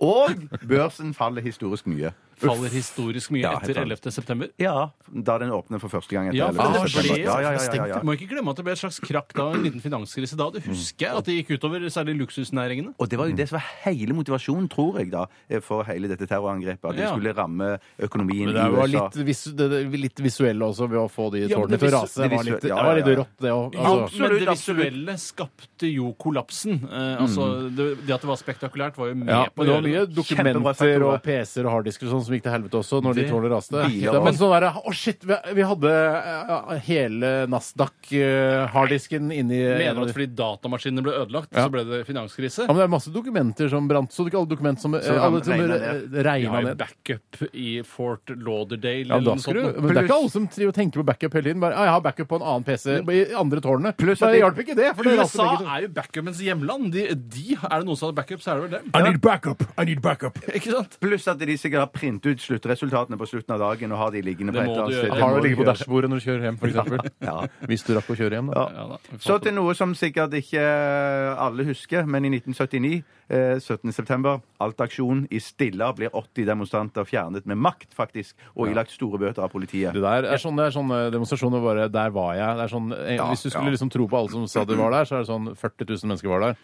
Speaker 1: Og børsen faller historisk mye.
Speaker 5: Faller historisk mye
Speaker 1: Ja, helt
Speaker 5: etter
Speaker 1: sant.
Speaker 5: 11. september.
Speaker 1: Ja, da den åpner for første gang. etter
Speaker 5: Ja,
Speaker 1: 11.
Speaker 5: for det
Speaker 1: september.
Speaker 5: ble-
Speaker 1: ja, ja, ja, ja, ja.
Speaker 5: Må ikke glemme at det ble et slags krakk da, en liten finanskrise da. Det husker jeg at det gikk utover særlig luksusnæringene.
Speaker 1: Og det
Speaker 4: Mm.
Speaker 1: var jo det som var hele motivasjonen, tror jeg, da, eh, for hele dette terrorangrepet. At det
Speaker 5: Ja.
Speaker 1: skulle ramme økonomien i
Speaker 4: Men det var
Speaker 1: USA.
Speaker 4: litt, visu, det, det, litt visuelle også, ved å få de
Speaker 5: Ja, men
Speaker 4: tårnene
Speaker 5: det
Speaker 4: til å
Speaker 5: visu-
Speaker 4: rase. Det var
Speaker 1: det
Speaker 4: litt,
Speaker 1: visu-
Speaker 4: det
Speaker 1: ja,
Speaker 4: var
Speaker 1: ja,
Speaker 4: litt
Speaker 1: ja.
Speaker 4: rått, det òg.
Speaker 5: Men-
Speaker 4: Altså,
Speaker 5: Men det
Speaker 1: absolutt.
Speaker 5: visuelle skapte jo kollapsen. Eh, altså, det, det at det var spektakulært, var jo
Speaker 4: Mm.
Speaker 5: med
Speaker 4: ja,
Speaker 5: på
Speaker 4: men det var
Speaker 5: å
Speaker 4: mye
Speaker 5: gjøre det.
Speaker 1: Kjempebra
Speaker 4: dokumenter
Speaker 1: sagt, Tore.
Speaker 4: og PC-er og harddisker og sånn som gikk til helvete også, når de
Speaker 5: Det-
Speaker 4: tårnene raste.
Speaker 1: Biler
Speaker 4: Ja,
Speaker 1: og-
Speaker 4: men sånn derre Å, shit! Vi, vi hadde eh, hele Nasdaq-harddisken inni
Speaker 5: Mener du at fordi datamaskinene ble ødelagt, så ble det finanskrise?
Speaker 4: Ja, men det er masse dokumenter som brant. Så du ikke alle dokumenter som, eh, alle som
Speaker 1: regnet
Speaker 4: eh,
Speaker 5: Vi
Speaker 4: regna
Speaker 5: har jo
Speaker 4: ned?
Speaker 5: backup i Fort Lauderdale
Speaker 4: Ja,
Speaker 5: eller
Speaker 4: da
Speaker 5: noe
Speaker 4: skal du,
Speaker 5: sånt.
Speaker 4: men det er ikke alle som driver og tenker på backup hele tiden. Bare, ja, 'Jeg har backup på en annen PC i andre tårnet'.
Speaker 1: Pluss
Speaker 4: Nei,
Speaker 1: at
Speaker 4: det
Speaker 1: de-
Speaker 4: hjalp ikke det. altså- For det raste
Speaker 5: USA
Speaker 4: begge to.
Speaker 5: er jo backupens hjemland. De, de, er det noen som hadde backup, så er det vel dem.
Speaker 4: I need backup! I need backup!
Speaker 5: Ikke sant?
Speaker 1: Pluss at de sikkert har printet ut sluttresultatene på slutten av dagen og har de liggende på
Speaker 5: Det
Speaker 1: et
Speaker 5: må
Speaker 1: eller annet
Speaker 5: du gjøre.
Speaker 1: sted.
Speaker 5: Det
Speaker 4: Har
Speaker 1: må
Speaker 4: det ligget
Speaker 1: du
Speaker 4: på
Speaker 1: gjøre.
Speaker 4: dashbordet når du kjører hjem, f.eks.?
Speaker 1: Ja.
Speaker 4: Hvis du rakk å kjøre hjem, da.
Speaker 5: Ja, da, vi
Speaker 1: Så
Speaker 5: fant
Speaker 1: til noe som sikkert ikke eh, alle husker, men i 1979, eh, 17. september, Alt-aksjonen i Stilla blir 80 demonstranter fjernet med makt, faktisk, og ilagt store bøter av politiet.
Speaker 4: Det der er sånne, er sånne demonstrasjoner bare 'der var jeg'. Det er sånn, eh,
Speaker 1: Ja,
Speaker 4: hvis du skulle
Speaker 1: ja.
Speaker 4: liksom tro på alle som sa de var der, så er det sånn 40 000 mennesker var der.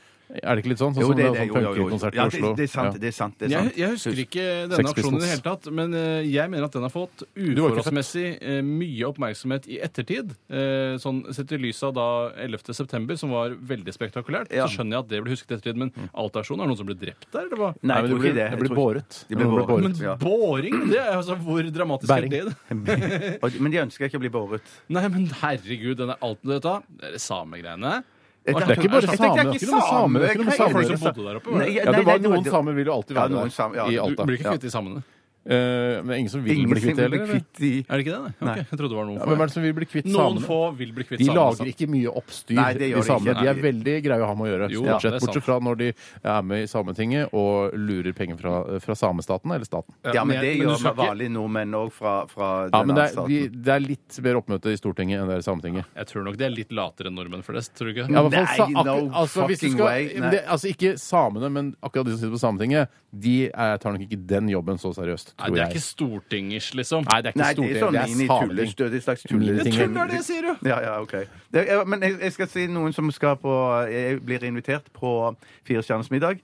Speaker 4: Er det ikke litt sånn? Sånn
Speaker 1: Jo,
Speaker 4: som
Speaker 1: det,
Speaker 4: det,
Speaker 1: det,
Speaker 4: er
Speaker 1: jo,
Speaker 4: sånn
Speaker 1: jo, jo.
Speaker 4: punkkonsert i
Speaker 1: Ja, det,
Speaker 4: Oslo.
Speaker 1: det er sant,
Speaker 4: Ja.
Speaker 1: det er sant. det er
Speaker 5: Jeg,
Speaker 1: sant.
Speaker 5: jeg husker ikke denne
Speaker 4: Sex
Speaker 5: aksjonen i det
Speaker 4: Pistols.
Speaker 5: hele tatt, men eh, jeg mener at den har fått
Speaker 4: var ikke
Speaker 5: uforholdsmessig eh, mye oppmerksomhet i ettertid. Eh, sånn Sett i lys av da 11. september, som var veldig spektakulært,
Speaker 1: Ja.
Speaker 5: så skjønner jeg at det ble husket i ettertid. Men alt-aksjonen, er det noen som ble drept der? Eller hva?
Speaker 1: Nei,
Speaker 4: Nei,
Speaker 1: jeg tror
Speaker 4: men det blir,
Speaker 1: ikke det.
Speaker 4: det
Speaker 1: Jeg
Speaker 4: blir
Speaker 1: tror-
Speaker 4: båret.
Speaker 1: De blir båret.
Speaker 5: Men
Speaker 1: Ja.
Speaker 5: boring! Det er altså, Hvor dramatisk
Speaker 4: Bæring.
Speaker 5: er det?
Speaker 1: Og- Men de ønsker ikke å bli båret.
Speaker 5: Nei, men herregud, den er alt med dette. Det er det samegreiene.
Speaker 1: Det
Speaker 4: Det er ikke bare
Speaker 1: Jeg tenkte, det
Speaker 4: samer.
Speaker 1: er ikke
Speaker 4: Det er ikke noe
Speaker 1: samer.
Speaker 4: samer. Det er ikke noe
Speaker 1: Jeg
Speaker 4: samer
Speaker 1: tenkte-
Speaker 5: som bodde der oppe, var
Speaker 1: Nei,
Speaker 5: det?
Speaker 4: Ja, det
Speaker 1: nei,
Speaker 4: var
Speaker 1: nei,
Speaker 4: noen
Speaker 1: det-
Speaker 4: samer vil jo alltid
Speaker 1: Ja,
Speaker 4: være
Speaker 1: noen
Speaker 4: der.
Speaker 1: samer, ja.
Speaker 4: I
Speaker 5: Du
Speaker 4: Alta.
Speaker 5: blir ikke
Speaker 4: Ja.
Speaker 5: kvitt de samene.
Speaker 4: Eh, men ingen som vil
Speaker 1: Ingen
Speaker 4: bli
Speaker 1: som
Speaker 4: kvitt det
Speaker 1: blir
Speaker 4: heller? eller?
Speaker 1: kvitt de
Speaker 5: Er det ikke det? Nei. Ok, Jeg trodde det var noen
Speaker 4: Ja,
Speaker 5: få.
Speaker 4: Hvem er det som vil bli kvitt
Speaker 5: Noen
Speaker 4: samene?
Speaker 5: få vil bli kvitt
Speaker 4: De
Speaker 5: samene.
Speaker 4: lager ikke mye oppstyr,
Speaker 1: Nei, det gjør
Speaker 4: de
Speaker 1: de
Speaker 4: samene.
Speaker 1: ikke.
Speaker 4: De er veldig greie å ha med å gjøre.
Speaker 5: Jo,
Speaker 4: stort
Speaker 5: det er
Speaker 4: sett,
Speaker 5: sant.
Speaker 4: bortsett fra når de er med i Sametinget og lurer penger fra, fra samestaten eller staten.
Speaker 1: Ja, men
Speaker 5: men
Speaker 1: det
Speaker 5: jeg- men du
Speaker 1: gjør
Speaker 5: skal
Speaker 1: med
Speaker 5: ikke-
Speaker 1: vanlige nordmenn òg fra, fra
Speaker 4: Ja, men
Speaker 1: denne
Speaker 4: det er,
Speaker 1: staten.
Speaker 4: de, det er litt mer oppmøte i Stortinget enn det er i Sametinget.
Speaker 5: Jeg tror nok de er litt latere enn nordmenn flest, tror du ikke?
Speaker 4: Ja, i hvert fall,
Speaker 1: Nei,
Speaker 4: sa,
Speaker 1: no
Speaker 4: ak- altså, hvis du
Speaker 1: fucking
Speaker 4: skal,
Speaker 1: way, nei.
Speaker 4: det, altså, ikke samene, men akkurat de som sitter på Sametinget, de er, tar nok ikke den jobben så seriøst,
Speaker 5: Nei,
Speaker 4: tror
Speaker 5: det er
Speaker 4: jeg.
Speaker 5: ikke stortingers, liksom.
Speaker 4: Nei, det er
Speaker 1: Nei,
Speaker 4: ikke
Speaker 1: det er
Speaker 4: Stortinget,
Speaker 1: sånn
Speaker 4: det er
Speaker 1: mini-tulles.
Speaker 4: Sametinget.
Speaker 1: Det er et slags
Speaker 4: Miniting.
Speaker 1: tulleting.
Speaker 4: Jeg tuller
Speaker 5: det, sier du!
Speaker 1: Ja, ja, OK. Det, ja, men jeg, jeg skal si noen som skal på Jeg blir invitert på Firestjerners middag.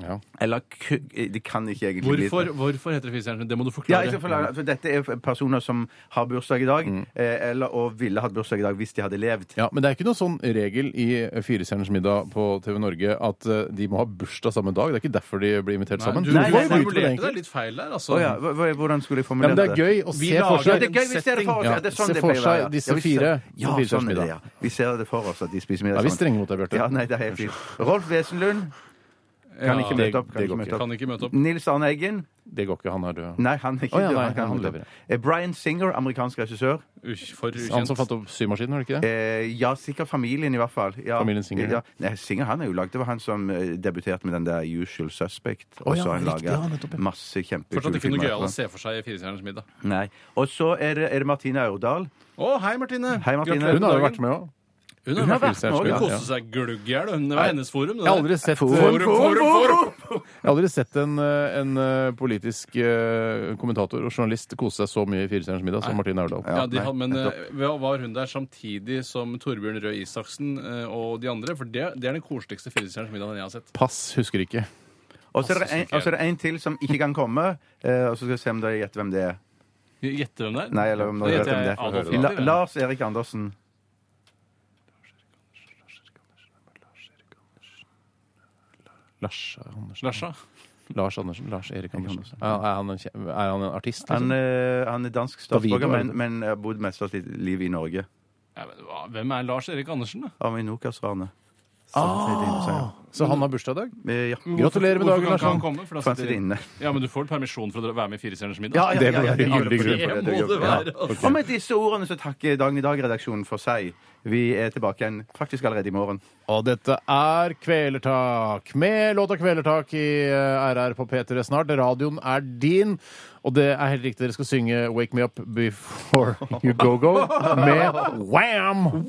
Speaker 4: Ja.
Speaker 1: Eller ku- Det kan ikke egentlig bli
Speaker 5: Hvorfor, hvorfor heter det Fisehjernen? Det må du
Speaker 1: Ja,
Speaker 5: forklare.
Speaker 1: jeg skal forklare, for altså, Dette er personer som har bursdag i dag, eh, eller og ville hatt bursdag i dag hvis de hadde levd.
Speaker 4: Mm. Ja, Men det er ikke noen sånn regel i Firestjerners middag på TV Norge at eh, de må ha bursdag samme dag. Det er ikke derfor de blir invitert sammen.
Speaker 5: Nei, du
Speaker 1: Nei, nei, nei,
Speaker 5: formulerte deg litt feil der, altså.
Speaker 1: Å ja, hva- hva- hvordan skulle jeg
Speaker 4: Ja, men
Speaker 1: formulert
Speaker 4: det er gøy å
Speaker 5: Vi
Speaker 4: se
Speaker 5: lager
Speaker 4: for seg
Speaker 1: det er gøy, vi ser det for oss.
Speaker 4: Ja,
Speaker 1: Ja, det er sånn
Speaker 4: se
Speaker 1: det
Speaker 4: for
Speaker 1: pleier å
Speaker 4: seg
Speaker 1: være, ja.
Speaker 4: disse
Speaker 1: Ja, vi ser-
Speaker 4: fire
Speaker 1: Ja,
Speaker 4: på Firestjerners
Speaker 1: sånn er det,
Speaker 4: middag.
Speaker 1: ja. Vi ser det for oss at de spiser middag
Speaker 4: Ja, vi er
Speaker 1: sammen.
Speaker 4: strenge mot deg, Bjarte.
Speaker 1: Ja, nei, det er helt fint. Rolf Wesenlund kan
Speaker 5: Ja,
Speaker 1: ikke
Speaker 4: det-
Speaker 1: møte opp. Kan
Speaker 4: det
Speaker 1: ikke
Speaker 4: går
Speaker 1: møte
Speaker 4: ikke.
Speaker 5: Kan
Speaker 1: opp.
Speaker 5: ikke møte opp.
Speaker 1: Nils Arne Eggen.
Speaker 4: Det går ikke, han eh, er død.
Speaker 1: Nei, han er ikke
Speaker 4: Å, ja,
Speaker 1: død.
Speaker 4: nei,
Speaker 1: han kan
Speaker 4: han
Speaker 1: holde
Speaker 4: lever,
Speaker 1: opp. Eh, Brian Singer, amerikansk regissør.
Speaker 5: Ukj- For
Speaker 4: Han som fant
Speaker 5: ukjent.
Speaker 4: opp symaskinen, var det ikke det?
Speaker 1: Eh, ja, sikkert familien, i hvert fall. Ja.
Speaker 4: Familien Singer, ja.
Speaker 1: Ja. Nei, Singer han er jo lagd. Det var han som eh, debuterte med den der Usual Suspect.
Speaker 4: Å, ja,
Speaker 1: og så har han
Speaker 4: riktig, ja, nettopp,
Speaker 1: laga
Speaker 4: ja.
Speaker 1: masse
Speaker 5: Fortsatt
Speaker 1: kjempekule
Speaker 5: ikke noe
Speaker 1: filmer.
Speaker 5: gøyalt å se for seg i Firestjerners middag.
Speaker 1: Nei. Og så er det, er det Martine Aurdal.
Speaker 5: Å, hei, Martine!
Speaker 1: Hei, Martine.
Speaker 5: Gratulerer
Speaker 4: Hun har jo
Speaker 5: dagen.
Speaker 4: vært med òg.
Speaker 5: Hun
Speaker 4: Hun
Speaker 5: har
Speaker 4: har
Speaker 5: vært
Speaker 4: vært med også,
Speaker 5: med.
Speaker 4: ja.
Speaker 5: Hun koste seg glugg i hjel. hun. Det var hennes forum. det
Speaker 4: Jeg har
Speaker 5: der.
Speaker 4: aldri sett,
Speaker 5: Forum, forum, forum!
Speaker 4: Jeg har aldri sett en, eh, en eh, politisk eh, kommentator og journalist kose seg så mye i Firestjerners middag som Martin Aurdal.
Speaker 5: Ja, de
Speaker 1: nei,
Speaker 5: hadde, men
Speaker 1: nettopp.
Speaker 5: eh, hva- var hun der samtidig som Torbjørn Røe Isaksen eh, og de andre? For det, det er den koseligste Firestjerners middagen jeg har sett.
Speaker 4: Pass, husker ikke.
Speaker 1: Og så er det
Speaker 5: Fantastisk
Speaker 1: en- og så er det en til som ikke kan komme. eh, Og så skal vi se om dere gjetter hvem det er.
Speaker 5: Gjetter hvem det er?
Speaker 1: Nei, eller om
Speaker 5: Da
Speaker 1: dere vet
Speaker 5: gjetter
Speaker 1: hvem det
Speaker 5: jeg Adolf
Speaker 1: er. La,
Speaker 5: Hitler. jeg.
Speaker 1: Lars Erik Andersen.
Speaker 4: Lars Andersen.
Speaker 5: Lars, ja.
Speaker 4: Lars Andersen. Lars Erik Andersen. Er er han en, kje- er han en artist?
Speaker 1: Han,
Speaker 4: Liksom?
Speaker 1: eh, han er dansk statsborger,
Speaker 4: Davido, er
Speaker 1: men,
Speaker 4: det det?
Speaker 1: men har bodd mest av sitt liv i Norge.
Speaker 5: Ja, men hva- Hvem er Lars Erik Andersen, da?
Speaker 1: Aminokas-ranet. Ah!
Speaker 4: Så han har bursdag i dag?
Speaker 1: Eh, Ja.
Speaker 4: Gratulerer med dagen,
Speaker 5: Hvorfor kan
Speaker 4: Lars.
Speaker 5: ikke han
Speaker 4: Andersen.
Speaker 5: komme? For da
Speaker 1: For han
Speaker 5: Mm. sitter-
Speaker 1: sitter inne.
Speaker 5: Ja, men du får permisjon for å dra- være med i Firestjerners middag?
Speaker 1: Ja, ja,
Speaker 4: Det
Speaker 1: ja,
Speaker 4: må
Speaker 1: ja,
Speaker 4: være
Speaker 1: ja,
Speaker 4: gyldig
Speaker 1: ja,
Speaker 4: grunn.
Speaker 1: ja, ja,
Speaker 5: Det må
Speaker 1: ja,
Speaker 5: det
Speaker 1: ja.
Speaker 5: være, altså.
Speaker 1: Og med disse ordene så takker Dagen i dag-redaksjonen for seg. Vi er tilbake igjen faktisk allerede i morgen.
Speaker 4: Og dette er Kvelertak med låta Kvelertak i eh, RR på P3 snart. Radioen er din. Og det er helt riktig, dere skal synge Wake Me Up Before You Go Go med Wham!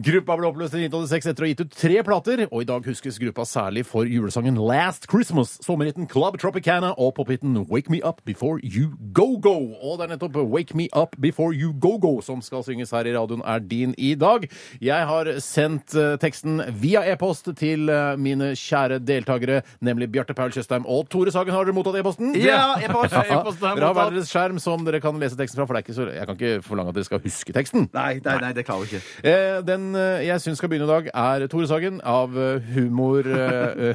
Speaker 4: Gruppa ble oppløst i 1986 etter å ha gitt ut tre plater, og i dag huskes gruppa særlig for julesangen Last Christmas, sommerhiten Club Tropicana og pophiten Wake Me Up Before You Go Go. Og det er nettopp Wake Me Up Before You Go Go som skal synges her i radioen er din i dag. Jeg har sendt eh, teksten via e-post til eh, mine kjære deltakere, nemlig Bjarte Paul Tjøstheim og Tore Sagen. Har dere mottatt e-posten?
Speaker 1: Ja, e-post!
Speaker 4: Ja,
Speaker 5: E-posten er
Speaker 4: Dere har hver
Speaker 5: mottatt.
Speaker 4: deres skjerm som dere kan lese teksten fra, for det er ikke så, jeg kan ikke forlange at dere skal huske teksten.
Speaker 1: Nei, nei, nei, det klarer vi ikke.
Speaker 4: Eh, den eh, jeg syns skal begynne i dag, er Tore Sagen av eh, humor, eh,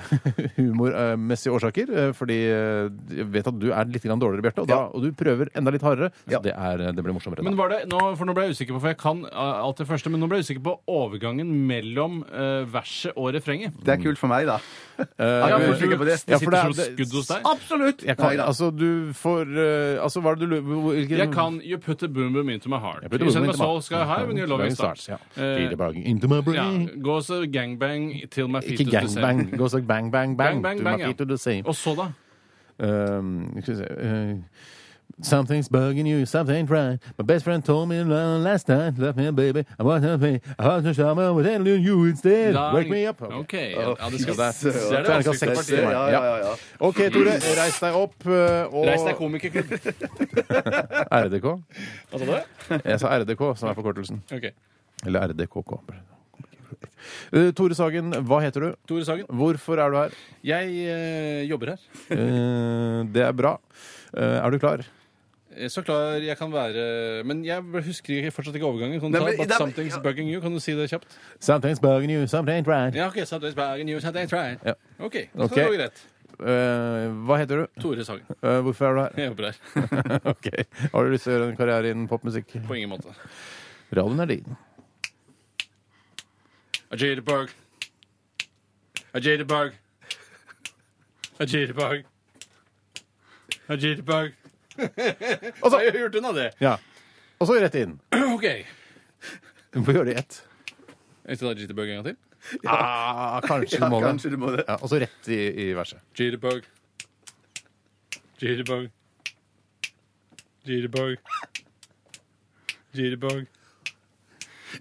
Speaker 4: humormessige årsaker. eh, Fordi eh, jeg vet at du er litt grann dårligere, Bjarte, og, da- og du prøver enda litt hardere. Så det, er, eh, det blir morsommere.
Speaker 5: Men
Speaker 4: Da.
Speaker 5: var det, nå, for nå ble jeg usikker på, for jeg kan eh, alt det første, men nå ble jeg usikker på overgangen mellom eh, verset og refrenget.
Speaker 1: Det er kult for meg, da.
Speaker 4: Eh,
Speaker 1: Jeg er
Speaker 5: men
Speaker 1: helt sikker på det.
Speaker 4: ja,
Speaker 5: sitter
Speaker 4: for det er-
Speaker 5: som skudd hos deg.
Speaker 1: Absolutt!
Speaker 4: jeg kan,
Speaker 1: Nei, da.
Speaker 4: altså, du får eh, Altså, hva er det du lurer hvor- hvilken-
Speaker 5: Jeg kan You put a boom boom into my heart.
Speaker 4: Jeg putter
Speaker 5: You
Speaker 4: ordet
Speaker 5: send my
Speaker 4: mitt i
Speaker 5: soul
Speaker 4: mat.
Speaker 5: sky high when your loving starts.
Speaker 4: Ja.
Speaker 5: Eh,
Speaker 4: Feel the bugging into my
Speaker 5: ja,
Speaker 4: brain.
Speaker 5: Goes a gangbang till my feet
Speaker 4: Ikke
Speaker 5: is the same.
Speaker 4: gangbang. Gå så bang, bang, bang.
Speaker 5: Bang, bang,
Speaker 4: to
Speaker 5: bang,
Speaker 4: my
Speaker 5: ja.
Speaker 4: feet to the same.
Speaker 5: Og så, da?
Speaker 4: Um, skal vi se, uh, Something's bugging you, something ain't right. My best friend told me la- last night, left me, baby. I wasn't me. I wasn't sure I would handle you instead.
Speaker 5: Da-
Speaker 4: Wake me up.
Speaker 5: Ok, ja, ja, det, skal,
Speaker 4: Ja,
Speaker 5: det er
Speaker 4: Terningkast
Speaker 5: det vanskeligste
Speaker 4: seks til
Speaker 5: partiet. Mm.
Speaker 4: meg.
Speaker 1: Ja, ja, ja.
Speaker 4: OK, Tore. Reis deg opp. uh, Og
Speaker 5: Reis deg komikerklubb.
Speaker 4: RDK.
Speaker 5: Hva sa du?
Speaker 4: Jeg sa RDK, som er forkortelsen.
Speaker 5: Ok.
Speaker 4: Eller RDKK. Uh, Tore Sagen, hva heter du?
Speaker 5: Tore Sagen,
Speaker 4: Hvorfor er du her?
Speaker 5: jeg eh, jobber her.
Speaker 4: Uh, det er bra. Uh, er du klar?
Speaker 5: Eh, Så klar jeg kan være Men jeg husker ikke- fortsatt ikke overgangen. Kan du
Speaker 1: Nei, men-
Speaker 5: ta But
Speaker 1: nei, men-
Speaker 5: Something's Bugging You? Kan du si det kjapt?
Speaker 4: Something's bugging you, something's right.
Speaker 5: Ja, OK. Something's Bugging You, something's right.
Speaker 4: Ja.
Speaker 5: OK. Så
Speaker 4: Ok.
Speaker 5: det går greit.
Speaker 4: Eh, hva heter du?
Speaker 5: Tore Sagen.
Speaker 4: Eh, hvorfor er du her?
Speaker 5: Jeg jobber her.
Speaker 4: ok. Har du lyst til å gjøre en karriere innen popmusikk?
Speaker 5: På ingen måte.
Speaker 4: Radioen er din.
Speaker 5: A jitterbug. A jitterbug. A jitterbug. A jitterbug.
Speaker 4: Og så,
Speaker 5: Jeg har gjort unna det.
Speaker 4: ja. Og så rett inn.
Speaker 5: OK.
Speaker 4: Du må gjøre det i ett.
Speaker 5: Ikke ta jitterbug en gang til.
Speaker 4: Ah, kanskje du må det.
Speaker 1: Kanskje du må det.
Speaker 4: Ja, og så rett i, i verset.
Speaker 5: Jitterbug. Jitterbug. Jitterbug. Jitterbug.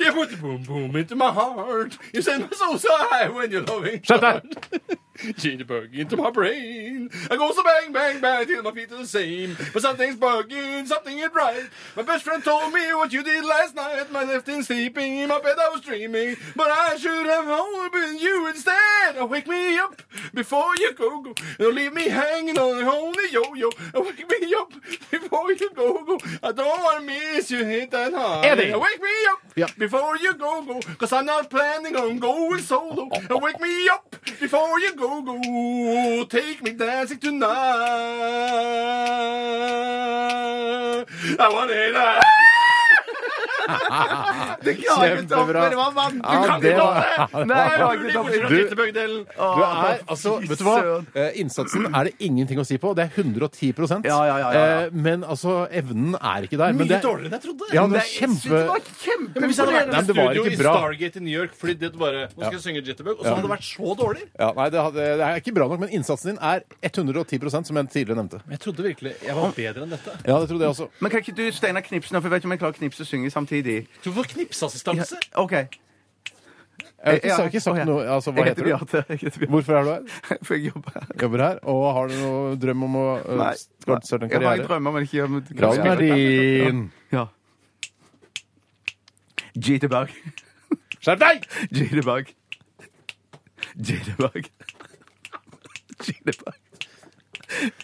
Speaker 5: You put the boom boom into my heart. You send my soul so high when you're loving.
Speaker 4: Shut up.
Speaker 5: Jitterbug into my brain. I go so bang bang bang till my feet are the same. But something's bugging, something ain't right. My best friend told me what you did last night. My left in sleeping, in my bed I was dreaming. But I should have only been you instead. Oh, wake me up before you go go. Don't leave me hanging on the only yo yo. Oh, Wake me up before you go go. I don't want to miss you hit that hard.
Speaker 4: Eddie.
Speaker 5: Oh, Wake me up
Speaker 4: Ja.
Speaker 5: before you go go. Cause I'm not planning on going solo. Oh, Wake me up before you go go. Take me dancing tonight. I want it.
Speaker 4: Kjempebra. Ja, det var- Du, du er, altså, vet du hva?
Speaker 1: Ah, søren.
Speaker 4: Eh, Innsatsen er det ingenting å si på. Det er 110
Speaker 1: Ja, ja, ja, ja, ja.
Speaker 4: Eh, Men altså, evnen er ikke der. Men det, er-
Speaker 5: enn jeg trodde.
Speaker 4: ja, det er
Speaker 1: Jeg synes det
Speaker 4: kjempe...
Speaker 1: var kjempe...
Speaker 5: Hvis jeg hadde vært
Speaker 4: Nei, men
Speaker 5: i
Speaker 4: det var
Speaker 5: studio i
Speaker 4: ikke bra.
Speaker 5: Stargate i New York, flydd dit bare Nå skal jeg synge Jitterbug, og så hadde det vært så dårlig.
Speaker 4: Ja, nei, det, hadde, det er ikke bra nok, men innsatsen din er 110 som jeg tidligere nevnte.
Speaker 5: Jeg trodde virkelig jeg var bedre enn dette.
Speaker 4: Ja, det trodde jeg også.
Speaker 1: Men kan ikke du, Steinar, knipse nå? For jeg vet ikke om jeg klarer å knipse og synge samtidig.
Speaker 5: Du får knipseassistanse.
Speaker 1: OK.
Speaker 4: Eh, Jeg har
Speaker 1: Å,
Speaker 4: ikke, jeg har ikke
Speaker 1: ja.
Speaker 4: sagt noe Altså, hva
Speaker 1: Jeg
Speaker 4: heter du?
Speaker 1: Beate. Jeg heter Beate.
Speaker 4: Hvorfor er du her?
Speaker 1: For jeg jobber her.
Speaker 4: Jobber her? Og har du noen drøm om å øh,
Speaker 1: Nei.
Speaker 4: starte starte en
Speaker 1: Jeg har en
Speaker 4: karriere?
Speaker 1: drømme, men ikke om
Speaker 4: Radioen er din!
Speaker 1: Ja. Jitterbug.
Speaker 4: Skjerp deg!
Speaker 1: Jitterbug. Jitterbug. Jitterbug.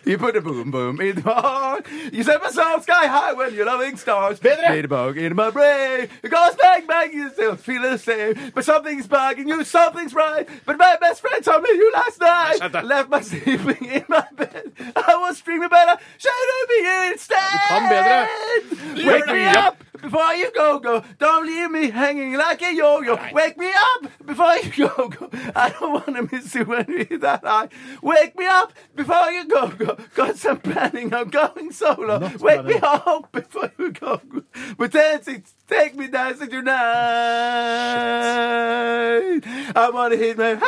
Speaker 1: You put a boom boom in my heart. You set my soul sky high when you're loving stars.
Speaker 4: Bedre!
Speaker 1: Jitterbug in my brain. It goes bang bang, you still feel the same. But something's bugging you, something's right. But my best friend told me you last
Speaker 4: Shut
Speaker 1: night.
Speaker 4: up.
Speaker 1: Left my sleeping in my bed. I was dreaming better. Should have been instead.
Speaker 4: kan bedre.
Speaker 1: Wake me up before you go go. Don't leave me hanging like a yo-yo. er Wake me up before you go go. I don't wanna miss you when we that high. Wake me up before you go go. Cause I'm planning on going solo. Wake me
Speaker 4: eh?
Speaker 1: up before you go go. But dancing, take me dancing tonight. I wanna hit my high.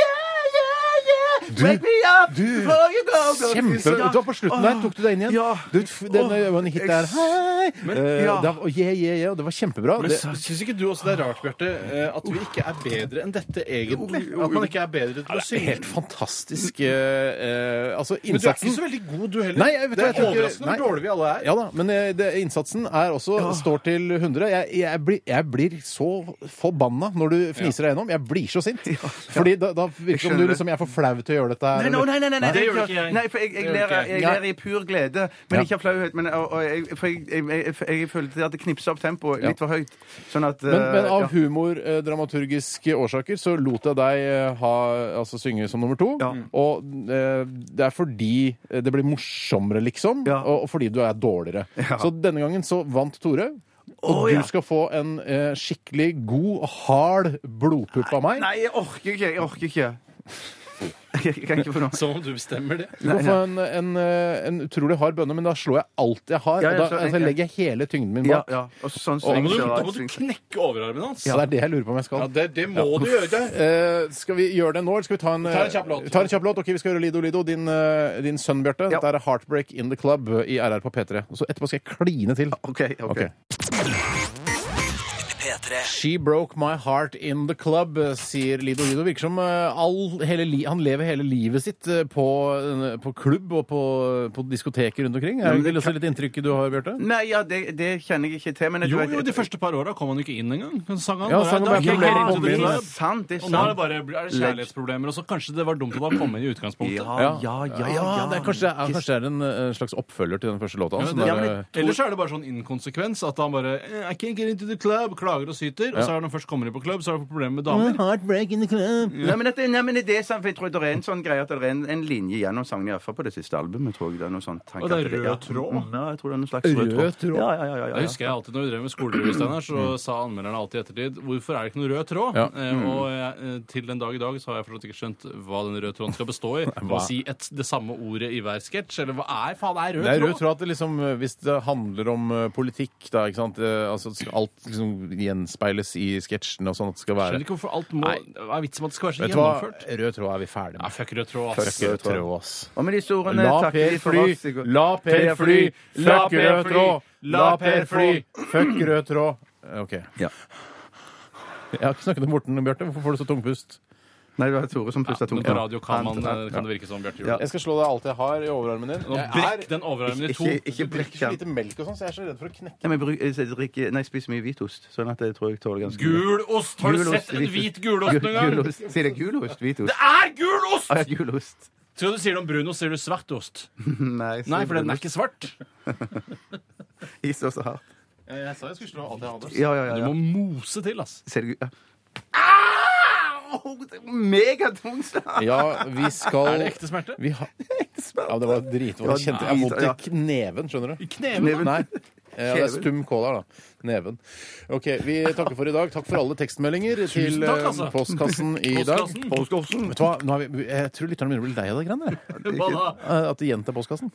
Speaker 1: Yeah, yeah, yeah.
Speaker 4: Du-
Speaker 1: Wake me up
Speaker 4: du-
Speaker 1: before you go go.
Speaker 4: Kjempe...
Speaker 1: Ja.
Speaker 4: Du var på slutten der, tok du deg inn igjen?
Speaker 1: Ja.
Speaker 4: Du, f- den
Speaker 1: Åh,
Speaker 4: øynene hit der Hei! Eh,
Speaker 1: ja.
Speaker 4: da- og yeah, yeah, yeah, og det var kjempebra.
Speaker 5: Men
Speaker 4: Det,
Speaker 5: sy- Syns ikke du også det er rart, Bjarte, eh, at vi ikke er bedre enn dette egentlig? At man ikke er bedre til å
Speaker 4: det er
Speaker 5: synge?
Speaker 4: helt fantastisk eh, eh, Altså,
Speaker 5: Men du er ikke
Speaker 4: innsatsen
Speaker 5: så veldig god, du heller.
Speaker 4: Nei, jeg vet
Speaker 5: det
Speaker 4: jeg
Speaker 5: er
Speaker 4: tror ikke-
Speaker 5: overraskende
Speaker 4: nei.
Speaker 5: hvor dårlige vi alle er.
Speaker 4: Ja da, men eh, det, innsatsen er også står til 100. Jeg, jeg, blir, jeg blir så forbanna når du fniser deg gjennom. Jeg blir så sint. Fordi da, da virker det som
Speaker 1: skjønner
Speaker 4: du
Speaker 1: det.
Speaker 4: liksom, jeg er for flau til å gjøre dette her.
Speaker 1: Nei, no, nei, nei, nei, nei,
Speaker 5: Det gjør
Speaker 1: er
Speaker 5: ikke jeg.
Speaker 1: Nei, for jeg, jeg,
Speaker 5: Det gjør
Speaker 1: ler,
Speaker 5: ikke
Speaker 1: jeg
Speaker 5: jeg.
Speaker 1: ler i pur glede, men
Speaker 4: Ja.
Speaker 1: ikke av flauhet. Men, og, og jeg, for jeg, jeg, jeg, jeg følte at det knipsa opp tempoet litt for høyt. Sånn at
Speaker 4: Men, men
Speaker 1: eh,
Speaker 4: av
Speaker 1: ja.
Speaker 4: humordramaturgiske årsaker så lot jeg deg eh, ha, altså, synge som nummer to.
Speaker 1: Ja.
Speaker 4: Og eh, det er fordi eh, det blir morsommere, liksom,
Speaker 1: Ja.
Speaker 4: og, og fordi du er dårligere. Så denne gangen så vant Tore. Og
Speaker 1: Å,
Speaker 4: du
Speaker 1: ja.
Speaker 4: skal få en eh, skikkelig god, hard blodpupp av meg.
Speaker 1: Nei, jeg orker ikke. Jeg orker ikke. Jeg kan ikke få noe.
Speaker 5: Som om du bestemmer det.
Speaker 4: Du kan få en, en, eh, en utrolig hard bønne, men da slår jeg alt jeg har.
Speaker 1: Ja,
Speaker 4: og
Speaker 1: ja,
Speaker 4: da
Speaker 1: så-
Speaker 4: altså, legger jeg hele tyngden min
Speaker 1: Ja,
Speaker 4: bak.
Speaker 1: ja. Og sånn
Speaker 5: Da må
Speaker 1: swings
Speaker 5: du,
Speaker 1: og
Speaker 5: da
Speaker 1: alt
Speaker 5: må du
Speaker 1: swings.
Speaker 5: knekke overarmen hans.
Speaker 4: Så det er det jeg lurer på om jeg skal.
Speaker 5: Ja, det, det må du gjøre. Det.
Speaker 4: Eh, skal vi gjøre det nå, eller skal vi ta en,
Speaker 5: tar en kjapp låt.
Speaker 4: vi tar en kjapp låt? Ok, vi skal gjøre Lido Lido, din, eh, din sønn Bjarte.
Speaker 1: Ja.
Speaker 4: Dette er Heartbreak In The Club i RR på P3. Og så etterpå skal jeg kline til.
Speaker 1: OK. ok.
Speaker 4: Ok.
Speaker 2: P3. P3
Speaker 4: She broke my heart in the club, eh, sier Lido Lido. Virker som eh, all, hele li han lever hele livet sitt eh, på, eh, på klubb og på, på diskoteker rundt omkring. Er
Speaker 1: men
Speaker 4: det
Speaker 1: det
Speaker 4: også litt inntrykket du har, Bjarte?
Speaker 1: Nei, ja, det, det kjenner jeg ikke til. Men jeg
Speaker 5: Jo,
Speaker 1: tror at-
Speaker 5: jo, de første par åra kom han jo ikke inn engang. Han sang han
Speaker 4: Ja,
Speaker 5: bare,
Speaker 4: sang han
Speaker 5: "Da
Speaker 4: bare liksom.
Speaker 5: gikk
Speaker 4: problemer
Speaker 5: jeg rett
Speaker 4: kom
Speaker 5: til
Speaker 4: inn,
Speaker 5: det."
Speaker 4: da.
Speaker 1: Sant, det er
Speaker 5: Og nå er det
Speaker 1: sant.
Speaker 5: bare er det kjærlighetsproblemer. Og så kanskje det var dumt at han kom inn i utgangspunktet.
Speaker 1: Ja, ja, ja.
Speaker 4: Ja, det er kanskje, ja, kanskje det er en eh, slags oppfølger til den første låta hans.
Speaker 5: Ja,
Speaker 4: som
Speaker 5: det-
Speaker 4: er,
Speaker 1: men-
Speaker 4: eh,
Speaker 5: Ellers er det bare sånn inkonsekvens at han bare eh, I can't get into the club, klager og syter. Og så er når han først kommer inn på klubb, så har han problemer med damer.
Speaker 4: Heartbreak in the club.
Speaker 1: Nei, men, dette, nei, men det er sant, for jeg tror det er en sånn greie at det er en, en linje gjennom sangen, i hvert fall på det siste albumet. tror jeg det er noe sånn tanke
Speaker 5: Og det er
Speaker 1: at
Speaker 5: rød
Speaker 1: ja,
Speaker 5: tråd?
Speaker 1: mm, Ja, jeg tror det er noen slags rød tråd.
Speaker 4: Rød tråd?
Speaker 1: Ja, ja, ja, ja,
Speaker 5: Jeg
Speaker 1: ja.
Speaker 5: husker jeg alltid når vi drev med skolerevy, Steinar, så sa anmelderne alltid i ettertid hvorfor er det ikke noen rød tråd?
Speaker 4: Mm. Ja. Mm.
Speaker 5: Eh, og jeg, eh, til den dag i dag så har jeg fortsatt ikke skjønt hva den røde tråden skal bestå i. Å si et, det samme ordet i hver sketsj, eller hva er faen er rød
Speaker 4: Det er
Speaker 5: tråd?
Speaker 4: rød tråd at det liksom, eh, hvis det handler om eh, politikk, da, ikke sant? eh, Altså, skal alt liksom gjenspeiles i sketsjene og sånn at det skal være
Speaker 5: Skjønner ikke hvorfor alt må
Speaker 4: Nei.
Speaker 5: Hva er vitsen med at det skal være så
Speaker 4: Vet du hva?
Speaker 5: gjennomført?
Speaker 4: Rød tråd er vi ferdig
Speaker 5: Ja,
Speaker 4: med.
Speaker 5: fuck rød tråd, ass.
Speaker 4: Fuck rød tråd, ass.
Speaker 1: Og med disse ordene
Speaker 4: La
Speaker 1: takker
Speaker 4: Per
Speaker 1: vi for
Speaker 4: fly,
Speaker 1: oss i går.
Speaker 4: la Per fly, fuck rød tråd, la Per fly, fuck rød tråd. Eh, OK.
Speaker 1: Ja.
Speaker 4: Jeg har ikke snakket med Morten, Bjarte. Hvorfor får du så tungpust?
Speaker 1: Nei, det var Tore som
Speaker 5: Ja,
Speaker 1: pustet
Speaker 5: men
Speaker 1: tungt.
Speaker 5: på radio kan, man,
Speaker 1: Ja.
Speaker 5: eh, kan det virke som Bjarte gjorde.
Speaker 1: Ja.
Speaker 4: Jeg skal slå deg alt jeg har i overarmen din.
Speaker 5: Nå brekk den overarmen i to.
Speaker 1: Ikke, ikke brekk den.
Speaker 4: melk og sånn, så jeg er så redd for å knekke.
Speaker 1: Nei, men bruk, jeg drikker, nei, jeg spiser mye hvitost, sånn at jeg tror jeg tåler ganske mye.
Speaker 5: Gul ost! Har du
Speaker 1: Gul ost,
Speaker 5: sett en
Speaker 1: hvitost.
Speaker 5: hvit gulost
Speaker 1: Gul-
Speaker 5: noen gang?
Speaker 1: Gulost. Sier det gulost? Hvitost?
Speaker 5: Det er gul ost!
Speaker 1: Ah, ja, gulost.
Speaker 5: Tror du du sier det om brunost, sier du svart ost.
Speaker 1: Nei,
Speaker 5: Nei, for den er ikke svart.
Speaker 1: Is også hardt.
Speaker 4: Jeg sa jeg skulle slå alt jeg hadde.
Speaker 1: Ja, ja, ja.
Speaker 5: Du
Speaker 1: ja.
Speaker 5: må mose til, ass.
Speaker 1: Ser du ja. Au! Det er Megatung slag!
Speaker 4: Ja, vi skal
Speaker 5: Er det ekte smerte?
Speaker 4: Vi har... Ja, det var dritvondt. Jeg kjente jeg har vondt i kneven, skjønner du. I
Speaker 1: Kneven?
Speaker 4: Nei. Ja, det er stum K der, da. Neven. OK, vi takker for i dag. Takk for alle tekstmeldinger til
Speaker 5: takk,
Speaker 4: eh,
Speaker 5: altså.
Speaker 4: postkassen i dag.
Speaker 5: Postkassen.
Speaker 4: Postkassen. Vet du hva, nå har vi, jeg tror lytterne begynner å bli lei av det greiene der.
Speaker 5: Hva da?
Speaker 4: Eh, At de gjentar postkassen.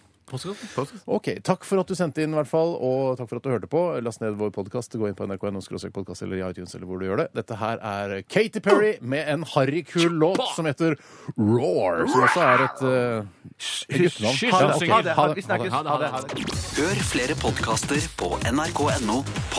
Speaker 4: Ok, Takk for at du sendte inn, i hvert fall, og takk for at du hørte på. Last ned vår podkast. Gå inn på nrk.no podkast eller i iTunes eller hvor du gjør det. Dette her er Katy Perry med en harrykul låt som heter Roar, som også er et eh, et guttenavn.
Speaker 5: hysj,
Speaker 4: Ja,
Speaker 5: han
Speaker 4: ok.
Speaker 5: synger.
Speaker 4: Ha det, ha det,
Speaker 1: Vi
Speaker 4: ha det.
Speaker 1: snakkes. Ha det. Ha det.
Speaker 2: Hør flere podcaster på nrk.no